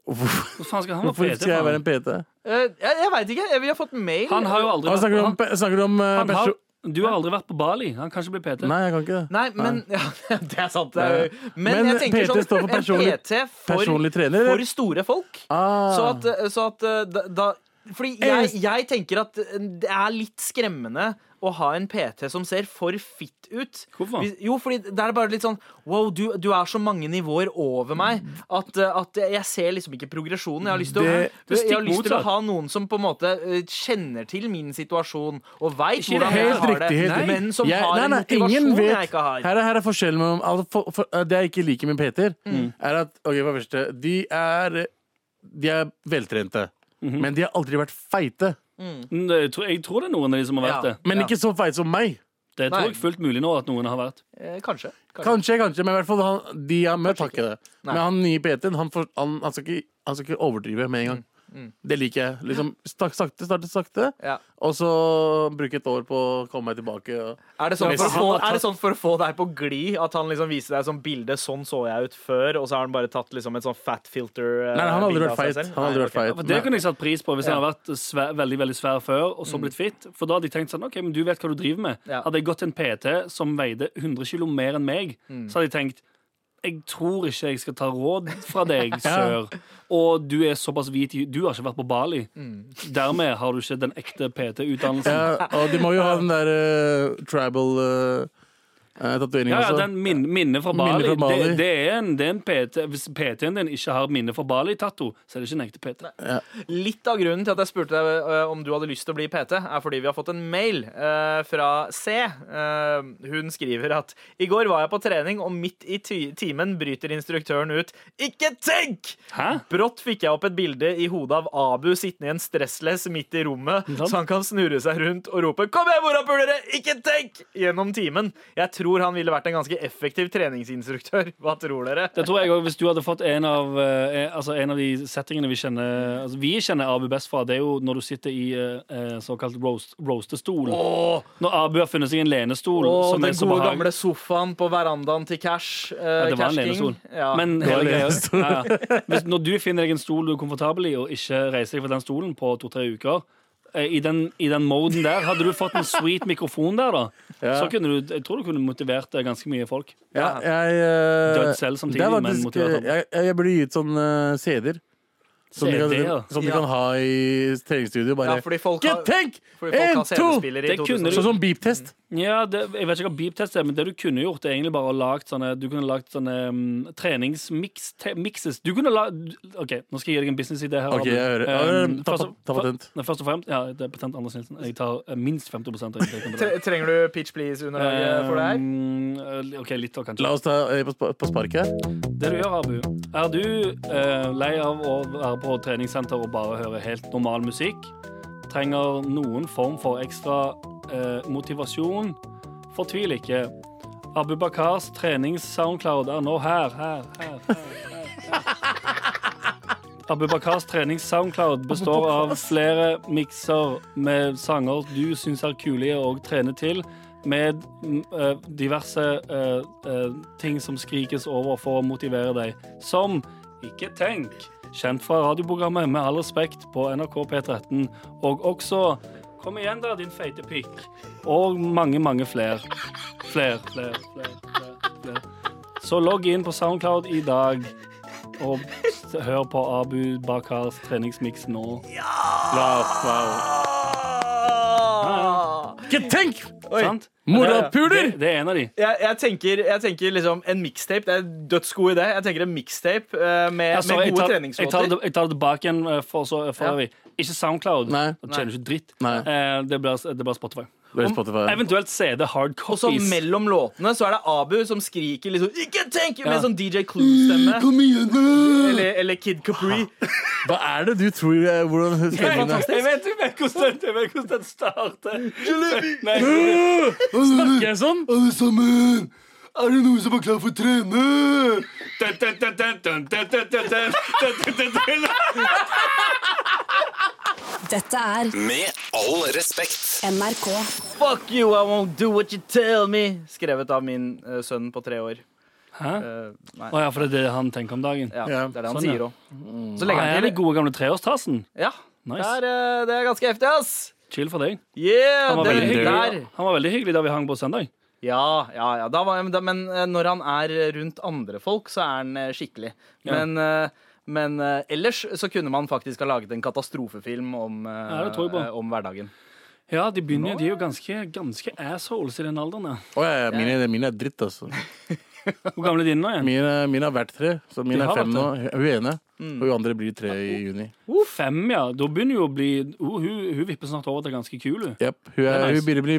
Speaker 6: Hvorfor
Speaker 5: Hvor faen skal han
Speaker 6: hvorfor
Speaker 5: være PT?
Speaker 6: skal jeg være
Speaker 5: faen?
Speaker 6: en PT?
Speaker 3: Eh, jeg jeg veit ikke. Vi har fått mail.
Speaker 5: Han har jo aldri
Speaker 6: Han snakker du om,
Speaker 5: han,
Speaker 6: pe- snakker du om eh,
Speaker 5: han har,
Speaker 6: perso-
Speaker 5: Du har aldri vært på Bali. Han kan ikke bli PT.
Speaker 6: Nei, jeg kan ikke det.
Speaker 3: Nei, men ja, Det er sant. Det er, jo- men,
Speaker 6: Men
Speaker 3: jeg tenker
Speaker 6: PT
Speaker 3: sånn
Speaker 6: står for
Speaker 3: En
Speaker 6: personlig-
Speaker 3: PT for,
Speaker 6: Personlig trener?
Speaker 3: for
Speaker 6: eller?
Speaker 3: store folk.
Speaker 6: Ah.
Speaker 3: Så at, eh, så at eh, da, da Fordi jeg, jeg tenker at eh, det er litt skremmende å ha en PT som ser for fitt ut.
Speaker 5: Hvorfor?
Speaker 3: Hvis- Jo, fordi det er bare litt sånn Wow, du, du er så mange nivåer over meg at, eh, at jeg ser liksom ikke progresjonen. Jeg har lyst til,
Speaker 6: Det-
Speaker 3: å, jeg har
Speaker 5: stikk
Speaker 3: lyst til å
Speaker 5: motsatt.
Speaker 3: ha noen som på en måte eh, kjenner til min situasjon og veit
Speaker 5: Ikke
Speaker 3: hvordan jeg
Speaker 5: helt
Speaker 3: har det,
Speaker 6: riktig, helt
Speaker 3: men som
Speaker 6: Jeg-
Speaker 3: har
Speaker 6: nei,
Speaker 3: en
Speaker 6: nei, ingen
Speaker 3: motivasjon
Speaker 6: vet-
Speaker 3: jeg ikke har.
Speaker 6: Her er, her er forskjellen mellom altså, for, for, eh, Det jeg ikke liker med Peter,
Speaker 3: Mm.
Speaker 6: er at ok, for det første, de er De er veltrente,
Speaker 3: Mhm.
Speaker 6: men de har aldri vært feite.
Speaker 5: eh, Mm, Jeg tror, jeg tror det er noen av de som har
Speaker 3: Ja.
Speaker 5: vært det.
Speaker 6: Men ikke så feite som meg.
Speaker 5: Det
Speaker 3: Nei.
Speaker 5: tror jeg fullt mulig nå at noen har vært.
Speaker 3: Eh, kanskje. kanskje.
Speaker 6: Kanskje, kanskje, men i hvert fall han, de jeg har møtt, har ikke det. Men han nye PT-en, han, får- han, han, skal ikke- han skal ikke overdrive med en gang. Det liker jeg. Liksom stak, sakte, starte sakte,
Speaker 3: Mm, Ja.
Speaker 6: og så bruke et år på å komme meg tilbake. Og...
Speaker 3: Er det, sånn
Speaker 6: Hvis
Speaker 3: for å få,
Speaker 6: han har tatt-
Speaker 3: er det sånn for å få deg på glid at han liksom viser deg som bilde? Sånn så jeg ut før, og så har han bare tatt liksom et sånn fat filter? eh,
Speaker 6: Nei, han har aldri
Speaker 3: bilde
Speaker 6: vært
Speaker 3: av seg
Speaker 6: feit.
Speaker 3: selv?
Speaker 6: Han har aldri
Speaker 3: Nei,
Speaker 6: vært
Speaker 3: ok.
Speaker 6: feit.
Speaker 5: For det
Speaker 6: Nei.
Speaker 5: kunne jeg satt pris på hvis han hadde vært svær, veldig veldig svær før og så blitt fit. For da hadde jeg tenkt sånn, ok, men du vet hva du driver med.
Speaker 3: Ja.
Speaker 5: Hadde jeg gått til en PT som veide 100 kilo mer enn meg, så hadde jeg tenkt jeg tror ikke jeg skal ta råd fra deg, sør. Og du er såpass hvit i- Du har ikke vært på Bali. Dermed har du ikke den ekte PT-utdannelsen.
Speaker 6: Ja, og de må jo ha den der eh, tribal uh, tatoveringa
Speaker 5: Ja, ja,
Speaker 6: også.
Speaker 5: den min, Altså, minnet fra Bali,
Speaker 6: Minnet fra Bali.
Speaker 5: Det, det er en, det er en PT Hvis PT-en din ikke har minne fra Bali-tatto, så er det ikke en ekte PT.
Speaker 3: Litt av grunnen til at jeg spurte deg eh, om du hadde lyst til å bli PT, er fordi vi har fått en mail eh, fra C. Eh, hun skriver at i går var jeg på trening, og midt i ty- timen bryter instruktøren ut 'Ikke tenk!'
Speaker 5: Hæ?
Speaker 3: Brått fikk jeg opp et bilde i hodet av Abu sittende i en stressless midt i rommet,
Speaker 5: sant?
Speaker 3: så han kan snurre seg rundt og rope 'Kom igjen, morapulere! Ikke tenk!' gjennom timen. Jeg tror han ville vært en ganske effektiv treningsinstruktør. Hva tror dere?
Speaker 5: Det tror jeg også, Hvis du hadde fått en av, eh, altså en av de settingene vi kjenner altså Vi kjenner Abu best fra, det er jo når du sitter i eh, eh, såkalt roast, roastestol.
Speaker 3: Åh,
Speaker 5: Når Abu har funnet seg en lenestol
Speaker 3: Åh,
Speaker 5: som
Speaker 3: den
Speaker 5: er så
Speaker 3: gode
Speaker 5: behagelig.
Speaker 3: gamle sofaen på verandaen til Cash. eh,
Speaker 5: Ja, det var en
Speaker 3: Cash King.
Speaker 5: lenestol.
Speaker 3: Ja.
Speaker 5: Men hele
Speaker 6: en
Speaker 5: greia,
Speaker 6: lenestol.
Speaker 5: ja, ja. Hvis, når du finner deg en stol du er komfortabel i, og ikke reiser deg fra den stolen på to-tre uker eh, i den, I den moden der Hadde du fått en sweet mikrofon der, da, så kunne du Jeg tror du kunne motivert eh, ganske mye folk.
Speaker 6: Ja, jeg, eh,
Speaker 5: Død selv samtidig,
Speaker 6: det er
Speaker 5: men
Speaker 6: faktisk,
Speaker 5: motivert opp.
Speaker 6: eh, Jeg, jeg burde gi ut sånne eh, CD-er. Som, de kan,
Speaker 5: CD-er.
Speaker 6: som de
Speaker 3: Ja.
Speaker 6: kan ha i treningsstudio. Bare
Speaker 3: Ja, fordi folk
Speaker 6: Ikke
Speaker 3: har-
Speaker 6: tenk!
Speaker 3: Fordi folk
Speaker 6: En,
Speaker 3: har
Speaker 6: to!
Speaker 3: CD-spiller i
Speaker 5: Det kunne
Speaker 3: 2000.
Speaker 6: Sånn som beep-test.
Speaker 5: Ja, det, jeg vet ikke hva beep-test er, men det du kunne gjort, er egentlig bare å lagt sånne Du kunne lagt sånne um, treningsmikses. Du kunne la OK, nå skal jeg gi deg en businessidé her.
Speaker 6: Ok,
Speaker 5: Abu.
Speaker 6: jeg hører.
Speaker 5: Um,
Speaker 6: Ja, ta-
Speaker 5: først og-
Speaker 6: ta patent.
Speaker 5: Nei, Først og fremst, ja, det er patent Anders Nilsen. Jeg tar eh, minst 50 av inntekten på det.
Speaker 3: Tre- Trenger du Pitch Please-underlaget for det her?
Speaker 5: Um, OK, litt òg, kanskje.
Speaker 6: La oss ta eh, på, spa- på sparket her.
Speaker 5: Det du gjør, Abu, er du eh, lei av å være på treningssenter og bare høre helt normal musikk? Trenger noen form for ekstra eh, motivasjon? Fortvil ikke. Abu Bakars trenings-soundcloud er nå her, her, her. her, her. Abu Bakars trenings-soundcloud består av flere mikser med sanger du syns er kule å trene til, med mm, eh, diverse eh, eh, ting som skrikes over for å motivere deg. Som Ikke tenk, kjent fra radioprogrammet Med all respekt på NRK P13, og også Kom igjen, da, din feite pikk. Og mange, mange flere. Flere, flere, flere. flere, flere. Så logg inn på Soundcloud i dag. Og s- hør på Abu Bakars treningsmiks nå. Eh,
Speaker 3: Ah!
Speaker 6: Ikke tenk!
Speaker 3: Oi.
Speaker 5: Sant?
Speaker 6: Morapuler!
Speaker 5: Det, det er en av de.
Speaker 3: Jeg, jeg, tenker, jeg tenker liksom en mixtape. Det er en dødsgod idé. Jeg tenker en mixtape eh, med,
Speaker 5: Altså,
Speaker 3: med gode
Speaker 5: jeg, tar, jeg, tar
Speaker 3: treningslåter.
Speaker 5: det, jeg tar det tilbake igjen eh, for, så, for
Speaker 3: Ja.
Speaker 5: øvrig. Ikke Soundcloud.
Speaker 6: Nei.
Speaker 5: Da tjener du ikke dritt.
Speaker 6: Nei.
Speaker 5: Eh, det blir det blir Spotify.
Speaker 6: Det er Spotify.
Speaker 5: Eventuelt CD hard
Speaker 3: Og så
Speaker 5: copies.
Speaker 3: mellom låtene så er det Abu som skriker liksom 'Ikke tenk!' med
Speaker 5: Ja. Mm,
Speaker 3: sånn DJ Clue-stemme.
Speaker 6: Kom igjen, da!
Speaker 3: Eller, eller Kid Capri.
Speaker 6: Hva er det du tror eh, hvordan
Speaker 5: Jeg
Speaker 6: stemningen er?
Speaker 5: vet- jeg vet ikke hvordan den- jeg vet hvordan den starter. Nei,
Speaker 6: Snakker jeg sånn? Alle sammen! Er det noen som er klar for å trene?
Speaker 4: Dette er
Speaker 1: Med all respekt.
Speaker 4: NRK.
Speaker 3: Fuck you, I won't do what you tell me. Skrevet av min eh, sønn på tre år.
Speaker 5: Hæ?
Speaker 3: Eh, nei.
Speaker 5: Å ja, for det er det han tenker om dagen.
Speaker 3: Ja,
Speaker 6: Ja,
Speaker 3: det er det han
Speaker 5: sånn,
Speaker 3: sier
Speaker 5: ja.
Speaker 3: òg. Så legger
Speaker 5: er
Speaker 3: han
Speaker 5: det
Speaker 3: til.
Speaker 5: gode gamle treårstassen?
Speaker 3: Ja, det,
Speaker 5: Nice.
Speaker 3: er, eh, det er ganske heftig, ass.
Speaker 5: Chill for deg.
Speaker 3: Yeah,
Speaker 5: Han var,
Speaker 3: det
Speaker 5: veldig
Speaker 3: er der.
Speaker 5: hyggelig, han var veldig hyggelig da vi hang på søndag.
Speaker 3: Ja, ja, ja. Da var, da, men eh, når han er rundt andre folk, så er han eh, skikkelig.
Speaker 5: Ja.
Speaker 3: Men, eh, men eh, ellers så kunne man faktisk ha laget en katastrofefilm om, eh,
Speaker 5: Ja, det tror jeg på.
Speaker 3: eh, om hverdagen.
Speaker 5: Ja, de begynner, de er jo ganske, ganske assholes i den alderen. ja.
Speaker 6: Å ja, ja, mine, mine er dritt, altså.
Speaker 5: Hvor gamle er dine nå? igjen?
Speaker 6: Mine, mine har vært tre, så mine
Speaker 5: De
Speaker 6: er
Speaker 5: har
Speaker 6: fem nå.
Speaker 5: vært Mm.
Speaker 6: Hun ene. Og hun andre blir tre i juni.
Speaker 5: Fem, ja. Da begynner jo å bli oh, hun, hun vipper snart over til ganske kul. hun.
Speaker 6: Jep, Hun, er,
Speaker 5: er nice.
Speaker 6: hun begynner å bli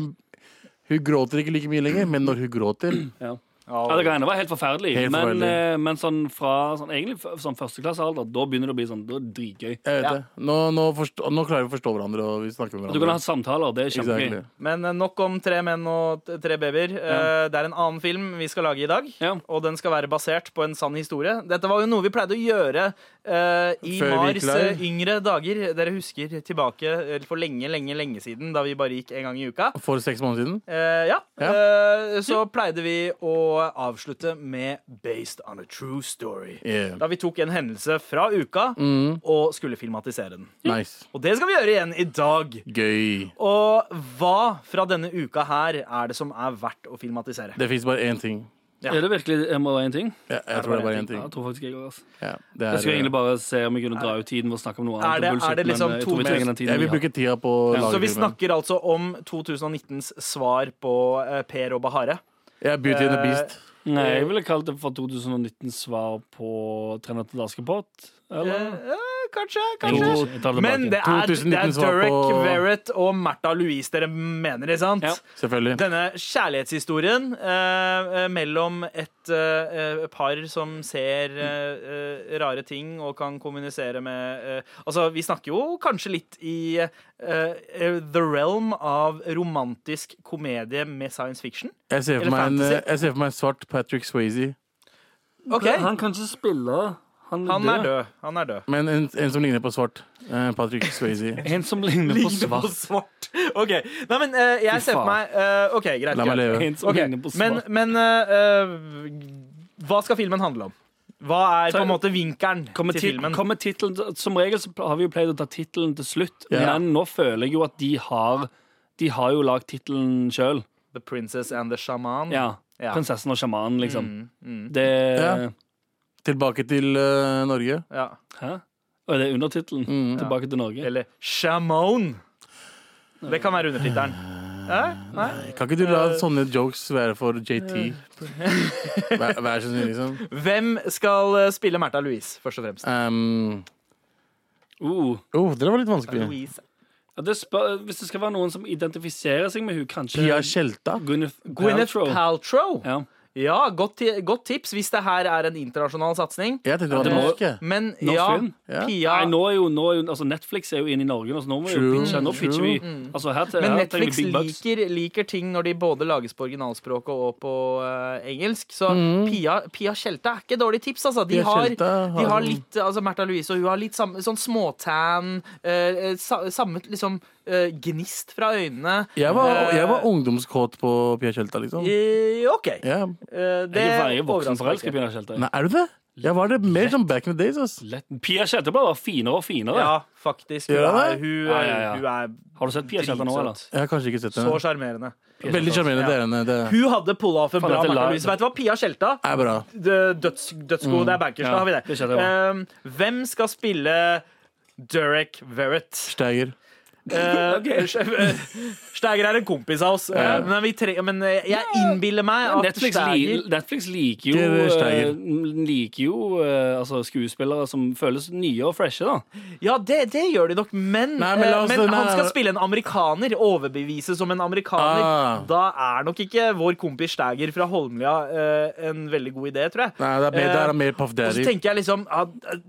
Speaker 6: Hun gråter ikke like mye lenger, men når hun gråter,
Speaker 5: Ja. Ja, det kan hende det var helt forferdelig,
Speaker 6: Helt
Speaker 5: men,
Speaker 6: forferdelig.
Speaker 5: eh, men sånn fra sånn, egentlig f- sånn førsteklassealder, da begynner det å bli sånn, da er det dritgøy.
Speaker 6: Jeg vet
Speaker 3: Ja.
Speaker 6: det. Nå, nå, forstå, nå klarer vi å forstå hverandre, og vi snakker med
Speaker 5: Du kan ha
Speaker 6: hverandre.
Speaker 5: samtaler, det er kjempegøy.
Speaker 6: Exactly.
Speaker 3: Men eh, nok om tre menn og t- tre babyer. Eh, Det er en annen film vi skal lage i dag.
Speaker 5: Ja.
Speaker 3: Og den skal være basert på en sann historie. Dette var jo noe vi pleide å gjøre eh, i
Speaker 6: Før vi
Speaker 3: Mars
Speaker 6: gikk live.
Speaker 3: eh, yngre dager. Dere husker tilbake eh, for lenge, lenge, lenge siden, da vi bare gikk en gang i uka.
Speaker 6: For seks måneder siden?
Speaker 3: Eh, ja.
Speaker 6: Ja.
Speaker 3: Eh, så pleide vi å avslutte med 'Based on a true story'.
Speaker 6: Yeah. Mm.
Speaker 3: Da vi tok en hendelse fra uka og skulle filmatisere den.
Speaker 6: Nice.
Speaker 3: Og det skal vi gjøre igjen i dag.
Speaker 6: Gøy.
Speaker 3: Og hva fra denne uka her er det som er verdt å filmatisere?
Speaker 6: Det fins bare én ting.
Speaker 3: Ja.
Speaker 5: Er det virkelig jeg må være en ting?
Speaker 6: Jeg, jeg tror det er bare én ting.
Speaker 5: Ja, jeg tror faktisk jeg, går, altså.
Speaker 6: Ja, det er,
Speaker 5: jeg skulle egentlig bare se om vi kunne dra ut tiden ved å snakke om noe annet.
Speaker 3: Er det-
Speaker 5: og bullshit,
Speaker 3: er det liksom
Speaker 5: men eh, jeg
Speaker 3: to
Speaker 5: tror vi trenger den
Speaker 3: mest-
Speaker 5: tiden
Speaker 6: Jeg vil
Speaker 5: vi har.
Speaker 6: bruke tida på å lage
Speaker 3: Så vi
Speaker 6: filmen.
Speaker 3: snakker altså om 2019s svar på eh, Per og Bahare.
Speaker 6: Jeg er Beauty and the
Speaker 3: Eh,
Speaker 6: Beast.
Speaker 5: Nei, jeg ville kalt det for 2019 svar på 'Tre nøtter til Askepott'. Eller?
Speaker 3: Eh, eh, kanskje,
Speaker 5: Nei,
Speaker 3: kanskje.
Speaker 5: jeg tar det
Speaker 3: Men det
Speaker 5: tilbake.
Speaker 3: er, det er
Speaker 6: 2019 svar
Speaker 3: Derek
Speaker 6: på-
Speaker 3: Verrett og Märtha Louise dere mener, ikke sant?
Speaker 5: Ja.
Speaker 6: Selvfølgelig.
Speaker 3: Denne kjærlighetshistorien eh, eh, mellom et eh, eh, par som ser eh, eh, rare ting og kan kommunisere med eh, Altså, vi snakker jo kanskje litt i eh, eh, the realm av romantisk komedie med science fiction.
Speaker 6: Jeg ser,
Speaker 3: Eller
Speaker 6: for meg en,
Speaker 3: fantasy.
Speaker 6: jeg ser for meg en svart Patrick Swayze,
Speaker 3: OK, han
Speaker 5: Han kan ikke spille. Han,
Speaker 3: er død. Han er død.
Speaker 6: men en, en som ligner på svart. Eh, Patrick Swayze.
Speaker 5: En som ligner på svart.
Speaker 3: svart. OK. Nei, men eh,
Speaker 5: Fy
Speaker 3: jeg ser for
Speaker 5: faen.
Speaker 3: meg eh, OK, greit.
Speaker 6: La
Speaker 3: greit.
Speaker 6: meg leve.
Speaker 5: En som
Speaker 3: Ok,
Speaker 5: ligner på
Speaker 3: Men,
Speaker 5: svart.
Speaker 3: men eh, eh, hva skal filmen handle om? Hva er på en måte vinkelen
Speaker 5: Kommer
Speaker 3: til
Speaker 5: tit-
Speaker 3: filmen?
Speaker 5: kommer titlen- som regel så har vi jo pleid å ta tittelen til slutt,
Speaker 6: Ja.
Speaker 5: men nå føler jeg jo at de har De har jo lagd tittelen sjøl.
Speaker 3: The Princess and the Shaman.
Speaker 5: Ja.
Speaker 3: Ja.
Speaker 5: 'Prinsessen og sjamanen', liksom.
Speaker 3: Mm, mm.
Speaker 5: Det
Speaker 6: Ja. Tilbake til eh, Norge.
Speaker 3: Ja.
Speaker 5: Hæ? Og det er undertittelen.
Speaker 6: Mm.
Speaker 5: Tilbake til Norge.
Speaker 3: Eller Shamon. Det kan være undertittelen. Eh? Nei?
Speaker 6: Kan ikke du la sånne jokes være for JT? Vær, vær så snill, liksom.
Speaker 3: Hvem skal eh, spille Märtha Louise, først og fremst?
Speaker 6: Um,
Speaker 5: Uh.
Speaker 6: oh, det var litt vanskelig.
Speaker 3: Louise.
Speaker 5: Ja, det spør, hvis det skal være noen som identifiserer seg med hun kanskje
Speaker 6: Pia Tjelta.
Speaker 5: Gwyneth,
Speaker 3: Gwyneth
Speaker 5: Paltrow.
Speaker 3: Paltrow.
Speaker 5: ja.
Speaker 3: Ja, godt, ti godt tips hvis det her er en internasjonal satsing.
Speaker 6: Jeg tenkte det var
Speaker 5: det må-
Speaker 6: norsk. jeg.
Speaker 3: Men
Speaker 5: Norsk
Speaker 3: ja,
Speaker 5: film?
Speaker 6: Ja.
Speaker 3: Pia
Speaker 5: Nei, nå er jo, nå er jo altså Netflix er jo inne i Norge nå, så nå må vi jo
Speaker 6: True,
Speaker 5: pitche. Nå
Speaker 6: true.
Speaker 5: pitcher vi altså, her, til-
Speaker 3: Men
Speaker 5: her trenger
Speaker 3: Netflix
Speaker 5: vi big bucks.
Speaker 3: liker, liker ting når de både lages på originalspråket og på eh, engelsk. Så
Speaker 5: Mm.
Speaker 3: Pia, Pia Tjelta er ikke dårlig tips, altså. De
Speaker 6: Pia
Speaker 3: har,
Speaker 6: Tjelta har-
Speaker 3: de har litt eh, altså Märtha Louise og hun har litt samme, sånn småtan, eh, sa, samme liksom eh, gnist fra øynene.
Speaker 6: Jeg var,
Speaker 3: Eh,
Speaker 6: jeg var ungdomskåt på Pia Tjelta, liksom.
Speaker 3: eh, OK.
Speaker 6: Ja.
Speaker 3: Eh, det
Speaker 5: Jeg er jo voksen
Speaker 3: overrasker meg
Speaker 5: forelska i
Speaker 3: ikke.
Speaker 5: Pia Tjelte.
Speaker 6: Nei, er du det? Jeg var det mer som back in the days. Ass.
Speaker 5: Lett- Pia Tjelte ble bare finere og finere.
Speaker 3: Ja, faktisk. Hun
Speaker 6: Gjør han
Speaker 3: er,
Speaker 6: det?
Speaker 3: hun,
Speaker 5: Ja, ja, ja.
Speaker 3: hun er
Speaker 5: Har du sett Pia Tjelte nå, eller?
Speaker 3: dritsøt.
Speaker 6: Jeg har kanskje ikke sett
Speaker 3: Så
Speaker 6: henne.
Speaker 3: sjarmerende.
Speaker 6: Veldig sjarmerende. Det er henne. Det
Speaker 3: Hun hadde pull-offen
Speaker 5: Faen,
Speaker 3: bra.
Speaker 5: dette
Speaker 3: Märtha
Speaker 5: la-
Speaker 3: Louise. Vet du hva? Pia Tjelta
Speaker 6: er bra.
Speaker 3: Dø- døds, dødsgode.
Speaker 6: Mm.
Speaker 3: Det er bankers,
Speaker 5: Ja,
Speaker 3: da har vi det.
Speaker 5: det skjønner jeg
Speaker 3: Ehm, hvem skal spille Derek Verrett?
Speaker 6: Steiger.
Speaker 3: Eh, Steiger er en kompis av oss, eh,
Speaker 6: Ja.
Speaker 3: men, vi tre, men eh, jeg innbiller meg at
Speaker 5: Netflix,
Speaker 3: Steiger
Speaker 5: li, Netflix liker jo,
Speaker 6: Ikke Steiger.
Speaker 5: eh, liker jo eh, altså, skuespillere som føles nye og freshe, da.
Speaker 3: Ja, det, det gjør de nok, men,
Speaker 6: Nei, men la
Speaker 3: eh,
Speaker 6: oss-
Speaker 3: men
Speaker 6: nei,
Speaker 3: han
Speaker 6: nei,
Speaker 3: skal
Speaker 6: nei.
Speaker 3: spille en amerikaner. Overbevise som en amerikaner.
Speaker 6: Ah.
Speaker 3: Da er nok ikke vår kompis Steiger fra Holmlia eh, en veldig god idé, tror jeg. Eh,
Speaker 6: Nei, det er mer, det er mer Puff
Speaker 3: Og så
Speaker 6: Daddy.
Speaker 3: tenker jeg liksom at at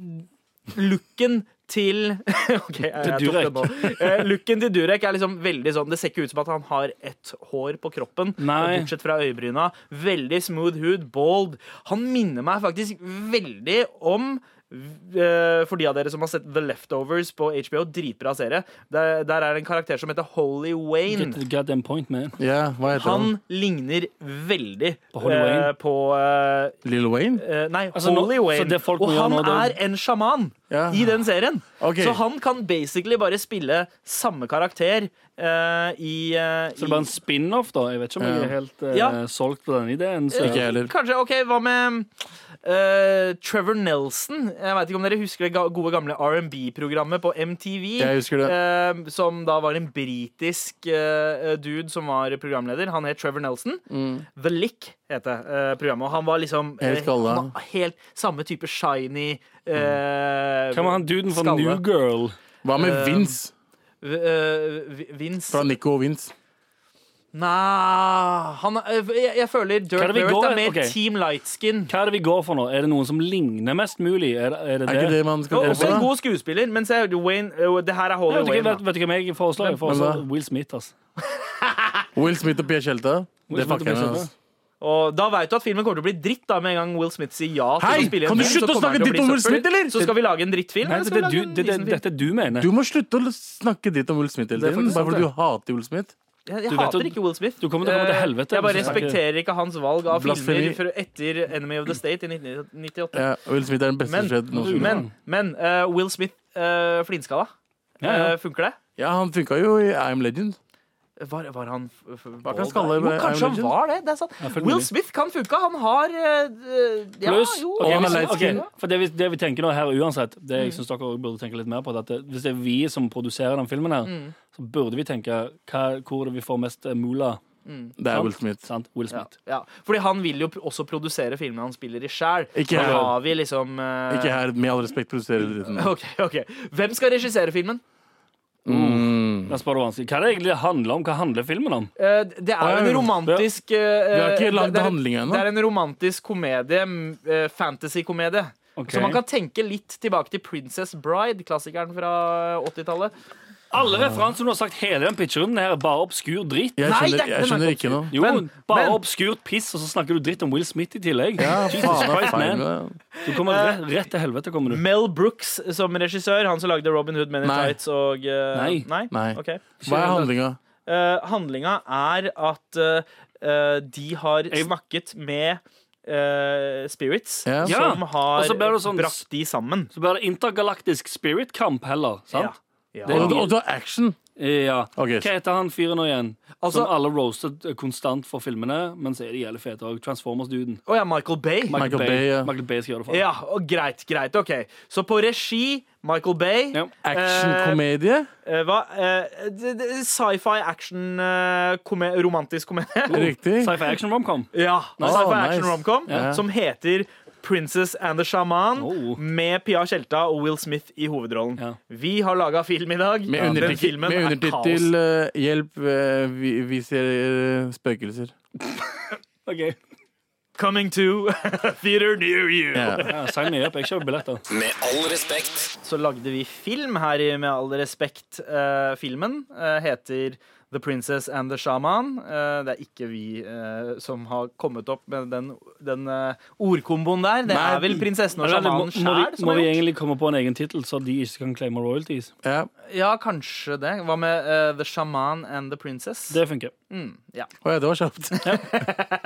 Speaker 3: looken til Ok, jeg, jeg tok det
Speaker 5: Durek.
Speaker 3: nå. Eh, looken til Durek er liksom veldig sånn Det ser ikke ut som at han har ett hår på kroppen,
Speaker 5: Nei.
Speaker 3: bortsett fra øyebryna. Veldig smooth hud, bald. Han minner meg faktisk veldig om eh, for de av dere som har sett The Leftovers på HBO, dritbra serie. Der, der er det en karakter som heter Holy Wayne.
Speaker 5: Get, get them point, man.
Speaker 6: Ja, hva heter han?
Speaker 3: Han ligner veldig
Speaker 5: På Holy Wayne?
Speaker 3: eh, på eh,
Speaker 6: Lil Wayne?
Speaker 3: Eh, nei,
Speaker 5: Altså, nå-
Speaker 3: Holy
Speaker 5: så
Speaker 3: Wayne.
Speaker 5: det folk
Speaker 3: Og
Speaker 5: må gjøre
Speaker 3: han
Speaker 5: nå, da-
Speaker 3: er en sjaman
Speaker 6: Ja.
Speaker 3: i den serien.
Speaker 6: Ok.
Speaker 3: Så han kan basically bare spille samme karakter eh, i, eh,
Speaker 5: Så det er bare en spin-off, da. Jeg vet ikke om jeg
Speaker 6: Ja.
Speaker 5: er helt eh,
Speaker 3: Ja.
Speaker 5: solgt på den ideen. Så.
Speaker 3: i
Speaker 6: Ikke jeg heller.
Speaker 3: Kanskje, ok, Hva med eh, Trevor Nelson? Jeg vet ikke om dere husker det ga- gode gamle R&B-programmet på MTV.
Speaker 6: Jeg husker det.
Speaker 3: eh, som da var en britisk eh, dude som var programleder. Han het Trevor Nelson.
Speaker 6: Mm.
Speaker 3: The Lick het det eh, programmet. Og han var liksom eh,
Speaker 6: Helt skalla.
Speaker 3: han var helt samme type shiny
Speaker 6: Mm.
Speaker 3: eh,
Speaker 5: Hvem var han duden fra
Speaker 3: skalle.
Speaker 5: New Girl?
Speaker 6: Hva med
Speaker 3: Eh,
Speaker 6: Vince?
Speaker 3: V- eh, vi- Vince
Speaker 6: Fra Nico og Vince.
Speaker 3: Nei han, er- jeg, jeg føler
Speaker 5: Hva
Speaker 3: Dirk
Speaker 5: er det vi
Speaker 3: Barrett
Speaker 5: går-
Speaker 3: er mer
Speaker 5: ok.
Speaker 3: Team Lightskin.
Speaker 5: Hva er det vi går for nå? Er det noen som ligner mest mulig? Er, er det
Speaker 6: Er ikke
Speaker 5: det?
Speaker 6: det man skal
Speaker 3: Og
Speaker 6: dele
Speaker 3: også en
Speaker 6: på, da?
Speaker 3: god skuespiller, men se, Wayne, øh, det her er
Speaker 5: Nei,
Speaker 3: Holy
Speaker 5: vet, du,
Speaker 3: Wayne.
Speaker 5: hva-
Speaker 3: da.
Speaker 5: vet du hva jeg foreslår? Jeg foreslår
Speaker 6: Hvem da?
Speaker 5: Will Smith. ass.
Speaker 6: Will Smith og Pia Tjelta? Det
Speaker 5: Smith og
Speaker 6: fucker jeg
Speaker 5: Pia
Speaker 6: med.
Speaker 5: Tjelta.
Speaker 6: Altså.
Speaker 3: Og da vet du at filmen kommer til å bli dritt da med en gang Will Smith sier ja. til
Speaker 6: Hei,
Speaker 3: å spille i en
Speaker 6: kan du
Speaker 3: film, så
Speaker 6: slutte å
Speaker 3: kommer han
Speaker 6: snakke
Speaker 3: til
Speaker 6: dritt om
Speaker 3: bli
Speaker 6: Will Smith,
Speaker 3: søppel.
Speaker 6: eller?
Speaker 3: Så skal vi lage en drittfilm?
Speaker 5: Nei,
Speaker 3: eller
Speaker 5: det,
Speaker 3: skal
Speaker 5: det,
Speaker 3: vi lage
Speaker 5: du,
Speaker 3: en
Speaker 5: det, det,
Speaker 3: decent film?
Speaker 5: dette du mener.
Speaker 6: Du må slutte å snakke dritt om Will Smith hele
Speaker 3: Det er
Speaker 6: tiden.
Speaker 3: faktisk
Speaker 6: Bare
Speaker 3: sant,
Speaker 6: fordi du hater Will Smith.
Speaker 3: Jeg, jeg
Speaker 5: du vet
Speaker 3: hater
Speaker 5: at-
Speaker 3: ikke Will Smith.
Speaker 5: du kommer til å komme til
Speaker 3: Eh,
Speaker 5: helvete
Speaker 3: Jeg bare
Speaker 5: hvis du snakker-
Speaker 3: respekterer ikke hans valg av filmer
Speaker 6: Blasfemi.
Speaker 3: for etter Enemy of the State i 1998.
Speaker 6: Ja, Will Smith er den beste
Speaker 3: Men,
Speaker 6: som skjedd noensinne.
Speaker 3: men, men eh, Will Smith uh, flinskalla.
Speaker 5: ja.
Speaker 3: Eh, funker det?
Speaker 6: Ja, han funka jo i I Am Legend.
Speaker 3: Var, var han f- f-
Speaker 6: Var ikke
Speaker 3: bald
Speaker 6: han skallet
Speaker 3: der?
Speaker 6: i
Speaker 3: Jo,
Speaker 6: Iron
Speaker 3: kanskje han
Speaker 6: Legend?
Speaker 3: var det. det er sant.
Speaker 5: føler
Speaker 3: Will
Speaker 5: mulig.
Speaker 3: Smith kan funke. Han har eh, d- ja,
Speaker 5: Pluss
Speaker 3: jo.
Speaker 5: ok,
Speaker 6: Og han er
Speaker 5: hvis-
Speaker 6: light skin.
Speaker 5: ok, For det vi, det vi tenker nå her uansett, det jeg synes dere også burde tenke litt mer på, det er at det- hvis det er vi som produserer den filmen her,
Speaker 3: Mm.
Speaker 5: så burde vi tenke hva, hvor er det vi får mest eh, mula.
Speaker 6: Det er
Speaker 5: Sant.
Speaker 6: Will Smith.
Speaker 5: Sant? Will
Speaker 3: Ja,
Speaker 5: Smith.
Speaker 3: ja. Fordi han vil jo pr- også produsere filmene han spiller i sjæl.
Speaker 6: Ikke
Speaker 3: Da
Speaker 6: jeg.
Speaker 3: har vi liksom eh,
Speaker 6: Ikke her, med all respekt, produserer dritten.
Speaker 3: Ok, ok. Hvem skal regissere filmen?
Speaker 6: Mm.
Speaker 5: Da spør du vanskelig. Hva er det egentlig det handler om? Hva handler filmen om?
Speaker 3: Eh, Det er jo
Speaker 6: Oi.
Speaker 3: en romantisk Vi
Speaker 6: har ikke lagd handling ennå.
Speaker 3: Det er en romantisk komedie. m- eh, Fantasy-komedie.
Speaker 5: Ok.
Speaker 3: Så man kan tenke litt tilbake til Princess Bride, klassikeren fra 80-tallet.
Speaker 6: Hm.
Speaker 5: Alle referanser du har sagt hele den pitchrunden her, er bare obskur dritt.
Speaker 6: Jeg
Speaker 3: Nei,
Speaker 6: skjønner,
Speaker 3: det- den er
Speaker 6: jeg skjønner
Speaker 3: ikke
Speaker 6: ikke noe.
Speaker 5: Jo,
Speaker 3: Men-
Speaker 5: bare
Speaker 3: men-
Speaker 5: obskurt piss, og så snakker du dritt om Will Smith i tillegg.
Speaker 6: Ja,
Speaker 5: Jesus
Speaker 6: faen, det er
Speaker 5: Christ,
Speaker 6: feil
Speaker 5: man.
Speaker 6: med det.
Speaker 5: Du kommer
Speaker 3: Eh,
Speaker 5: rett, rett til helvete, kommer du.
Speaker 3: Mel Brooks som regissør, han som lagde Robin Hood, Men in
Speaker 6: Nei.
Speaker 3: Tights og eh,
Speaker 5: Nei.
Speaker 3: Nei?
Speaker 6: Nei.
Speaker 3: Ok.
Speaker 6: Hva er handlinga?
Speaker 3: Eh, handlinga er at eh, eh, de har snakket med eh, spirits
Speaker 6: Ja.
Speaker 3: som
Speaker 5: Ja. Og
Speaker 3: har
Speaker 5: så ble det sånn-
Speaker 3: brakt de sammen.
Speaker 5: Så blir det intergalaktisk spirit-kamp heller, sant?
Speaker 3: Ja.
Speaker 6: Og,
Speaker 3: Ja.
Speaker 6: og du har action!
Speaker 3: Eh,
Speaker 5: Ja.
Speaker 6: Ok.
Speaker 5: Hva heter han fyren nå igjen?
Speaker 3: Altså-
Speaker 5: som alle roasted eh, konstant for filmene, men så er de jævlig fete òg. Transformers-duden.
Speaker 3: Å ja, Michael Bay.
Speaker 6: Michael Bay, ja.
Speaker 5: Michael Bay skal gjøre det for.
Speaker 3: ja, og greit, greit. OK. Så på regi Michael Bay.
Speaker 5: Ja.
Speaker 6: Actionkomedie?
Speaker 3: eh, hva? eh, d- d- Sci-fi, action, eh, kome romantisk komedie.
Speaker 6: Riktig.
Speaker 5: Sci-fi action romcom.
Speaker 3: Ja, altså,
Speaker 6: Nice.
Speaker 3: sci-fi
Speaker 6: Oh,
Speaker 3: action
Speaker 6: nice.
Speaker 3: romcom
Speaker 6: Ja.
Speaker 3: som heter Princess and the Shaman
Speaker 5: Oh.
Speaker 3: med Pia Tjelta og Will Smith i hovedrollen.
Speaker 5: Ja.
Speaker 3: Vi har laga film i dag.
Speaker 6: Med
Speaker 3: Den
Speaker 6: undertittel,
Speaker 3: filmen
Speaker 6: med
Speaker 3: er
Speaker 6: undertittel
Speaker 3: kaos.
Speaker 6: eh, 'Hjelp, eh, vi, vi ser eh, spøkelser'.
Speaker 5: Okay.
Speaker 3: Coming to theater near you.
Speaker 6: Ja.
Speaker 5: Ja, sign me up. Jeg kjøper billetter.
Speaker 1: Med all respekt.
Speaker 3: Så lagde vi film her i Med all respekt. eh, filmen eh, heter The Princess and the Shaman. Eh, det er ikke vi eh, som har kommet opp med den, den eh, ordkomboen der. Det
Speaker 6: Nei.
Speaker 3: er vel prinsessen og
Speaker 5: Eller,
Speaker 3: sjamanen
Speaker 5: må, må,
Speaker 3: sjæl
Speaker 5: vi,
Speaker 3: som
Speaker 5: må
Speaker 3: har
Speaker 5: vi
Speaker 3: gjort
Speaker 5: egentlig komme på en egen tittel, så de ikke kan claime royalties?
Speaker 6: Ja.
Speaker 3: Ja, kanskje det. Hva med eh, The Shaman and the Princess?
Speaker 5: Det funker.
Speaker 3: Mm, ja.
Speaker 6: Å ja, det var kjapt.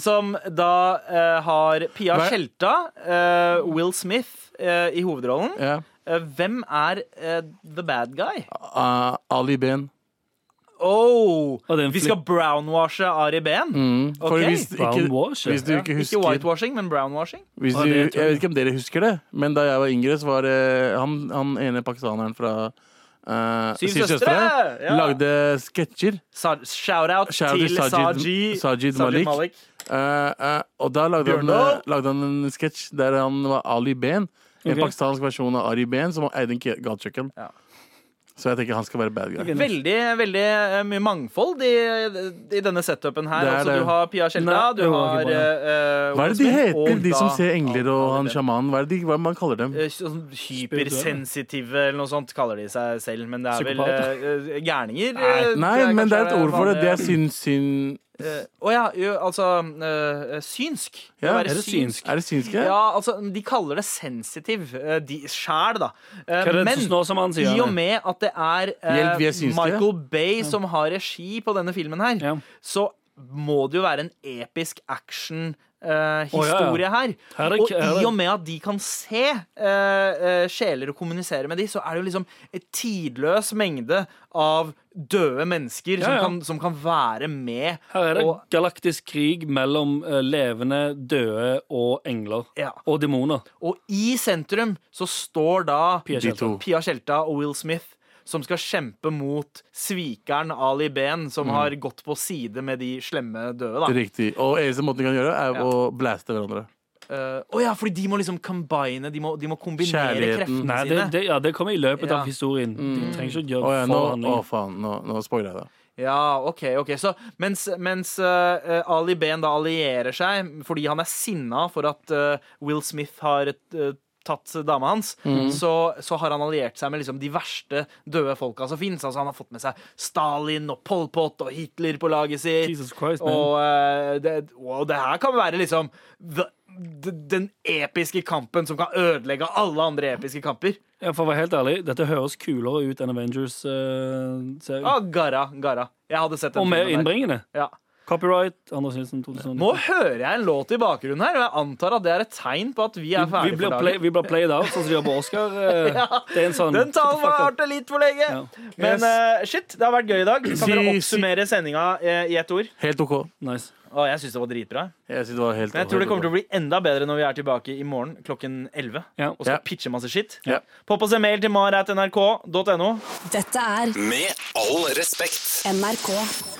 Speaker 3: Som da eh, har Pia
Speaker 6: Hva er-
Speaker 3: Tjelta, eh, Will Smith eh, i hovedrollen.
Speaker 6: Ja.
Speaker 3: Eh, hvem er eh, the bad guy?
Speaker 6: Ah, Ali Ben.
Speaker 3: Oh,
Speaker 5: Og det er en
Speaker 3: vi
Speaker 5: flip-
Speaker 3: skal brownwashe Ari Behn.
Speaker 6: Mm. For
Speaker 3: Ok.
Speaker 6: hvis,
Speaker 5: Brown
Speaker 6: ikke,
Speaker 5: wash.
Speaker 6: hvis du
Speaker 5: ja.
Speaker 6: ikke
Speaker 3: Ikke
Speaker 6: husker
Speaker 3: whitewashing, men brownwashing.
Speaker 6: Hvis
Speaker 5: Ah,
Speaker 6: du,
Speaker 5: det tror
Speaker 6: jeg
Speaker 5: jeg.
Speaker 6: vet ikke om dere husker det, men da jeg var yngre, så var det han, han ene pakistaneren fra eh,
Speaker 3: Syv
Speaker 6: Syv
Speaker 3: Søstre,
Speaker 6: søstre.
Speaker 3: ja.
Speaker 6: Lagde sketsjer.
Speaker 3: Sa Shout-out
Speaker 6: Shout-out
Speaker 3: til
Speaker 6: til Sajid-
Speaker 3: Saji,
Speaker 6: Sajid Malik. Eh, eh, og da lagde han,
Speaker 3: Bjørndal.
Speaker 6: eh, lagde han en sketsj der han var Ali Ben. En
Speaker 5: Ok.
Speaker 6: pakistansk versjon av Ari Ben som eide en ki- gatekjøkken.
Speaker 3: Ja.
Speaker 6: Så jeg tenker han skal være bad guy.
Speaker 5: Ok,
Speaker 3: Veldig veldig eh, mye mangfold i, i denne setupen her.
Speaker 6: Det er
Speaker 3: Altså,
Speaker 6: det.
Speaker 3: du har Pia Tjelta,
Speaker 5: Nei,
Speaker 3: du
Speaker 5: det var
Speaker 3: har
Speaker 5: ikke bra.
Speaker 3: eh, eh,
Speaker 6: Hva er det de
Speaker 3: Will Smith,
Speaker 6: heter,
Speaker 3: og
Speaker 6: de som
Speaker 3: da-
Speaker 6: ser engler og han
Speaker 3: Ali Behn.
Speaker 6: sjamanen? Hva er det de, hva er det man kaller dem?
Speaker 3: Eh, Sånn hypersensitive eller noe sånt kaller de seg selv, men det er vel eh, eh, gærninger. eh,
Speaker 6: Nei,
Speaker 3: tror jeg
Speaker 6: men det er
Speaker 3: kanskje
Speaker 6: et ord for det. Det er
Speaker 3: vanlig.
Speaker 6: syn... syn
Speaker 3: Eh, Å ja, jo, altså eh, synsk. Det
Speaker 6: Ja,
Speaker 3: å
Speaker 6: er
Speaker 3: være
Speaker 5: Er det synsk?
Speaker 6: er det synske?
Speaker 3: Ja, altså, de kaller det sensitiv eh, de- sjæl, da. Eh,
Speaker 5: Hva er det
Speaker 3: Men
Speaker 5: som står som han sier?
Speaker 3: i og med at det er eh,
Speaker 6: Hjelp, vi er synske.
Speaker 3: Michael Bay som har regi på denne filmen her,
Speaker 5: Ja.
Speaker 3: så må det jo være en episk action eh,
Speaker 5: Å, ja, ja.
Speaker 3: historie her.
Speaker 5: Her er-
Speaker 3: Og
Speaker 5: her er-
Speaker 3: i og med at de kan se eh, eh, sjeler og kommunisere med de, så er det jo liksom et tidløs mengde av døde mennesker
Speaker 5: Ja, ja.
Speaker 3: Som, kan, som kan være med.
Speaker 5: Her er det
Speaker 3: og,
Speaker 5: galaktisk krig mellom eh, levende, døde og engler.
Speaker 3: Ja.
Speaker 5: Og demoner.
Speaker 3: og i sentrum så står da
Speaker 5: Pia
Speaker 6: De
Speaker 5: Tjelta.
Speaker 6: to.
Speaker 3: Pia Tjelta og Will Smith som skal kjempe mot svikeren Ali Behn, som har gått på side med de slemme døde. da.
Speaker 6: Mm. Riktig. Og eneste måten de kan gjøre, er å blaste hverandre.
Speaker 3: Eh, Å ja, fordi de må liksom combine, de må, de må kombinere
Speaker 6: Kjærligheten.
Speaker 3: kreftene
Speaker 5: Nei, det,
Speaker 3: sine.
Speaker 5: det, ja, det kommer i løpet
Speaker 3: Ja.
Speaker 5: av historien. De trenger ikke å
Speaker 6: Å
Speaker 5: gjøre
Speaker 6: ja, nå,
Speaker 5: forhandling.
Speaker 6: å faen, nå, nå spoiler jeg det.
Speaker 3: Ja, OK. ok Så Mens, mens eh, Ali Behn da allierer seg fordi han er sinna for at eh, Will Smith har eh, tatt dama hans,
Speaker 5: Mhm.
Speaker 3: så, så har han alliert seg med liksom de verste døde folka som fins. Altså, han har fått med seg Stalin og Pol Pot og Hitler på laget sitt.
Speaker 5: Jesus Christ, man.
Speaker 3: og, eh, det, og det her kan være liksom the, d- den episke kampen som kan ødelegge alle andre episke kamper.
Speaker 5: Ja, for å være helt ærlig, dette høres kulere ut enn Avengers-serien.
Speaker 3: Ah, garra, garra. Jeg hadde sett den
Speaker 5: og mer
Speaker 3: filmen der.
Speaker 5: innbringende.
Speaker 3: Ja.
Speaker 5: Copyright Anders Nilsen 2000.
Speaker 3: Nå hører jeg en låt i bakgrunnen her, og jeg antar at det er et tegn på at vi er
Speaker 5: vi
Speaker 3: ferdige
Speaker 5: blir
Speaker 3: for
Speaker 5: play,
Speaker 3: dagen.
Speaker 5: vi blir played out, sånn som de gjør på Oscar. eh, Det er en sånn
Speaker 3: Den talen
Speaker 5: Shut the fuck up.
Speaker 3: varte litt for lenge.
Speaker 5: Ja.
Speaker 3: Men
Speaker 6: Yes.
Speaker 3: eh, shit, det har vært gøy i dag. Kan dere
Speaker 6: Si-
Speaker 3: oppsummere sendinga eh, i ett ord?
Speaker 6: Helt OK.
Speaker 5: Nice.
Speaker 3: Å, jeg syns det var dritbra.
Speaker 6: Jeg synes det var helt
Speaker 3: Men jeg tror det kommer til
Speaker 6: helt
Speaker 3: å bli enda bedre når vi er tilbake i morgen klokken 11
Speaker 5: Ja.
Speaker 3: og skal
Speaker 6: Ja.
Speaker 3: pitche masse shit.
Speaker 6: Ja.
Speaker 3: Popp oss en mail til mar.nrk.no.
Speaker 4: Dette er
Speaker 1: Med all respekt.
Speaker 4: NRK.